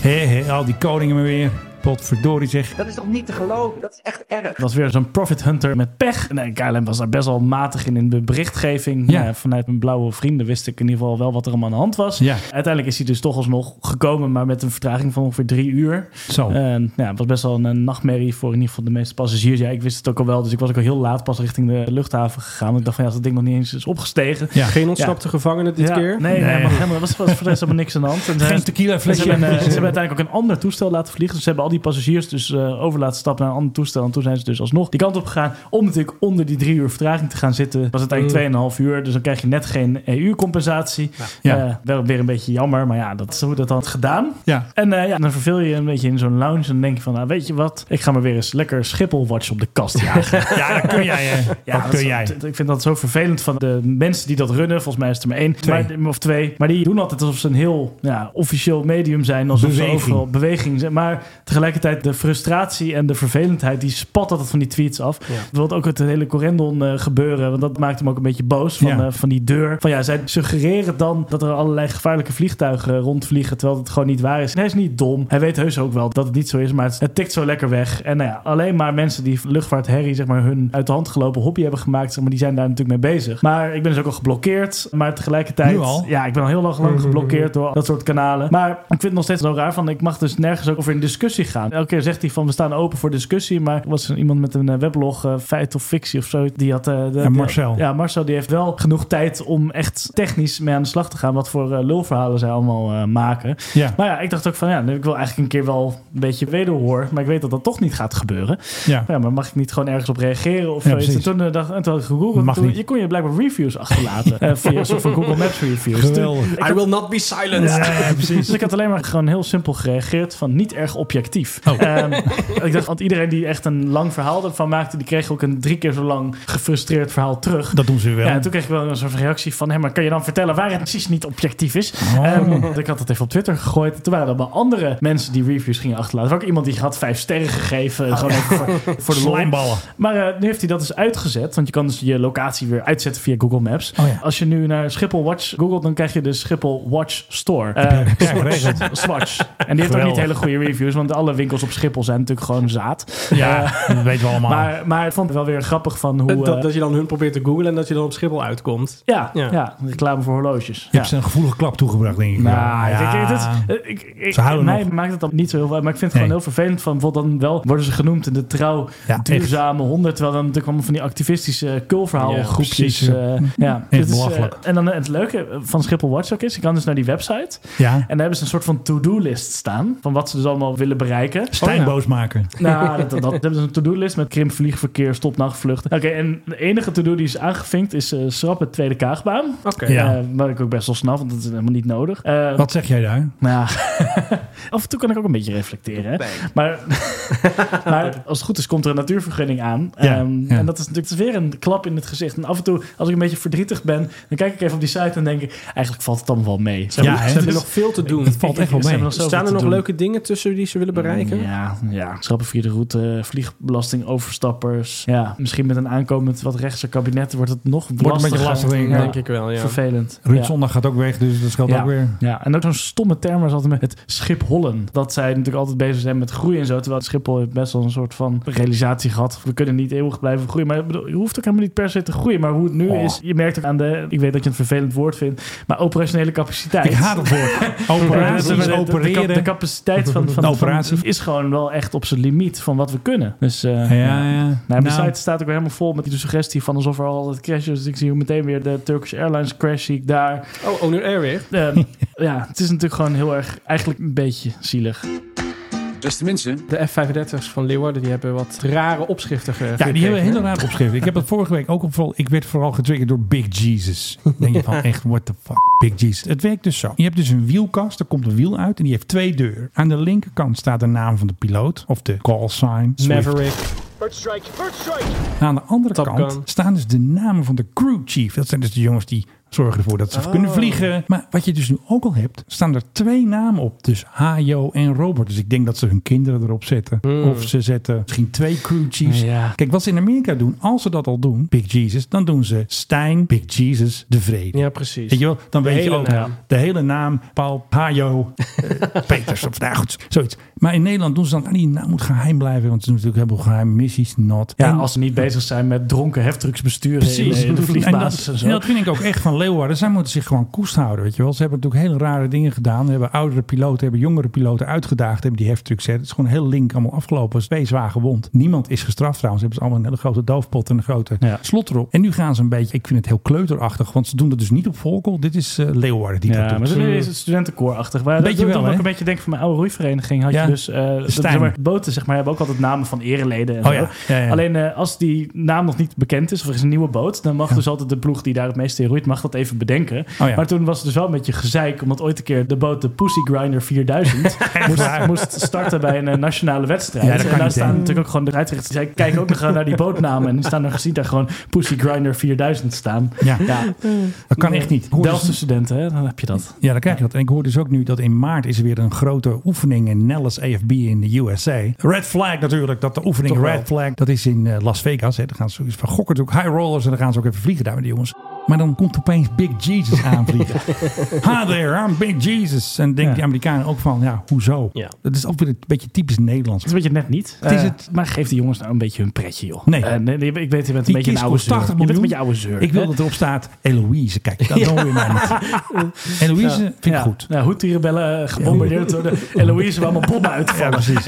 Speaker 14: Hé, hé, al die koningen maar weer. Potverdorie zeg.
Speaker 11: Dat is toch niet te geloven? Dat is echt erg.
Speaker 6: Dat was weer zo'n profit hunter met pech. Nee, KLM was daar best wel matig in in de berichtgeving.
Speaker 14: Ja.
Speaker 6: Eh, vanuit mijn blauwe vrienden wist ik in ieder geval wel wat er allemaal aan de hand was.
Speaker 14: Ja.
Speaker 6: Uiteindelijk is hij dus toch alsnog gekomen, maar met een vertraging van ongeveer drie uur.
Speaker 14: Zo.
Speaker 6: En, nou, ja, het was best wel een, eh, nachtmerrie voor in ieder geval de meeste passagiers. Ja, ik wist het ook al wel, dus ik was ook al heel laat pas richting de luchthaven gegaan. Want ik dacht van ja, als dat ding nog niet eens is opgestegen.
Speaker 15: Ja. Geen ontsnapte gevangenen dit
Speaker 6: Ja.
Speaker 15: keer?
Speaker 6: Nee, nee.
Speaker 15: Nee.
Speaker 6: maar helemaal, er was, was voor de rest helemaal niks aan de hand. En, eh,
Speaker 15: Geen tequila
Speaker 14: [LAUGHS]
Speaker 15: flesje.
Speaker 6: Ze hebben, eh, ze hebben uiteindelijk ook een ander toestel laten vliegen. Dus ze hebben al die passagiers dus eh, over laten stappen naar een ander toestel. En toen zijn ze dus alsnog die kant op gegaan. Om natuurlijk onder die drie uur vertraging te gaan zitten. Was het eigenlijk
Speaker 14: Mm.
Speaker 6: 2,5 uur. Dus dan krijg je net geen EU-compensatie.
Speaker 14: Ja.
Speaker 6: Eh, wel weer een beetje jammer. Maar ja, dat is hoe dat dan had gedaan.
Speaker 14: Ja.
Speaker 6: En eh, ja, dan verveel je je een beetje in zo'n lounge. En dan denk je van, nou, weet je wat? Ik ga maar weer eens lekker Schiphol-watch op de
Speaker 14: [LAUGHS]
Speaker 6: kast jagen.
Speaker 14: Ja, dat kun jij, hè. Dat
Speaker 6: dat
Speaker 14: kun
Speaker 6: is-
Speaker 14: jij.
Speaker 6: t- Ik vind dat zo vervelend van de mensen die dat runnen. Volgens mij is het er maar één
Speaker 14: Twee.
Speaker 6: Maar, of twee. Maar die doen altijd alsof ze een heel ja, officieel medium zijn. Alsof
Speaker 14: Beweging.
Speaker 6: ze overal beweging zijn. Maar tegelijkertijd de frustratie en de vervelendheid... die spat altijd van die tweets af. Bijvoorbeeld ook het hele Corendon eh, gebeuren. Want dat maakt hem ook een beetje boos van,
Speaker 14: Ja.
Speaker 6: eh, van die deur. Van ja, zij suggereren dan dat er allerlei gevaarlijke vliegtuigen rondvliegen. Terwijl het gewoon niet waar is. En hij is niet dom. Hij weet heus ook wel dat het niet zo is. Maar het, het tikt zo lekker weg. En nou ja, alleen maar mensen die luchtvaartherrie, zeg maar, hun uit de hand gelopen hobby hebben gemaakt. Zeg maar, die zijn daar natuurlijk mee bezig. Maar ik ben dus ook al geblokkeerd. Maar tegelijkertijd.
Speaker 14: Nu al?
Speaker 6: Ja, ik ben al heel lang,
Speaker 14: Mhm.
Speaker 6: lang geblokkeerd door dat soort kanalen. Maar ik vind het nog steeds zo raar van. Ik mag dus nergens ook over in discussie gaan. Elke keer zegt hij van we staan open voor discussie. Maar er was een- iemand met een eh, weblog, eh, feit of fictie of zo. Die had. eh, de-
Speaker 14: Ja,
Speaker 6: die-
Speaker 14: Marcel.
Speaker 6: ja, Marcel die heeft wel genoeg tijd om echt technisch mee aan de slag te gaan. Wat voor eh, lulverhalen zij allemaal eh, maken.
Speaker 14: Ja.
Speaker 6: Maar ja, ik dacht ook van ja, ik wil eigenlijk een keer wel een beetje wederhoor. Maar ik weet dat dat toch niet gaat gebeuren.
Speaker 14: Ja.
Speaker 6: Maar, maar mag ik niet gewoon ergens op reageren of
Speaker 14: Ja,
Speaker 6: zoiets? En
Speaker 14: precies.
Speaker 6: toen, eh, dacht, en toen had ik gegoogeld.
Speaker 14: Mag
Speaker 6: toen-
Speaker 14: niet.
Speaker 6: Je kon je blijkbaar reviews
Speaker 14: [LAUGHS]
Speaker 6: achterlaten. eh, via een soort van Google Maps reviews. Toen-
Speaker 15: Geweldig.
Speaker 6: ik had-
Speaker 15: I will not be silenced.
Speaker 6: Ja, ja, precies. Dus ik had alleen maar gewoon heel simpel gereageerd van niet erg objectief.
Speaker 14: Oh.
Speaker 6: Ehm, ik dacht, want iedereen die echt een lang verhaal ervan maakte, die kreeg ook een drie keer zo lang gefrustreerd verhaal terug.
Speaker 14: Dat doen ze wel.
Speaker 6: Ja, en toen kreeg ik wel een soort reactie van, hé, maar kan je dan vertellen waar het precies niet objectief is?
Speaker 14: Oh.
Speaker 6: Ehm, want ik had dat even op Twitter gegooid. Toen waren er allemaal andere mensen die reviews gingen achterlaten. Er was ook iemand die had vijf sterren gegeven, gewoon even voor,
Speaker 14: [LAUGHS]
Speaker 6: voor de lol.
Speaker 14: Oh. Slijmballen.
Speaker 6: Maar eh, nu heeft hij dat dus uitgezet. Want je kan dus je locatie weer uitzetten via Google Maps.
Speaker 14: Oh
Speaker 6: Als je nu naar Schiphol Watch googelt, dan krijg je de Schiphol Watch Store. Eh,
Speaker 14: [LAUGHS] Ja, geregeld.
Speaker 6: Swatch. En die heeft ook
Speaker 14: Geweldig.
Speaker 6: niet hele goede reviews. Want alle winkels op Schiphol zijn natuurlijk gewoon zaad.
Speaker 14: Ja,
Speaker 6: Eh,
Speaker 14: dat weten we allemaal.
Speaker 6: [LAUGHS] Maar, maar ik vond het wel weer grappig van hoe...
Speaker 15: [LAUGHS] dat,
Speaker 6: eh,
Speaker 15: dat je dan hun probeert te googlen en dat je dan op Schiphol uitkomt.
Speaker 6: ja, ja. reclame voor horloges.
Speaker 14: Je
Speaker 6: Ja.
Speaker 14: hebt ze een gevoelige klap toegebracht, denk ik.
Speaker 6: Nou,
Speaker 14: Ja.
Speaker 6: ik- ik- het- eh, ik- ik-
Speaker 14: Ze houden
Speaker 6: mij
Speaker 14: nog.
Speaker 6: maakt het dan niet zo heel veel uit. Maar ik vind het gewoon heel vervelend. Van, bijvoorbeeld dan wel worden ze genoemd in de trouw duurzame honderd. Terwijl dan natuurlijk allemaal van die activistische kulverhaal
Speaker 14: Ja,
Speaker 6: groepjes.
Speaker 14: precies, ja.
Speaker 6: eh, ja.
Speaker 14: Echt
Speaker 6: is, eh,
Speaker 14: belachelijk.
Speaker 6: en dan eh, het leuke van Schiphol Watch ook is, je kan dus naar die website.
Speaker 14: Ja.
Speaker 6: En daar hebben ze een soort van to-do-list staan. Van wat ze dus allemaal willen bereiken.
Speaker 14: Stijn boos maken.
Speaker 6: Nou, [LAUGHS] dat, dat, dat. Ze hebben dus een to-do-list met krimp, vliegverkeer, stopnachtvluchten. Oké, en de enige to-do die is aangevinkt is eh schrappen tweede kaagbaan.
Speaker 14: Oké.
Speaker 6: Eh,
Speaker 14: Ja. Oh,
Speaker 6: waar ik ook best wel snap, want dat is helemaal niet nodig. Eh,
Speaker 14: Wat zeg jij daar?
Speaker 6: nou, [LAUGHS] af en toe kan ik ook een beetje reflecteren. Hè? Maar, maar als het goed is, komt er een natuurvergunning aan.
Speaker 14: Ja,
Speaker 6: Ehm,
Speaker 14: ja.
Speaker 6: En dat is natuurlijk weer een klap in het gezicht. En af en toe, als ik een beetje verdrietig ben, dan kijk ik even op die site en denk ik, eigenlijk valt het allemaal wel mee.
Speaker 15: Ze hebben, ze hebben nog veel te doen. dus Het
Speaker 6: valt echt wel mee.
Speaker 15: Staan er nog leuke dingen tussen die ze willen bereiken?
Speaker 6: Ja, ja, schrappen via de route, vliegbelasting, overstappers. Ja, misschien met een aankomend wat rechtse kabinet wordt het nog
Speaker 14: Wordt een beetje lastig, denk ik. Denk ik
Speaker 15: wel, ja.
Speaker 6: Vervelend.
Speaker 14: Ruud
Speaker 6: Ja.
Speaker 14: Zondag gaat ook weg, dus dat scheelt
Speaker 6: ja.
Speaker 14: ook weer.
Speaker 6: Ja, en ook zo'n stomme term was altijd met het Schiphollen. Dat zij natuurlijk altijd bezig zijn met groei en zo. Terwijl Schiphol heeft best wel een soort van realisatie gehad. We kunnen niet eeuwig blijven groeien. Maar ik bedoel, je hoeft ook helemaal niet per se te groeien. Maar hoe het nu
Speaker 14: Oh.
Speaker 6: is, je merkt ook aan de... Ik weet dat je het een vervelend woord vindt. Maar operationele capaciteit.
Speaker 14: Ik haat het
Speaker 6: [LAUGHS]
Speaker 14: woord. Operaties,
Speaker 6: Ja, de- de- de- de- de- De,
Speaker 14: opereren.
Speaker 6: capaciteit van, van,
Speaker 14: De operatie.
Speaker 6: van- is gewoon wel echt op zijn limiet van wat we kunnen. Dus eh,
Speaker 14: Ja, ja.
Speaker 6: Nou, de
Speaker 14: Nou.
Speaker 6: site staat ook weer helemaal vol met die suggestie van alsof er altijd crashes. Dus ik zie meteen weer de Turkish Airlines crash zie ik daar.
Speaker 15: Oh, Owner Air weer.
Speaker 6: Ehm, [LAUGHS] ja, het is natuurlijk gewoon heel erg, eigenlijk een beetje zielig.
Speaker 15: Beste mensen. De F-35's van Leeuwarden die hebben wat rare opschriften ge-
Speaker 14: Ja, die
Speaker 15: gekregen.
Speaker 14: hebben een hele raar opschrift. Ik heb het vorige week ook opgevallen. Ik werd vooral getriggerd door Big Jesus. Dan Denk je van
Speaker 6: [LAUGHS]
Speaker 14: echt, what the fuck, Big Jesus. Het werkt dus zo. Je hebt dus een wielkast, er komt een wiel uit en die heeft twee deuren. Aan de linkerkant staat de naam van de piloot of de call sign. Swift.
Speaker 15: Maverick.
Speaker 4: Bird strike, bird strike.
Speaker 14: Aan de andere
Speaker 15: Top
Speaker 14: kant
Speaker 15: Gun.
Speaker 14: staan dus de namen van de crew chief. Dat zijn dus de jongens die zorgen ervoor dat ze
Speaker 15: Oh.
Speaker 14: kunnen vliegen. Maar wat je dus nu ook al hebt, staan er twee namen op. Dus Hajo en Robert. Dus ik denk dat ze hun kinderen erop zetten.
Speaker 15: Hmm.
Speaker 14: Of ze zetten misschien twee crew chiefs.
Speaker 6: Ja.
Speaker 14: Kijk, wat ze in Amerika doen, als ze dat al doen, Big Jesus, dan doen ze Stijn, Big Jesus, de vrede.
Speaker 15: Ja, precies.
Speaker 14: Weet je wel, dan
Speaker 15: De
Speaker 14: weet je
Speaker 15: hele
Speaker 14: ook
Speaker 15: naam.
Speaker 14: de hele naam, Paul Hajo
Speaker 15: [LAUGHS]
Speaker 14: eh, Peters. Of nou goed, zoiets. Maar in Nederland doen ze dan, ah, die naam moet geheim blijven, want ze doen natuurlijk heel veel geheime missies, not.
Speaker 6: Ja,
Speaker 14: En-
Speaker 6: als ze niet bezig zijn met dronken heftrucks besturen in, in de
Speaker 14: en dat,
Speaker 6: vliegbasis en, zo.
Speaker 14: en dat vind ik ook echt van Leeuwarden, zij moeten zich gewoon koest houden. Weet je wel. Ze hebben natuurlijk hele rare dingen gedaan. Ze hebben oudere piloten, hebben jongere piloten uitgedaagd. Hebben die heftrucks. Het is gewoon heel link allemaal afgelopen. Twee zwaar gewond. Niemand is gestraft trouwens. Ze hebben ze allemaal een hele grote doofpot en een grote
Speaker 25: Ja.
Speaker 14: slot erop. En nu gaan ze een beetje, ik vind het heel kleuterachtig. Want ze doen dat dus niet op Volkel. Dit is eh, Leeuwarden die
Speaker 6: ja,
Speaker 14: dat
Speaker 6: maar
Speaker 14: doet.
Speaker 6: dat is het studentenkoorachtig. Maar
Speaker 14: Beetje
Speaker 6: dat doet
Speaker 14: wel,
Speaker 6: me ook
Speaker 14: hè?
Speaker 6: een beetje denk ik van mijn oude roeivereniging had
Speaker 14: Ja.
Speaker 6: je dus eh, dat-
Speaker 14: Stijn.
Speaker 6: zeg maar, boten zeg maar hebben ook altijd namen van ereleden. En
Speaker 14: Oh
Speaker 6: zo.
Speaker 14: ja, ja, ja.
Speaker 6: Alleen eh, als die naam nog niet bekend is of er is een nieuwe boot, dan mag dus altijd de ploeg die daar het meeste in roeit mag dat even bedenken.
Speaker 14: Oh ja.
Speaker 6: Maar toen was het dus wel een beetje gezeik omdat ooit een keer de boot de Pussy Grinder
Speaker 14: [LAUGHS]
Speaker 6: 4000 moest,
Speaker 14: waar?
Speaker 6: moest starten bij een eh, nationale wedstrijd.
Speaker 14: Ja, dat kan
Speaker 6: en daar
Speaker 14: niet, hè?
Speaker 6: staan natuurlijk ook gewoon de uitrichters. die zei, kijk ook nog gewoon naar die bootnamen en die staan er gezien daar gewoon Pussy Grinder 4000 staan.
Speaker 14: Ja. Dat kan echt niet. Hoe
Speaker 6: Delftse
Speaker 14: is-
Speaker 6: studenten, hè? dan heb je dat.
Speaker 14: Ja, dan krijg je dat. En ik hoor dus ook nu dat in maart is er weer een grote oefening in Nellis AFB in de USA. Red Flag natuurlijk, dat de oefening
Speaker 6: Toch wel.
Speaker 14: Red Flag, dat is in eh, Las Vegas. Hè. Dan gaan ze van gokken natuurlijk, high rollers en dan gaan ze ook even vliegen daar met die jongens. Maar dan komt opeens Big
Speaker 6: [LAUGHS]
Speaker 14: Jesus aanvliegen. Hi there, I'm Big Jesus. En denken die Amerikanen ook van, ja, hoezo? Dat is ook weer een beetje typisch Nederlands.
Speaker 6: Het is een beetje net niet.
Speaker 14: Het is
Speaker 6: Eh,
Speaker 14: het-
Speaker 6: maar geef die jongens nou een beetje hun pretje, joh.
Speaker 14: Nee.
Speaker 6: Eh, nee, nee, ik weet, je bent een
Speaker 14: Die
Speaker 6: beetje een
Speaker 14: kist
Speaker 6: oude
Speaker 14: kost
Speaker 6: zeur.
Speaker 14: 80
Speaker 6: Je
Speaker 14: miljoen.
Speaker 6: bent een beetje oude zeur.
Speaker 14: Ik wil
Speaker 6: hè?
Speaker 14: dat erop staat Eloise. Kijk,
Speaker 6: [LAUGHS]
Speaker 14: dat
Speaker 6: Ja.
Speaker 14: doen we maar niet.
Speaker 6: [LAUGHS]
Speaker 14: Eloise vind ik
Speaker 6: Ja.
Speaker 14: goed.
Speaker 6: Nou, hoedtierenbellen eh, gebombardeerd door
Speaker 14: [LAUGHS]
Speaker 6: de Eloise waar allemaal bommen uitvallen.
Speaker 14: precies.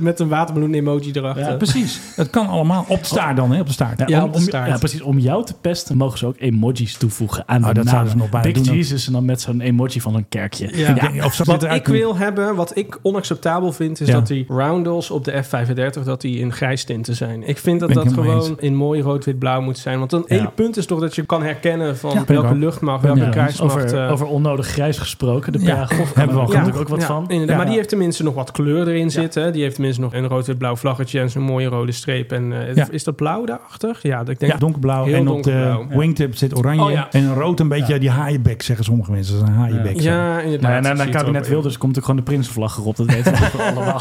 Speaker 15: Met een watermeloen emoji erachter.
Speaker 6: Ja,
Speaker 14: Precies. Het kan allemaal. Op de staart dan, hè? Op de staart.
Speaker 6: Ja, om, om- ja, precies. Om jou te pesten mogen ze ook emojis toevoegen aan
Speaker 14: Oh,
Speaker 6: de
Speaker 14: dat
Speaker 6: naam.
Speaker 14: zouden ze nog bijna
Speaker 6: Big
Speaker 14: doen ook.
Speaker 6: Jesus en dan met zo'n emoji van een kerkje.
Speaker 15: Ja. wat ik
Speaker 6: wil
Speaker 15: wil hebben, wat ik onacceptabel vind, is
Speaker 6: Ja.
Speaker 15: dat die roundels op de F35 dat die in grijs tinten zijn. Ik vind dat
Speaker 14: Ben ik
Speaker 15: dat
Speaker 14: helemaal
Speaker 15: gewoon in mooi rood-wit-blauw moet zijn. Want het
Speaker 6: Ja.
Speaker 15: hele punt is toch dat je kan herkennen van
Speaker 6: Ja, ben ik
Speaker 15: welke
Speaker 6: ook.
Speaker 15: luchtmacht,
Speaker 6: Ben
Speaker 15: welke
Speaker 6: ik ook.
Speaker 15: krijgsmacht.
Speaker 6: Over-
Speaker 15: eh,
Speaker 6: over onnodig grijs gesproken, de paragraaf. Hebben we al natuurlijk ook wat van. Nou,
Speaker 15: inderdaad.
Speaker 6: Ja.
Speaker 15: Maar die heeft tenminste nog wat kleur erin zitten. Die heeft tenminste nog een rood-wit-blauw vlaggetje en zo'n mooie rode streep. En eh,
Speaker 14: Ja.
Speaker 15: is dat blauw daarachter? Ja, dat- ik denk
Speaker 14: ja, donkerblauw.
Speaker 15: Heel
Speaker 14: en op de
Speaker 15: donkerblauw.
Speaker 14: wingtip zit oranje.
Speaker 15: Oh, ja.
Speaker 14: En een rood een beetje die haaienbek, zeggen sommige mensen. Dat is een haaienbek. zo.
Speaker 15: Ja, inderdaad.
Speaker 6: Nou ja, en aan
Speaker 15: Zie
Speaker 6: het
Speaker 15: je het
Speaker 6: kabinet
Speaker 15: ook in.
Speaker 6: Wilders komt ook gewoon de prinsenvlag erop. Dat weten we ook
Speaker 14: [LAUGHS]
Speaker 6: allemaal.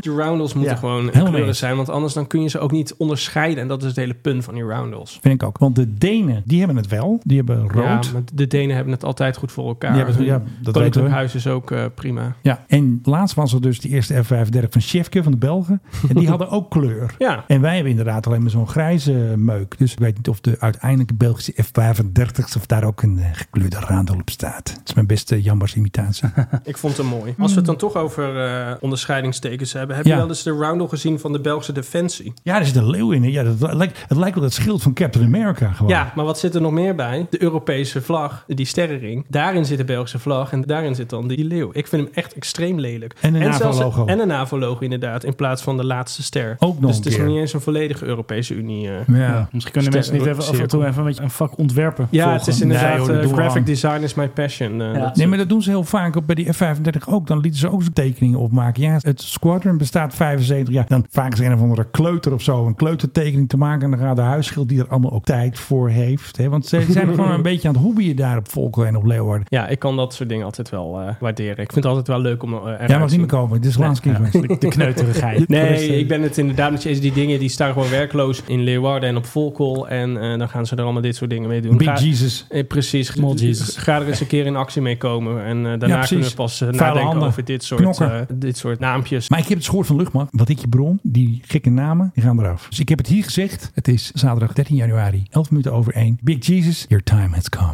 Speaker 15: die roundels moeten
Speaker 6: Ja.
Speaker 15: gewoon
Speaker 14: Helemaal
Speaker 15: kleuren
Speaker 14: eens.
Speaker 15: zijn, want anders dan kun je ze ook niet onderscheiden. En dat is het hele punt van die roundels.
Speaker 14: Vind ik ook. Want de Denen, die hebben het wel. Die hebben rood.
Speaker 15: Ja, maar de Denen hebben het altijd goed voor elkaar.
Speaker 14: Die hebben het- ja,
Speaker 15: Hun
Speaker 14: dat weten we.
Speaker 15: koninklijk huis is ook eh, prima.
Speaker 14: Ja, en laatst was er dus die eerste F35 van Sjefke van de Belgen. En
Speaker 15: [LAUGHS]
Speaker 14: die hadden ook kleur.
Speaker 15: Ja.
Speaker 14: En wij hebben inderdaad alleen maar zo'n grijze meuk. Dus ik weet niet of de uiteindelijke Belgische F35's of daar ook een eh, gekleurde raandel op staat. Het is mijn beste Jambers imitatie.
Speaker 15: Ik vond hem mooi. Als we het dan toch over eh, onderscheidingstekens hebben. Heb
Speaker 14: Ja.
Speaker 15: je wel eens de roundel gezien van de Belgische Defensie?
Speaker 14: ja, er zit een leeuw in. hè. Ja, dat lijkt, het lijkt wel het schild van Captain America gewoon.
Speaker 15: Ja, maar wat zit er nog meer bij? De Europese vlag, die sterrenring. Daarin zit de Belgische vlag en daarin zit dan die leeuw. Ik vind hem echt extreem lelijk.
Speaker 14: En een
Speaker 15: zelfs-
Speaker 14: NAVO-logo.
Speaker 15: En een NAVO-logo inderdaad, in plaats van de laatste ster.
Speaker 14: Ook nog
Speaker 15: dus
Speaker 14: een
Speaker 15: het is
Speaker 14: keer.
Speaker 15: nog niet eens een volledige Europese Unie. eh,
Speaker 14: Ja.
Speaker 6: Misschien kunnen mensen niet even af en toe even een, beetje een vak ontwerpen.
Speaker 15: Ja,
Speaker 6: volgen.
Speaker 15: het is inderdaad.
Speaker 14: joh, dat
Speaker 15: eh,
Speaker 14: doen we
Speaker 15: graphic
Speaker 14: aan.
Speaker 15: design is my passion. eh, dat-
Speaker 14: Nee, maar dat doen ze heel vaak op bij die F-35 ook. Dan lieten ze ook zo'n tekeningen opmaken. Ja, het squadron bestaat 75 jaar. Dan vaak is een of andere kleuter of zo een kleutertekening te maken. En dan gaat de huisschild die er allemaal ook tijd voor heeft. Hè?
Speaker 6: [LAUGHS]
Speaker 14: Want ze zijn gewoon een beetje aan het hobbyen daar op Volkel en op Leeuwarden.
Speaker 15: Ja, ik kan dat soort dingen altijd wel eh, waarderen. Ik vind het altijd wel leuk om eh, eruit
Speaker 14: Jij mag
Speaker 15: te
Speaker 14: niet meer
Speaker 15: zien.
Speaker 14: komen. Dit is de
Speaker 15: Nee,
Speaker 14: laatste keer
Speaker 15: ja.
Speaker 14: geweest.
Speaker 6: [LAUGHS] De kneuterigheid.
Speaker 15: Nee, ik ben het inderdaad met je eens. Die dingen die staan gewoon werkloos in Leeuwarden en op Volkel. En eh, dan gaan ze er allemaal dit soort dingen mee doen.
Speaker 14: Big
Speaker 15: Ga-
Speaker 14: Jesus.
Speaker 15: Eh, precies.
Speaker 6: Small Jesus.
Speaker 15: Ga er eens een keer in actie mee komen. En eh, daarna
Speaker 14: precies.
Speaker 15: kunnen we pas eh,
Speaker 14: Vuile
Speaker 15: nadenken
Speaker 14: handen.
Speaker 15: over dit soort,
Speaker 14: Knokken.
Speaker 15: eh, dit soort naampjes.
Speaker 14: Maar ik heb het gehoord van Luchtmacht. Wat ik je bron, die gekke namen, die gaan eraf. Dus ik heb het hier gezegd. Het is zaterdag 13 januari, 11 minuten over 1. Big Jesus, your time has come.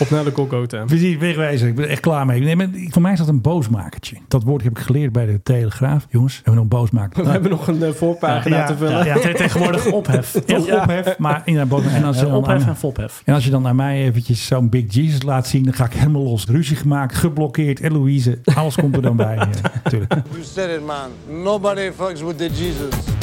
Speaker 15: Op naar de
Speaker 14: [LAUGHS]
Speaker 15: Golgotha.
Speaker 14: Precies, wegwijzen. Ik ben er echt klaar mee. Nee, maar voor mij is dat een boosmakertje. Dat woord heb ik geleerd bij de Telegraaf. Jongens, hebben we nog een boosmaker?
Speaker 15: We [LAUGHS] hebben nog een eh, voorpagina te
Speaker 14: ja,
Speaker 15: vullen.
Speaker 14: ja.
Speaker 6: tegenwoordig ophef.
Speaker 14: Toch
Speaker 6: Ja.
Speaker 14: ophef, maar in een boosmaker. En als je
Speaker 6: Ja,
Speaker 14: dan
Speaker 6: ophef
Speaker 14: aan-
Speaker 6: en fophef.
Speaker 14: en als je dan naar mij eventjes zo'n Big Jesus laat zien, dan ga ik helemaal los. Ruzie gemaakt, geblokkeerd, Eloise. Alles komt er dan bij.
Speaker 26: [LAUGHS]
Speaker 14: Ja, natuurlijk.
Speaker 26: You said it, man. Nobody fucks with the Jesus.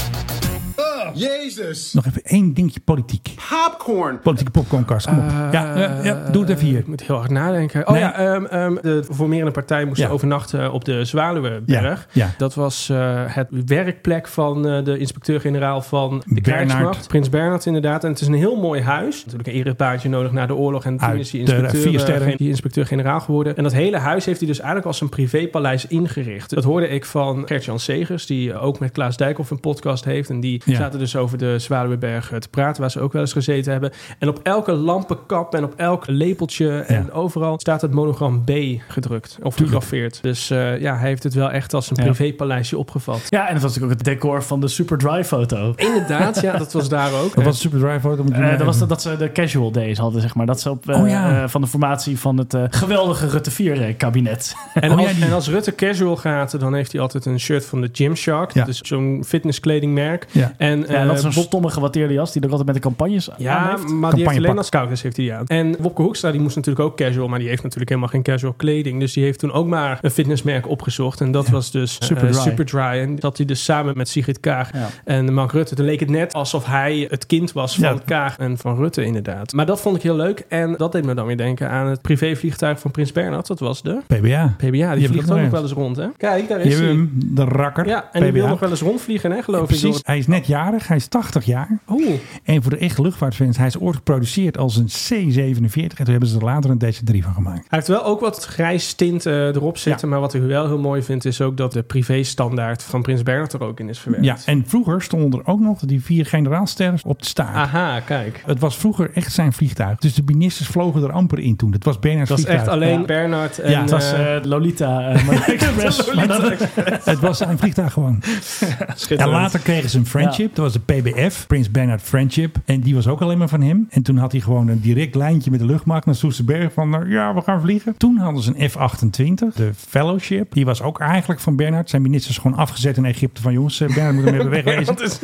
Speaker 21: Jezus.
Speaker 14: Nog even één dingetje politiek.
Speaker 21: Popcorn.
Speaker 14: Politieke popcornkast. Kom op. ja, ja, ja, doe het even hier. Ik
Speaker 15: Eh, moet heel hard nadenken. Oh
Speaker 14: Nee.
Speaker 15: ja, ehm, ehm, de formerende partij moest
Speaker 14: Ja.
Speaker 15: overnachten eh, op de Zwaluwenberg.
Speaker 14: Ja, ja.
Speaker 15: Dat was eh, het werkplek van eh, de inspecteur-generaal van de
Speaker 14: Bernhard.
Speaker 15: krijgsmacht. Prins Bernhard inderdaad. En het is een heel mooi huis. Natuurlijk een erebaantje nodig na de oorlog. En toen
Speaker 14: Uit
Speaker 15: is die
Speaker 14: de vier
Speaker 15: inspecteur,
Speaker 14: sterren.
Speaker 15: eh, die inspecteur-generaal geworden. En dat hele huis heeft hij dus eigenlijk als een privépaleis ingericht. Dat hoorde ik van Gert-Jan Segers, die ook met Klaas Dijkhoff een podcast heeft. En die
Speaker 14: Ja.
Speaker 15: zaten dus dus over de Zwaluweberg eh, te praten, waar ze ook wel eens gezeten hebben. En op elke lampenkap en op elk lepeltje en overal staat het monogram B gedrukt of gegraveerd. Dus eh, ja, hij heeft het wel echt als een
Speaker 6: Ja.
Speaker 15: privépaleisje opgevat.
Speaker 6: Ja, en dat was natuurlijk ook het decor van de Superdry-foto.
Speaker 15: Inderdaad, ja, dat was daar
Speaker 6: [LAUGHS]
Speaker 15: ook.
Speaker 14: Dat was Superdrive foto.
Speaker 15: Eh,
Speaker 14: moet je maar
Speaker 6: Eh, dat was
Speaker 14: even-
Speaker 6: dat, dat ze de casual days hadden, zeg maar. Dat ze op, eh,
Speaker 14: Oh, ja.
Speaker 6: eh, van de formatie van het eh, geweldige Rutte eh, 4-kabinet.
Speaker 15: En, als, en als Rutte casual gaat, dan heeft hij altijd een shirt van de Gymshark. Dat is zo'n fitnesskledingmerk.
Speaker 6: Ja.
Speaker 15: En,
Speaker 6: [LAUGHS] ja, dat is een
Speaker 15: eh, Bob-
Speaker 6: stomme gewatteerde jas die er altijd met de campagnes aan heeft.
Speaker 15: Ja, maar die heeft alleen
Speaker 6: Campagnepak.
Speaker 15: als kouders heeft hij die aan. En Wopke Hoekstra die moest natuurlijk ook casual, maar die heeft natuurlijk helemaal geen casual kleding. Dus die heeft toen ook maar een fitnessmerk opgezocht. En dat was dus
Speaker 6: Superdry.
Speaker 15: Superdry. Superdry. En dat hij dus samen met Sigrid Kaag en Mark Rutte. Toen leek het net alsof hij het kind was van
Speaker 6: Ja.
Speaker 15: Kaag en van Rutte inderdaad. Maar dat vond ik heel leuk. En dat deed me dan weer denken aan het privévliegtuig van Prins Bernhard. Dat was de...
Speaker 14: PBA.
Speaker 15: PBA, die,
Speaker 14: hebt
Speaker 15: vliegt
Speaker 14: dat
Speaker 15: ook nog
Speaker 14: eens.
Speaker 15: wel eens rond, hè? Kijk, daar
Speaker 14: Je
Speaker 15: is
Speaker 14: hebt
Speaker 15: hij.
Speaker 14: hem, de rakker.
Speaker 15: Ja, en die wil
Speaker 14: PBA.
Speaker 15: nog wel eens rondvliegen, hè, geloof ik.
Speaker 14: Precies, hij is net jarig, hij is 80 jaar.
Speaker 15: Oeh.
Speaker 14: En voor de echte luchtvaartfans, hij is ooit geproduceerd als een C-47. En toen hebben ze er later een Dash 3 van gemaakt.
Speaker 15: Hij heeft wel ook wat grijs tint eh, erop zitten. Maar wat ik wel heel mooi vind, is ook dat de privéstandaard van Prins Bernhard er ook in is verwerkt.
Speaker 14: Ja, en vroeger stonden er ook nog die vier generaalsterren op de staart.
Speaker 15: Aha, kijk.
Speaker 14: Het was vroeger echt zijn vliegtuig. Dus de ministers vlogen er amper in toen. Het was Bernards
Speaker 15: Het was
Speaker 14: vliegtuig.
Speaker 15: echt alleen
Speaker 14: Ja.
Speaker 15: Bernhard en...
Speaker 14: Ja, het was,
Speaker 15: eh,
Speaker 6: Eh, Lolita. eh, [LAUGHS]
Speaker 15: [LAUGHS]
Speaker 6: maar-
Speaker 14: Maar dat- het was zijn vliegtuig gewoon. En
Speaker 15: Schitterend.
Speaker 14: later kregen ze een friendship. Dat was de PBF, Prins Bernhard Friendship. En die was ook alleen maar van hem. En toen had hij gewoon een direct lijntje met de luchtmacht naar Soesterberg. Van nou, ja, we gaan vliegen. Toen hadden ze een F-28, de Fellowship. Die was ook eigenlijk van Bernhard. Zijn ministers gewoon afgezet in Egypte. Van jongens, eh, Bernhard moet hem
Speaker 15: [LAUGHS]
Speaker 14: even wegwezen.
Speaker 15: Dat is-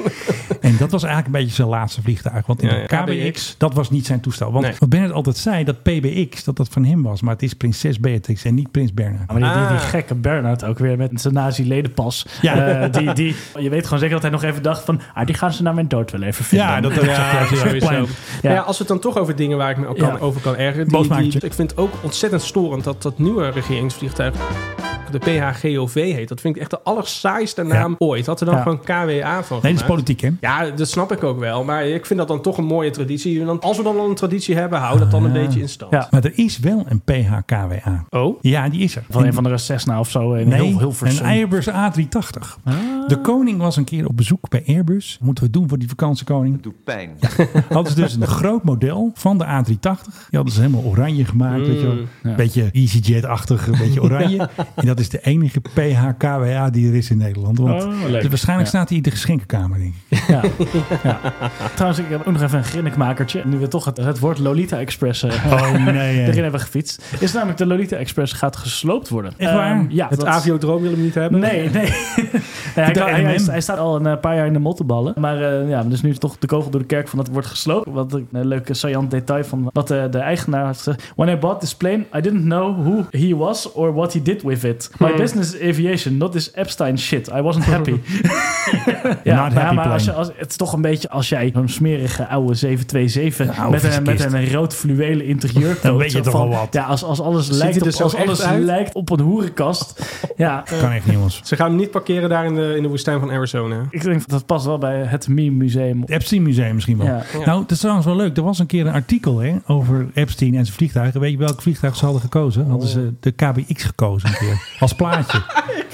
Speaker 14: En dat was eigenlijk een beetje zijn laatste vliegtuig. Want in
Speaker 15: Ja,
Speaker 14: de
Speaker 15: ja.
Speaker 14: KBX, dat was niet zijn toestel. Want
Speaker 15: Nee.
Speaker 14: wat Bernhard altijd zei, dat PBX, dat dat van hem was. Maar het is prinses Beatrix en niet prins Bernhard.
Speaker 6: Maar die, die, die
Speaker 14: Ah.
Speaker 6: gekke Bernhard ook weer met zijn nazi-ledenpas.
Speaker 14: Ja.
Speaker 6: Eh, die, die, je weet gewoon zeker dat hij nog even dacht van... Ah, die gaan ze naar mijn dood wel even vinden.
Speaker 15: Ja, dat
Speaker 6: is
Speaker 15: sowieso. Ja. als we het dan toch over dingen waar ik me ook kan,
Speaker 6: Ja.
Speaker 15: over kan ergeren. Die,
Speaker 6: Boosmakertje.
Speaker 15: die- ik vind het ook ontzettend storend dat dat nieuwe regeringsvliegtuig de PHGOV heet. Dat vind ik echt de allersaaiste naam ooit. Had er dan
Speaker 14: Ja.
Speaker 15: gewoon KWA van
Speaker 14: Nee, dat is
Speaker 15: gemaakt.
Speaker 14: politiek, hè?
Speaker 15: Ja, dat snap ik ook wel. Maar ik vind dat dan toch een mooie traditie. En dan, als we dan al een traditie hebben, hou dat dan een beetje in stand.
Speaker 14: Ja. Maar er is wel een PHKWA.
Speaker 15: Oh?
Speaker 14: Ja, die is er.
Speaker 6: Van een van de Cessna of zo. In
Speaker 14: Nee,
Speaker 6: heel, Ah. heel
Speaker 14: een Airbus A380. De koning was een keer op bezoek bij Airbus. Moeten we doen voor die
Speaker 6: [LAUGHS]
Speaker 14: vakantiekoning? Dat doet pijn. Hadden ze dus een groot model van de A380. Die hadden ze helemaal oranje gemaakt.
Speaker 6: Mm.
Speaker 14: Weet je wel.
Speaker 6: Ja.
Speaker 14: Beetje EasyJet-achtig, een beetje
Speaker 6: [LAUGHS]
Speaker 14: oranje. En dat is de enige PHKWA die er is in Nederland. Want
Speaker 6: Oh, leuk.
Speaker 14: dus waarschijnlijk
Speaker 6: Ja.
Speaker 14: staat hij in de geschenkenkamer, denk
Speaker 6: [LAUGHS]
Speaker 14: ik.
Speaker 6: Trouwens, ik heb ook nog even een grinnikmakertje. Nu we toch het, het woord Lolita Express eh,
Speaker 14: Oh, nee, hè.
Speaker 6: erin hebben gefietst. Is namelijk de Lolita Express gaat gesloopt worden.
Speaker 15: Echt waar?
Speaker 6: Ehm, ja,
Speaker 15: het
Speaker 6: dat-
Speaker 15: AVO-droom wil hem niet hebben?
Speaker 6: Nee,
Speaker 14: [LAUGHS]
Speaker 6: nee. Nee, hij,
Speaker 15: De
Speaker 6: kan- hij- hij,
Speaker 15: NMM.
Speaker 6: hij staat al een eh, paar jaar in de mottenballen. Maar eh, ja, dus nu is toch de kogel door de kerk van dat wordt gesloopt. Wat een eh, leuk saillant detail van wat eh, de eigenaar had gezegd. When I bought this plane, I didn't know who he was or what he did with it. My
Speaker 15: Hmm.
Speaker 6: business is aviation, not this Epstein shit. I wasn't
Speaker 14: [LAUGHS]
Speaker 6: happy. ja,
Speaker 14: Not
Speaker 6: maar-
Speaker 14: happy
Speaker 6: maar als, je,
Speaker 14: plane.
Speaker 6: als, het is toch een beetje als jij zo'n smerige oude 727
Speaker 14: oude
Speaker 6: met, een, met
Speaker 14: vieskist.
Speaker 6: een rood fluwelen interieur
Speaker 14: [LAUGHS] Dan weet je toch wel wat.
Speaker 6: Ja, als, als alles,
Speaker 15: Ziet
Speaker 6: lijkt
Speaker 15: hij
Speaker 6: op,
Speaker 15: er zo
Speaker 6: als
Speaker 15: echt
Speaker 6: alles
Speaker 15: uit?
Speaker 6: lijkt op een hoerenkast. [LAUGHS] Ja,
Speaker 14: Kan echt niet, jongens.
Speaker 15: Ze gaan hem niet parkeren daar in de, in de woestijn van Arizona.
Speaker 6: Ik denk dat dat past wel bij het Meme Museum.
Speaker 14: Het Epstein Museum misschien wel.
Speaker 6: Ja.
Speaker 14: Nou, dat is trouwens wel leuk. Er was een keer een artikel hè, over Epstein en zijn vliegtuigen. Weet je welk vliegtuig ze hadden gekozen? Hadden ze de KBX gekozen een keer. Als
Speaker 15: [LAUGHS]
Speaker 14: plaatje.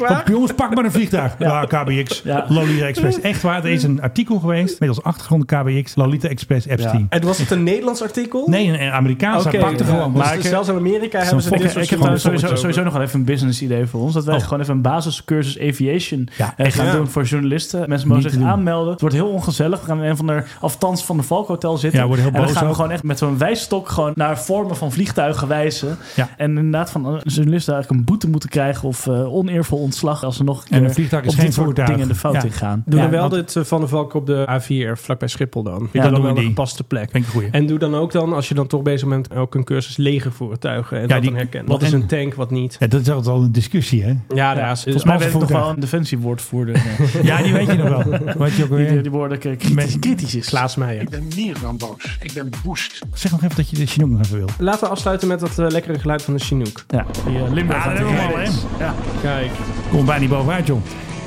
Speaker 14: Pak, jongens, pak maar een vliegtuig. Nou, Ja, KBX. Lolita Express. Echt waar. Er is een artikel geweest met als achtergrond KBX. Lolita Express Epstein.
Speaker 15: En was het een Nederlands artikel?
Speaker 14: Nee, een- een Amerikaanse
Speaker 15: Oké,
Speaker 14: pakte
Speaker 15: ja.
Speaker 14: gewoon.
Speaker 15: Dus
Speaker 14: Maar
Speaker 15: dus
Speaker 14: ik- eh,
Speaker 15: zelfs in Amerika
Speaker 14: zo'n
Speaker 15: hebben ze dit
Speaker 14: fokker-
Speaker 15: soort
Speaker 6: Ik heb
Speaker 15: gewoon
Speaker 6: daar sowieso,
Speaker 15: foto's
Speaker 6: sowieso
Speaker 15: over.
Speaker 6: nog wel even een business idee voor ons. Dat wij gewoon even een basiscursus aviation
Speaker 14: Oh. Ja,
Speaker 6: eh,
Speaker 14: echt,
Speaker 6: gaan
Speaker 14: ja.
Speaker 6: doen voor journalisten. Mensen mogen
Speaker 14: Niet
Speaker 6: zich
Speaker 14: te doen.
Speaker 6: aanmelden. Het wordt heel ongezellig. We gaan in een van de aftans van de Valk Hotel zitten.
Speaker 14: Ja, we worden heel
Speaker 6: en dan
Speaker 14: boos
Speaker 6: gaan we
Speaker 14: ook.
Speaker 6: gewoon echt met zo'n wijsstok gewoon naar vormen van vliegtuigen wijzen.
Speaker 14: Ja.
Speaker 6: En inderdaad van eh, journalisten eigenlijk een boete moeten krijgen of eh, oneervol ontslag als ze nog een keer
Speaker 14: En een vliegtuig is
Speaker 6: op
Speaker 14: geen
Speaker 6: dit soort
Speaker 14: voertuig.
Speaker 6: dingen de fout
Speaker 14: Ja.
Speaker 6: in gaan.
Speaker 15: Doe
Speaker 6: Ja,
Speaker 15: dan wel
Speaker 6: want-
Speaker 15: dit eh, Van de Valk op de A4, vlakbij Schiphol dan.
Speaker 6: Ja,
Speaker 15: Ja, dan
Speaker 6: doen we
Speaker 15: wel een
Speaker 6: die.
Speaker 15: gepaste plek.
Speaker 14: Vind ik een goeie.
Speaker 15: En doe dan ook dan, als je dan toch bezig bent, ook een cursus legervoertuigen. En
Speaker 14: Ja,
Speaker 15: dat
Speaker 14: die-
Speaker 15: dan herkennen. Wat
Speaker 14: en-
Speaker 15: is een tank, wat niet.
Speaker 14: Ja, dat is altijd al een discussie, hè?
Speaker 15: Ja, daar is Oh,
Speaker 6: Volgens mij weet ik nog wel een [LAUGHS] defensiewoordvoerder.
Speaker 14: Ja, die weet je nog wel. Weet je ook
Speaker 6: Die,
Speaker 14: weer?
Speaker 6: die, die woorden kritisch,
Speaker 14: Met-
Speaker 6: kritisch is.
Speaker 15: Klaas Meijer.
Speaker 6: ben meer dan boos. Ik ben boest.
Speaker 14: Zeg nog even dat je de Chinook nog even wil.
Speaker 15: Laten we afsluiten met dat eh, lekkere geluid van de Chinook.
Speaker 6: Ja, die eh, Limburg.
Speaker 14: Ja, dat hebben we hem al, hè?
Speaker 6: Ja.
Speaker 15: Kijk.
Speaker 14: Komt bijna niet bovenuit, joh.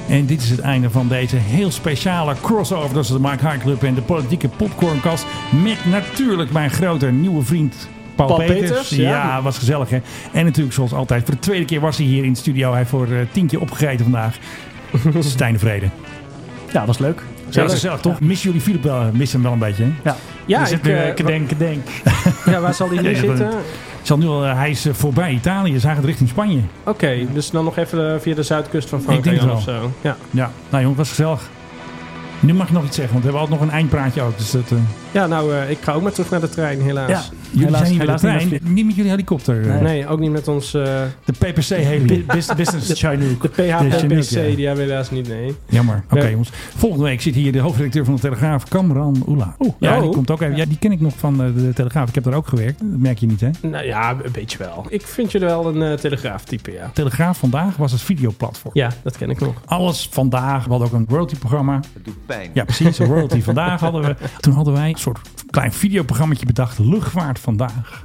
Speaker 14: En dit is het einde van deze heel speciale crossover tussen de Mike High Club en de politieke popcornkast. Met natuurlijk mijn grote nieuwe vriend Paul,
Speaker 15: Paul
Speaker 14: Peters.
Speaker 15: Peters,
Speaker 14: ja.
Speaker 15: ja.
Speaker 14: was gezellig hè. En natuurlijk zoals altijd, voor de tweede keer was hij hier in de studio. Hij heeft voor eh, tien keer opgegeten vandaag. Stijn de Vrede.
Speaker 6: Ja, was leuk.
Speaker 14: Ja, dat is gezellig, toch? Missen jullie Philip wel, eh, missen hem wel een beetje, hè?
Speaker 6: Ja.
Speaker 15: Ja,
Speaker 14: Die zit
Speaker 15: ik,
Speaker 14: nu,
Speaker 15: eh,
Speaker 14: eh, kedenk, kedenk.
Speaker 15: Ja,
Speaker 14: [LAUGHS]
Speaker 15: waar zal hij nu
Speaker 14: Ja, dat-
Speaker 15: zitten?
Speaker 14: Het Zal nu al, eh, hij is eh, voorbij Italië, is eigenlijk richting Spanje.
Speaker 15: Oké, dus dan nog even eh, via de zuidkust van
Speaker 14: Ik denk
Speaker 15: Frankrijk
Speaker 14: het
Speaker 15: of
Speaker 14: wel.
Speaker 15: zo. Ja.
Speaker 14: Ja, nou jongen, was gezellig. Nu mag je nog iets zeggen, want we hebben altijd nog een eindpraatje ook. Dus dat, eh,
Speaker 15: ja, nou, eh, ik ga ook maar terug naar de trein, helaas.
Speaker 14: ja, jullie zijn niet met de trein, niet, met jullie helikopter. eh.
Speaker 15: Nee. ook niet met ons... eh,
Speaker 14: de PPC-heli. [LAUGHS]
Speaker 15: de, De PHPPC, die hebben we helaas niet, nee.
Speaker 14: Jammer. Oké, jongens. Volgende week zit hier de hoofdredacteur van de Telegraaf, Kamran Oela. Oh, ja,
Speaker 15: oh.
Speaker 14: die komt ook even. Ja, die ken ik nog van eh, de Telegraaf. Ik heb daar ook gewerkt. Dat merk je niet, hè?
Speaker 15: Nou ja, een beetje wel. Ik vind jullie wel een eh telegraaftype, ja.
Speaker 14: Telegraaf vandaag was het videoplatform.
Speaker 15: Ja, dat ken ik nog.
Speaker 14: Alles vandaag. We hadden ook een royalty-programma. Het doet pijn. Ja, precies. Een royalty vandaag hadden [LAUGHS] we. Toen hadden wij een soort klein videoprogrammaatje bedacht. Luchtvaart
Speaker 15: [LAUGHS]
Speaker 14: vandaag.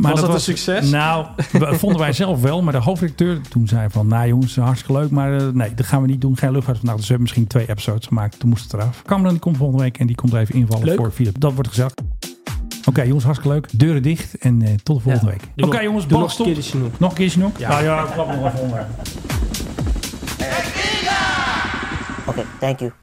Speaker 15: was dat, een succes?
Speaker 14: Nou,
Speaker 15: [LAUGHS]
Speaker 14: we- vonden wij zelf wel. Maar de hoofdredacteur toen zei van... Nou jongens, hartstikke leuk. Maar eh, nee, dat gaan we niet doen. Geen luchtvaart vandaag. Dus we hebben misschien twee episodes gemaakt. Toen moest het eraf. Cameron die komt volgende week. En die komt er even invallen
Speaker 15: Leuk.
Speaker 14: voor Philip. Dat wordt gezellig. Oké jongens, hartstikke leuk. Deuren dicht. En eh, tot de volgende week. Oké jongens,
Speaker 15: doe nog
Speaker 14: ballenstop.
Speaker 15: een keer de Chinook.
Speaker 14: Nog een keer Chinook?
Speaker 15: Ja.
Speaker 14: Nou ja, ik klap nog even onder.
Speaker 25: Okay, thank you.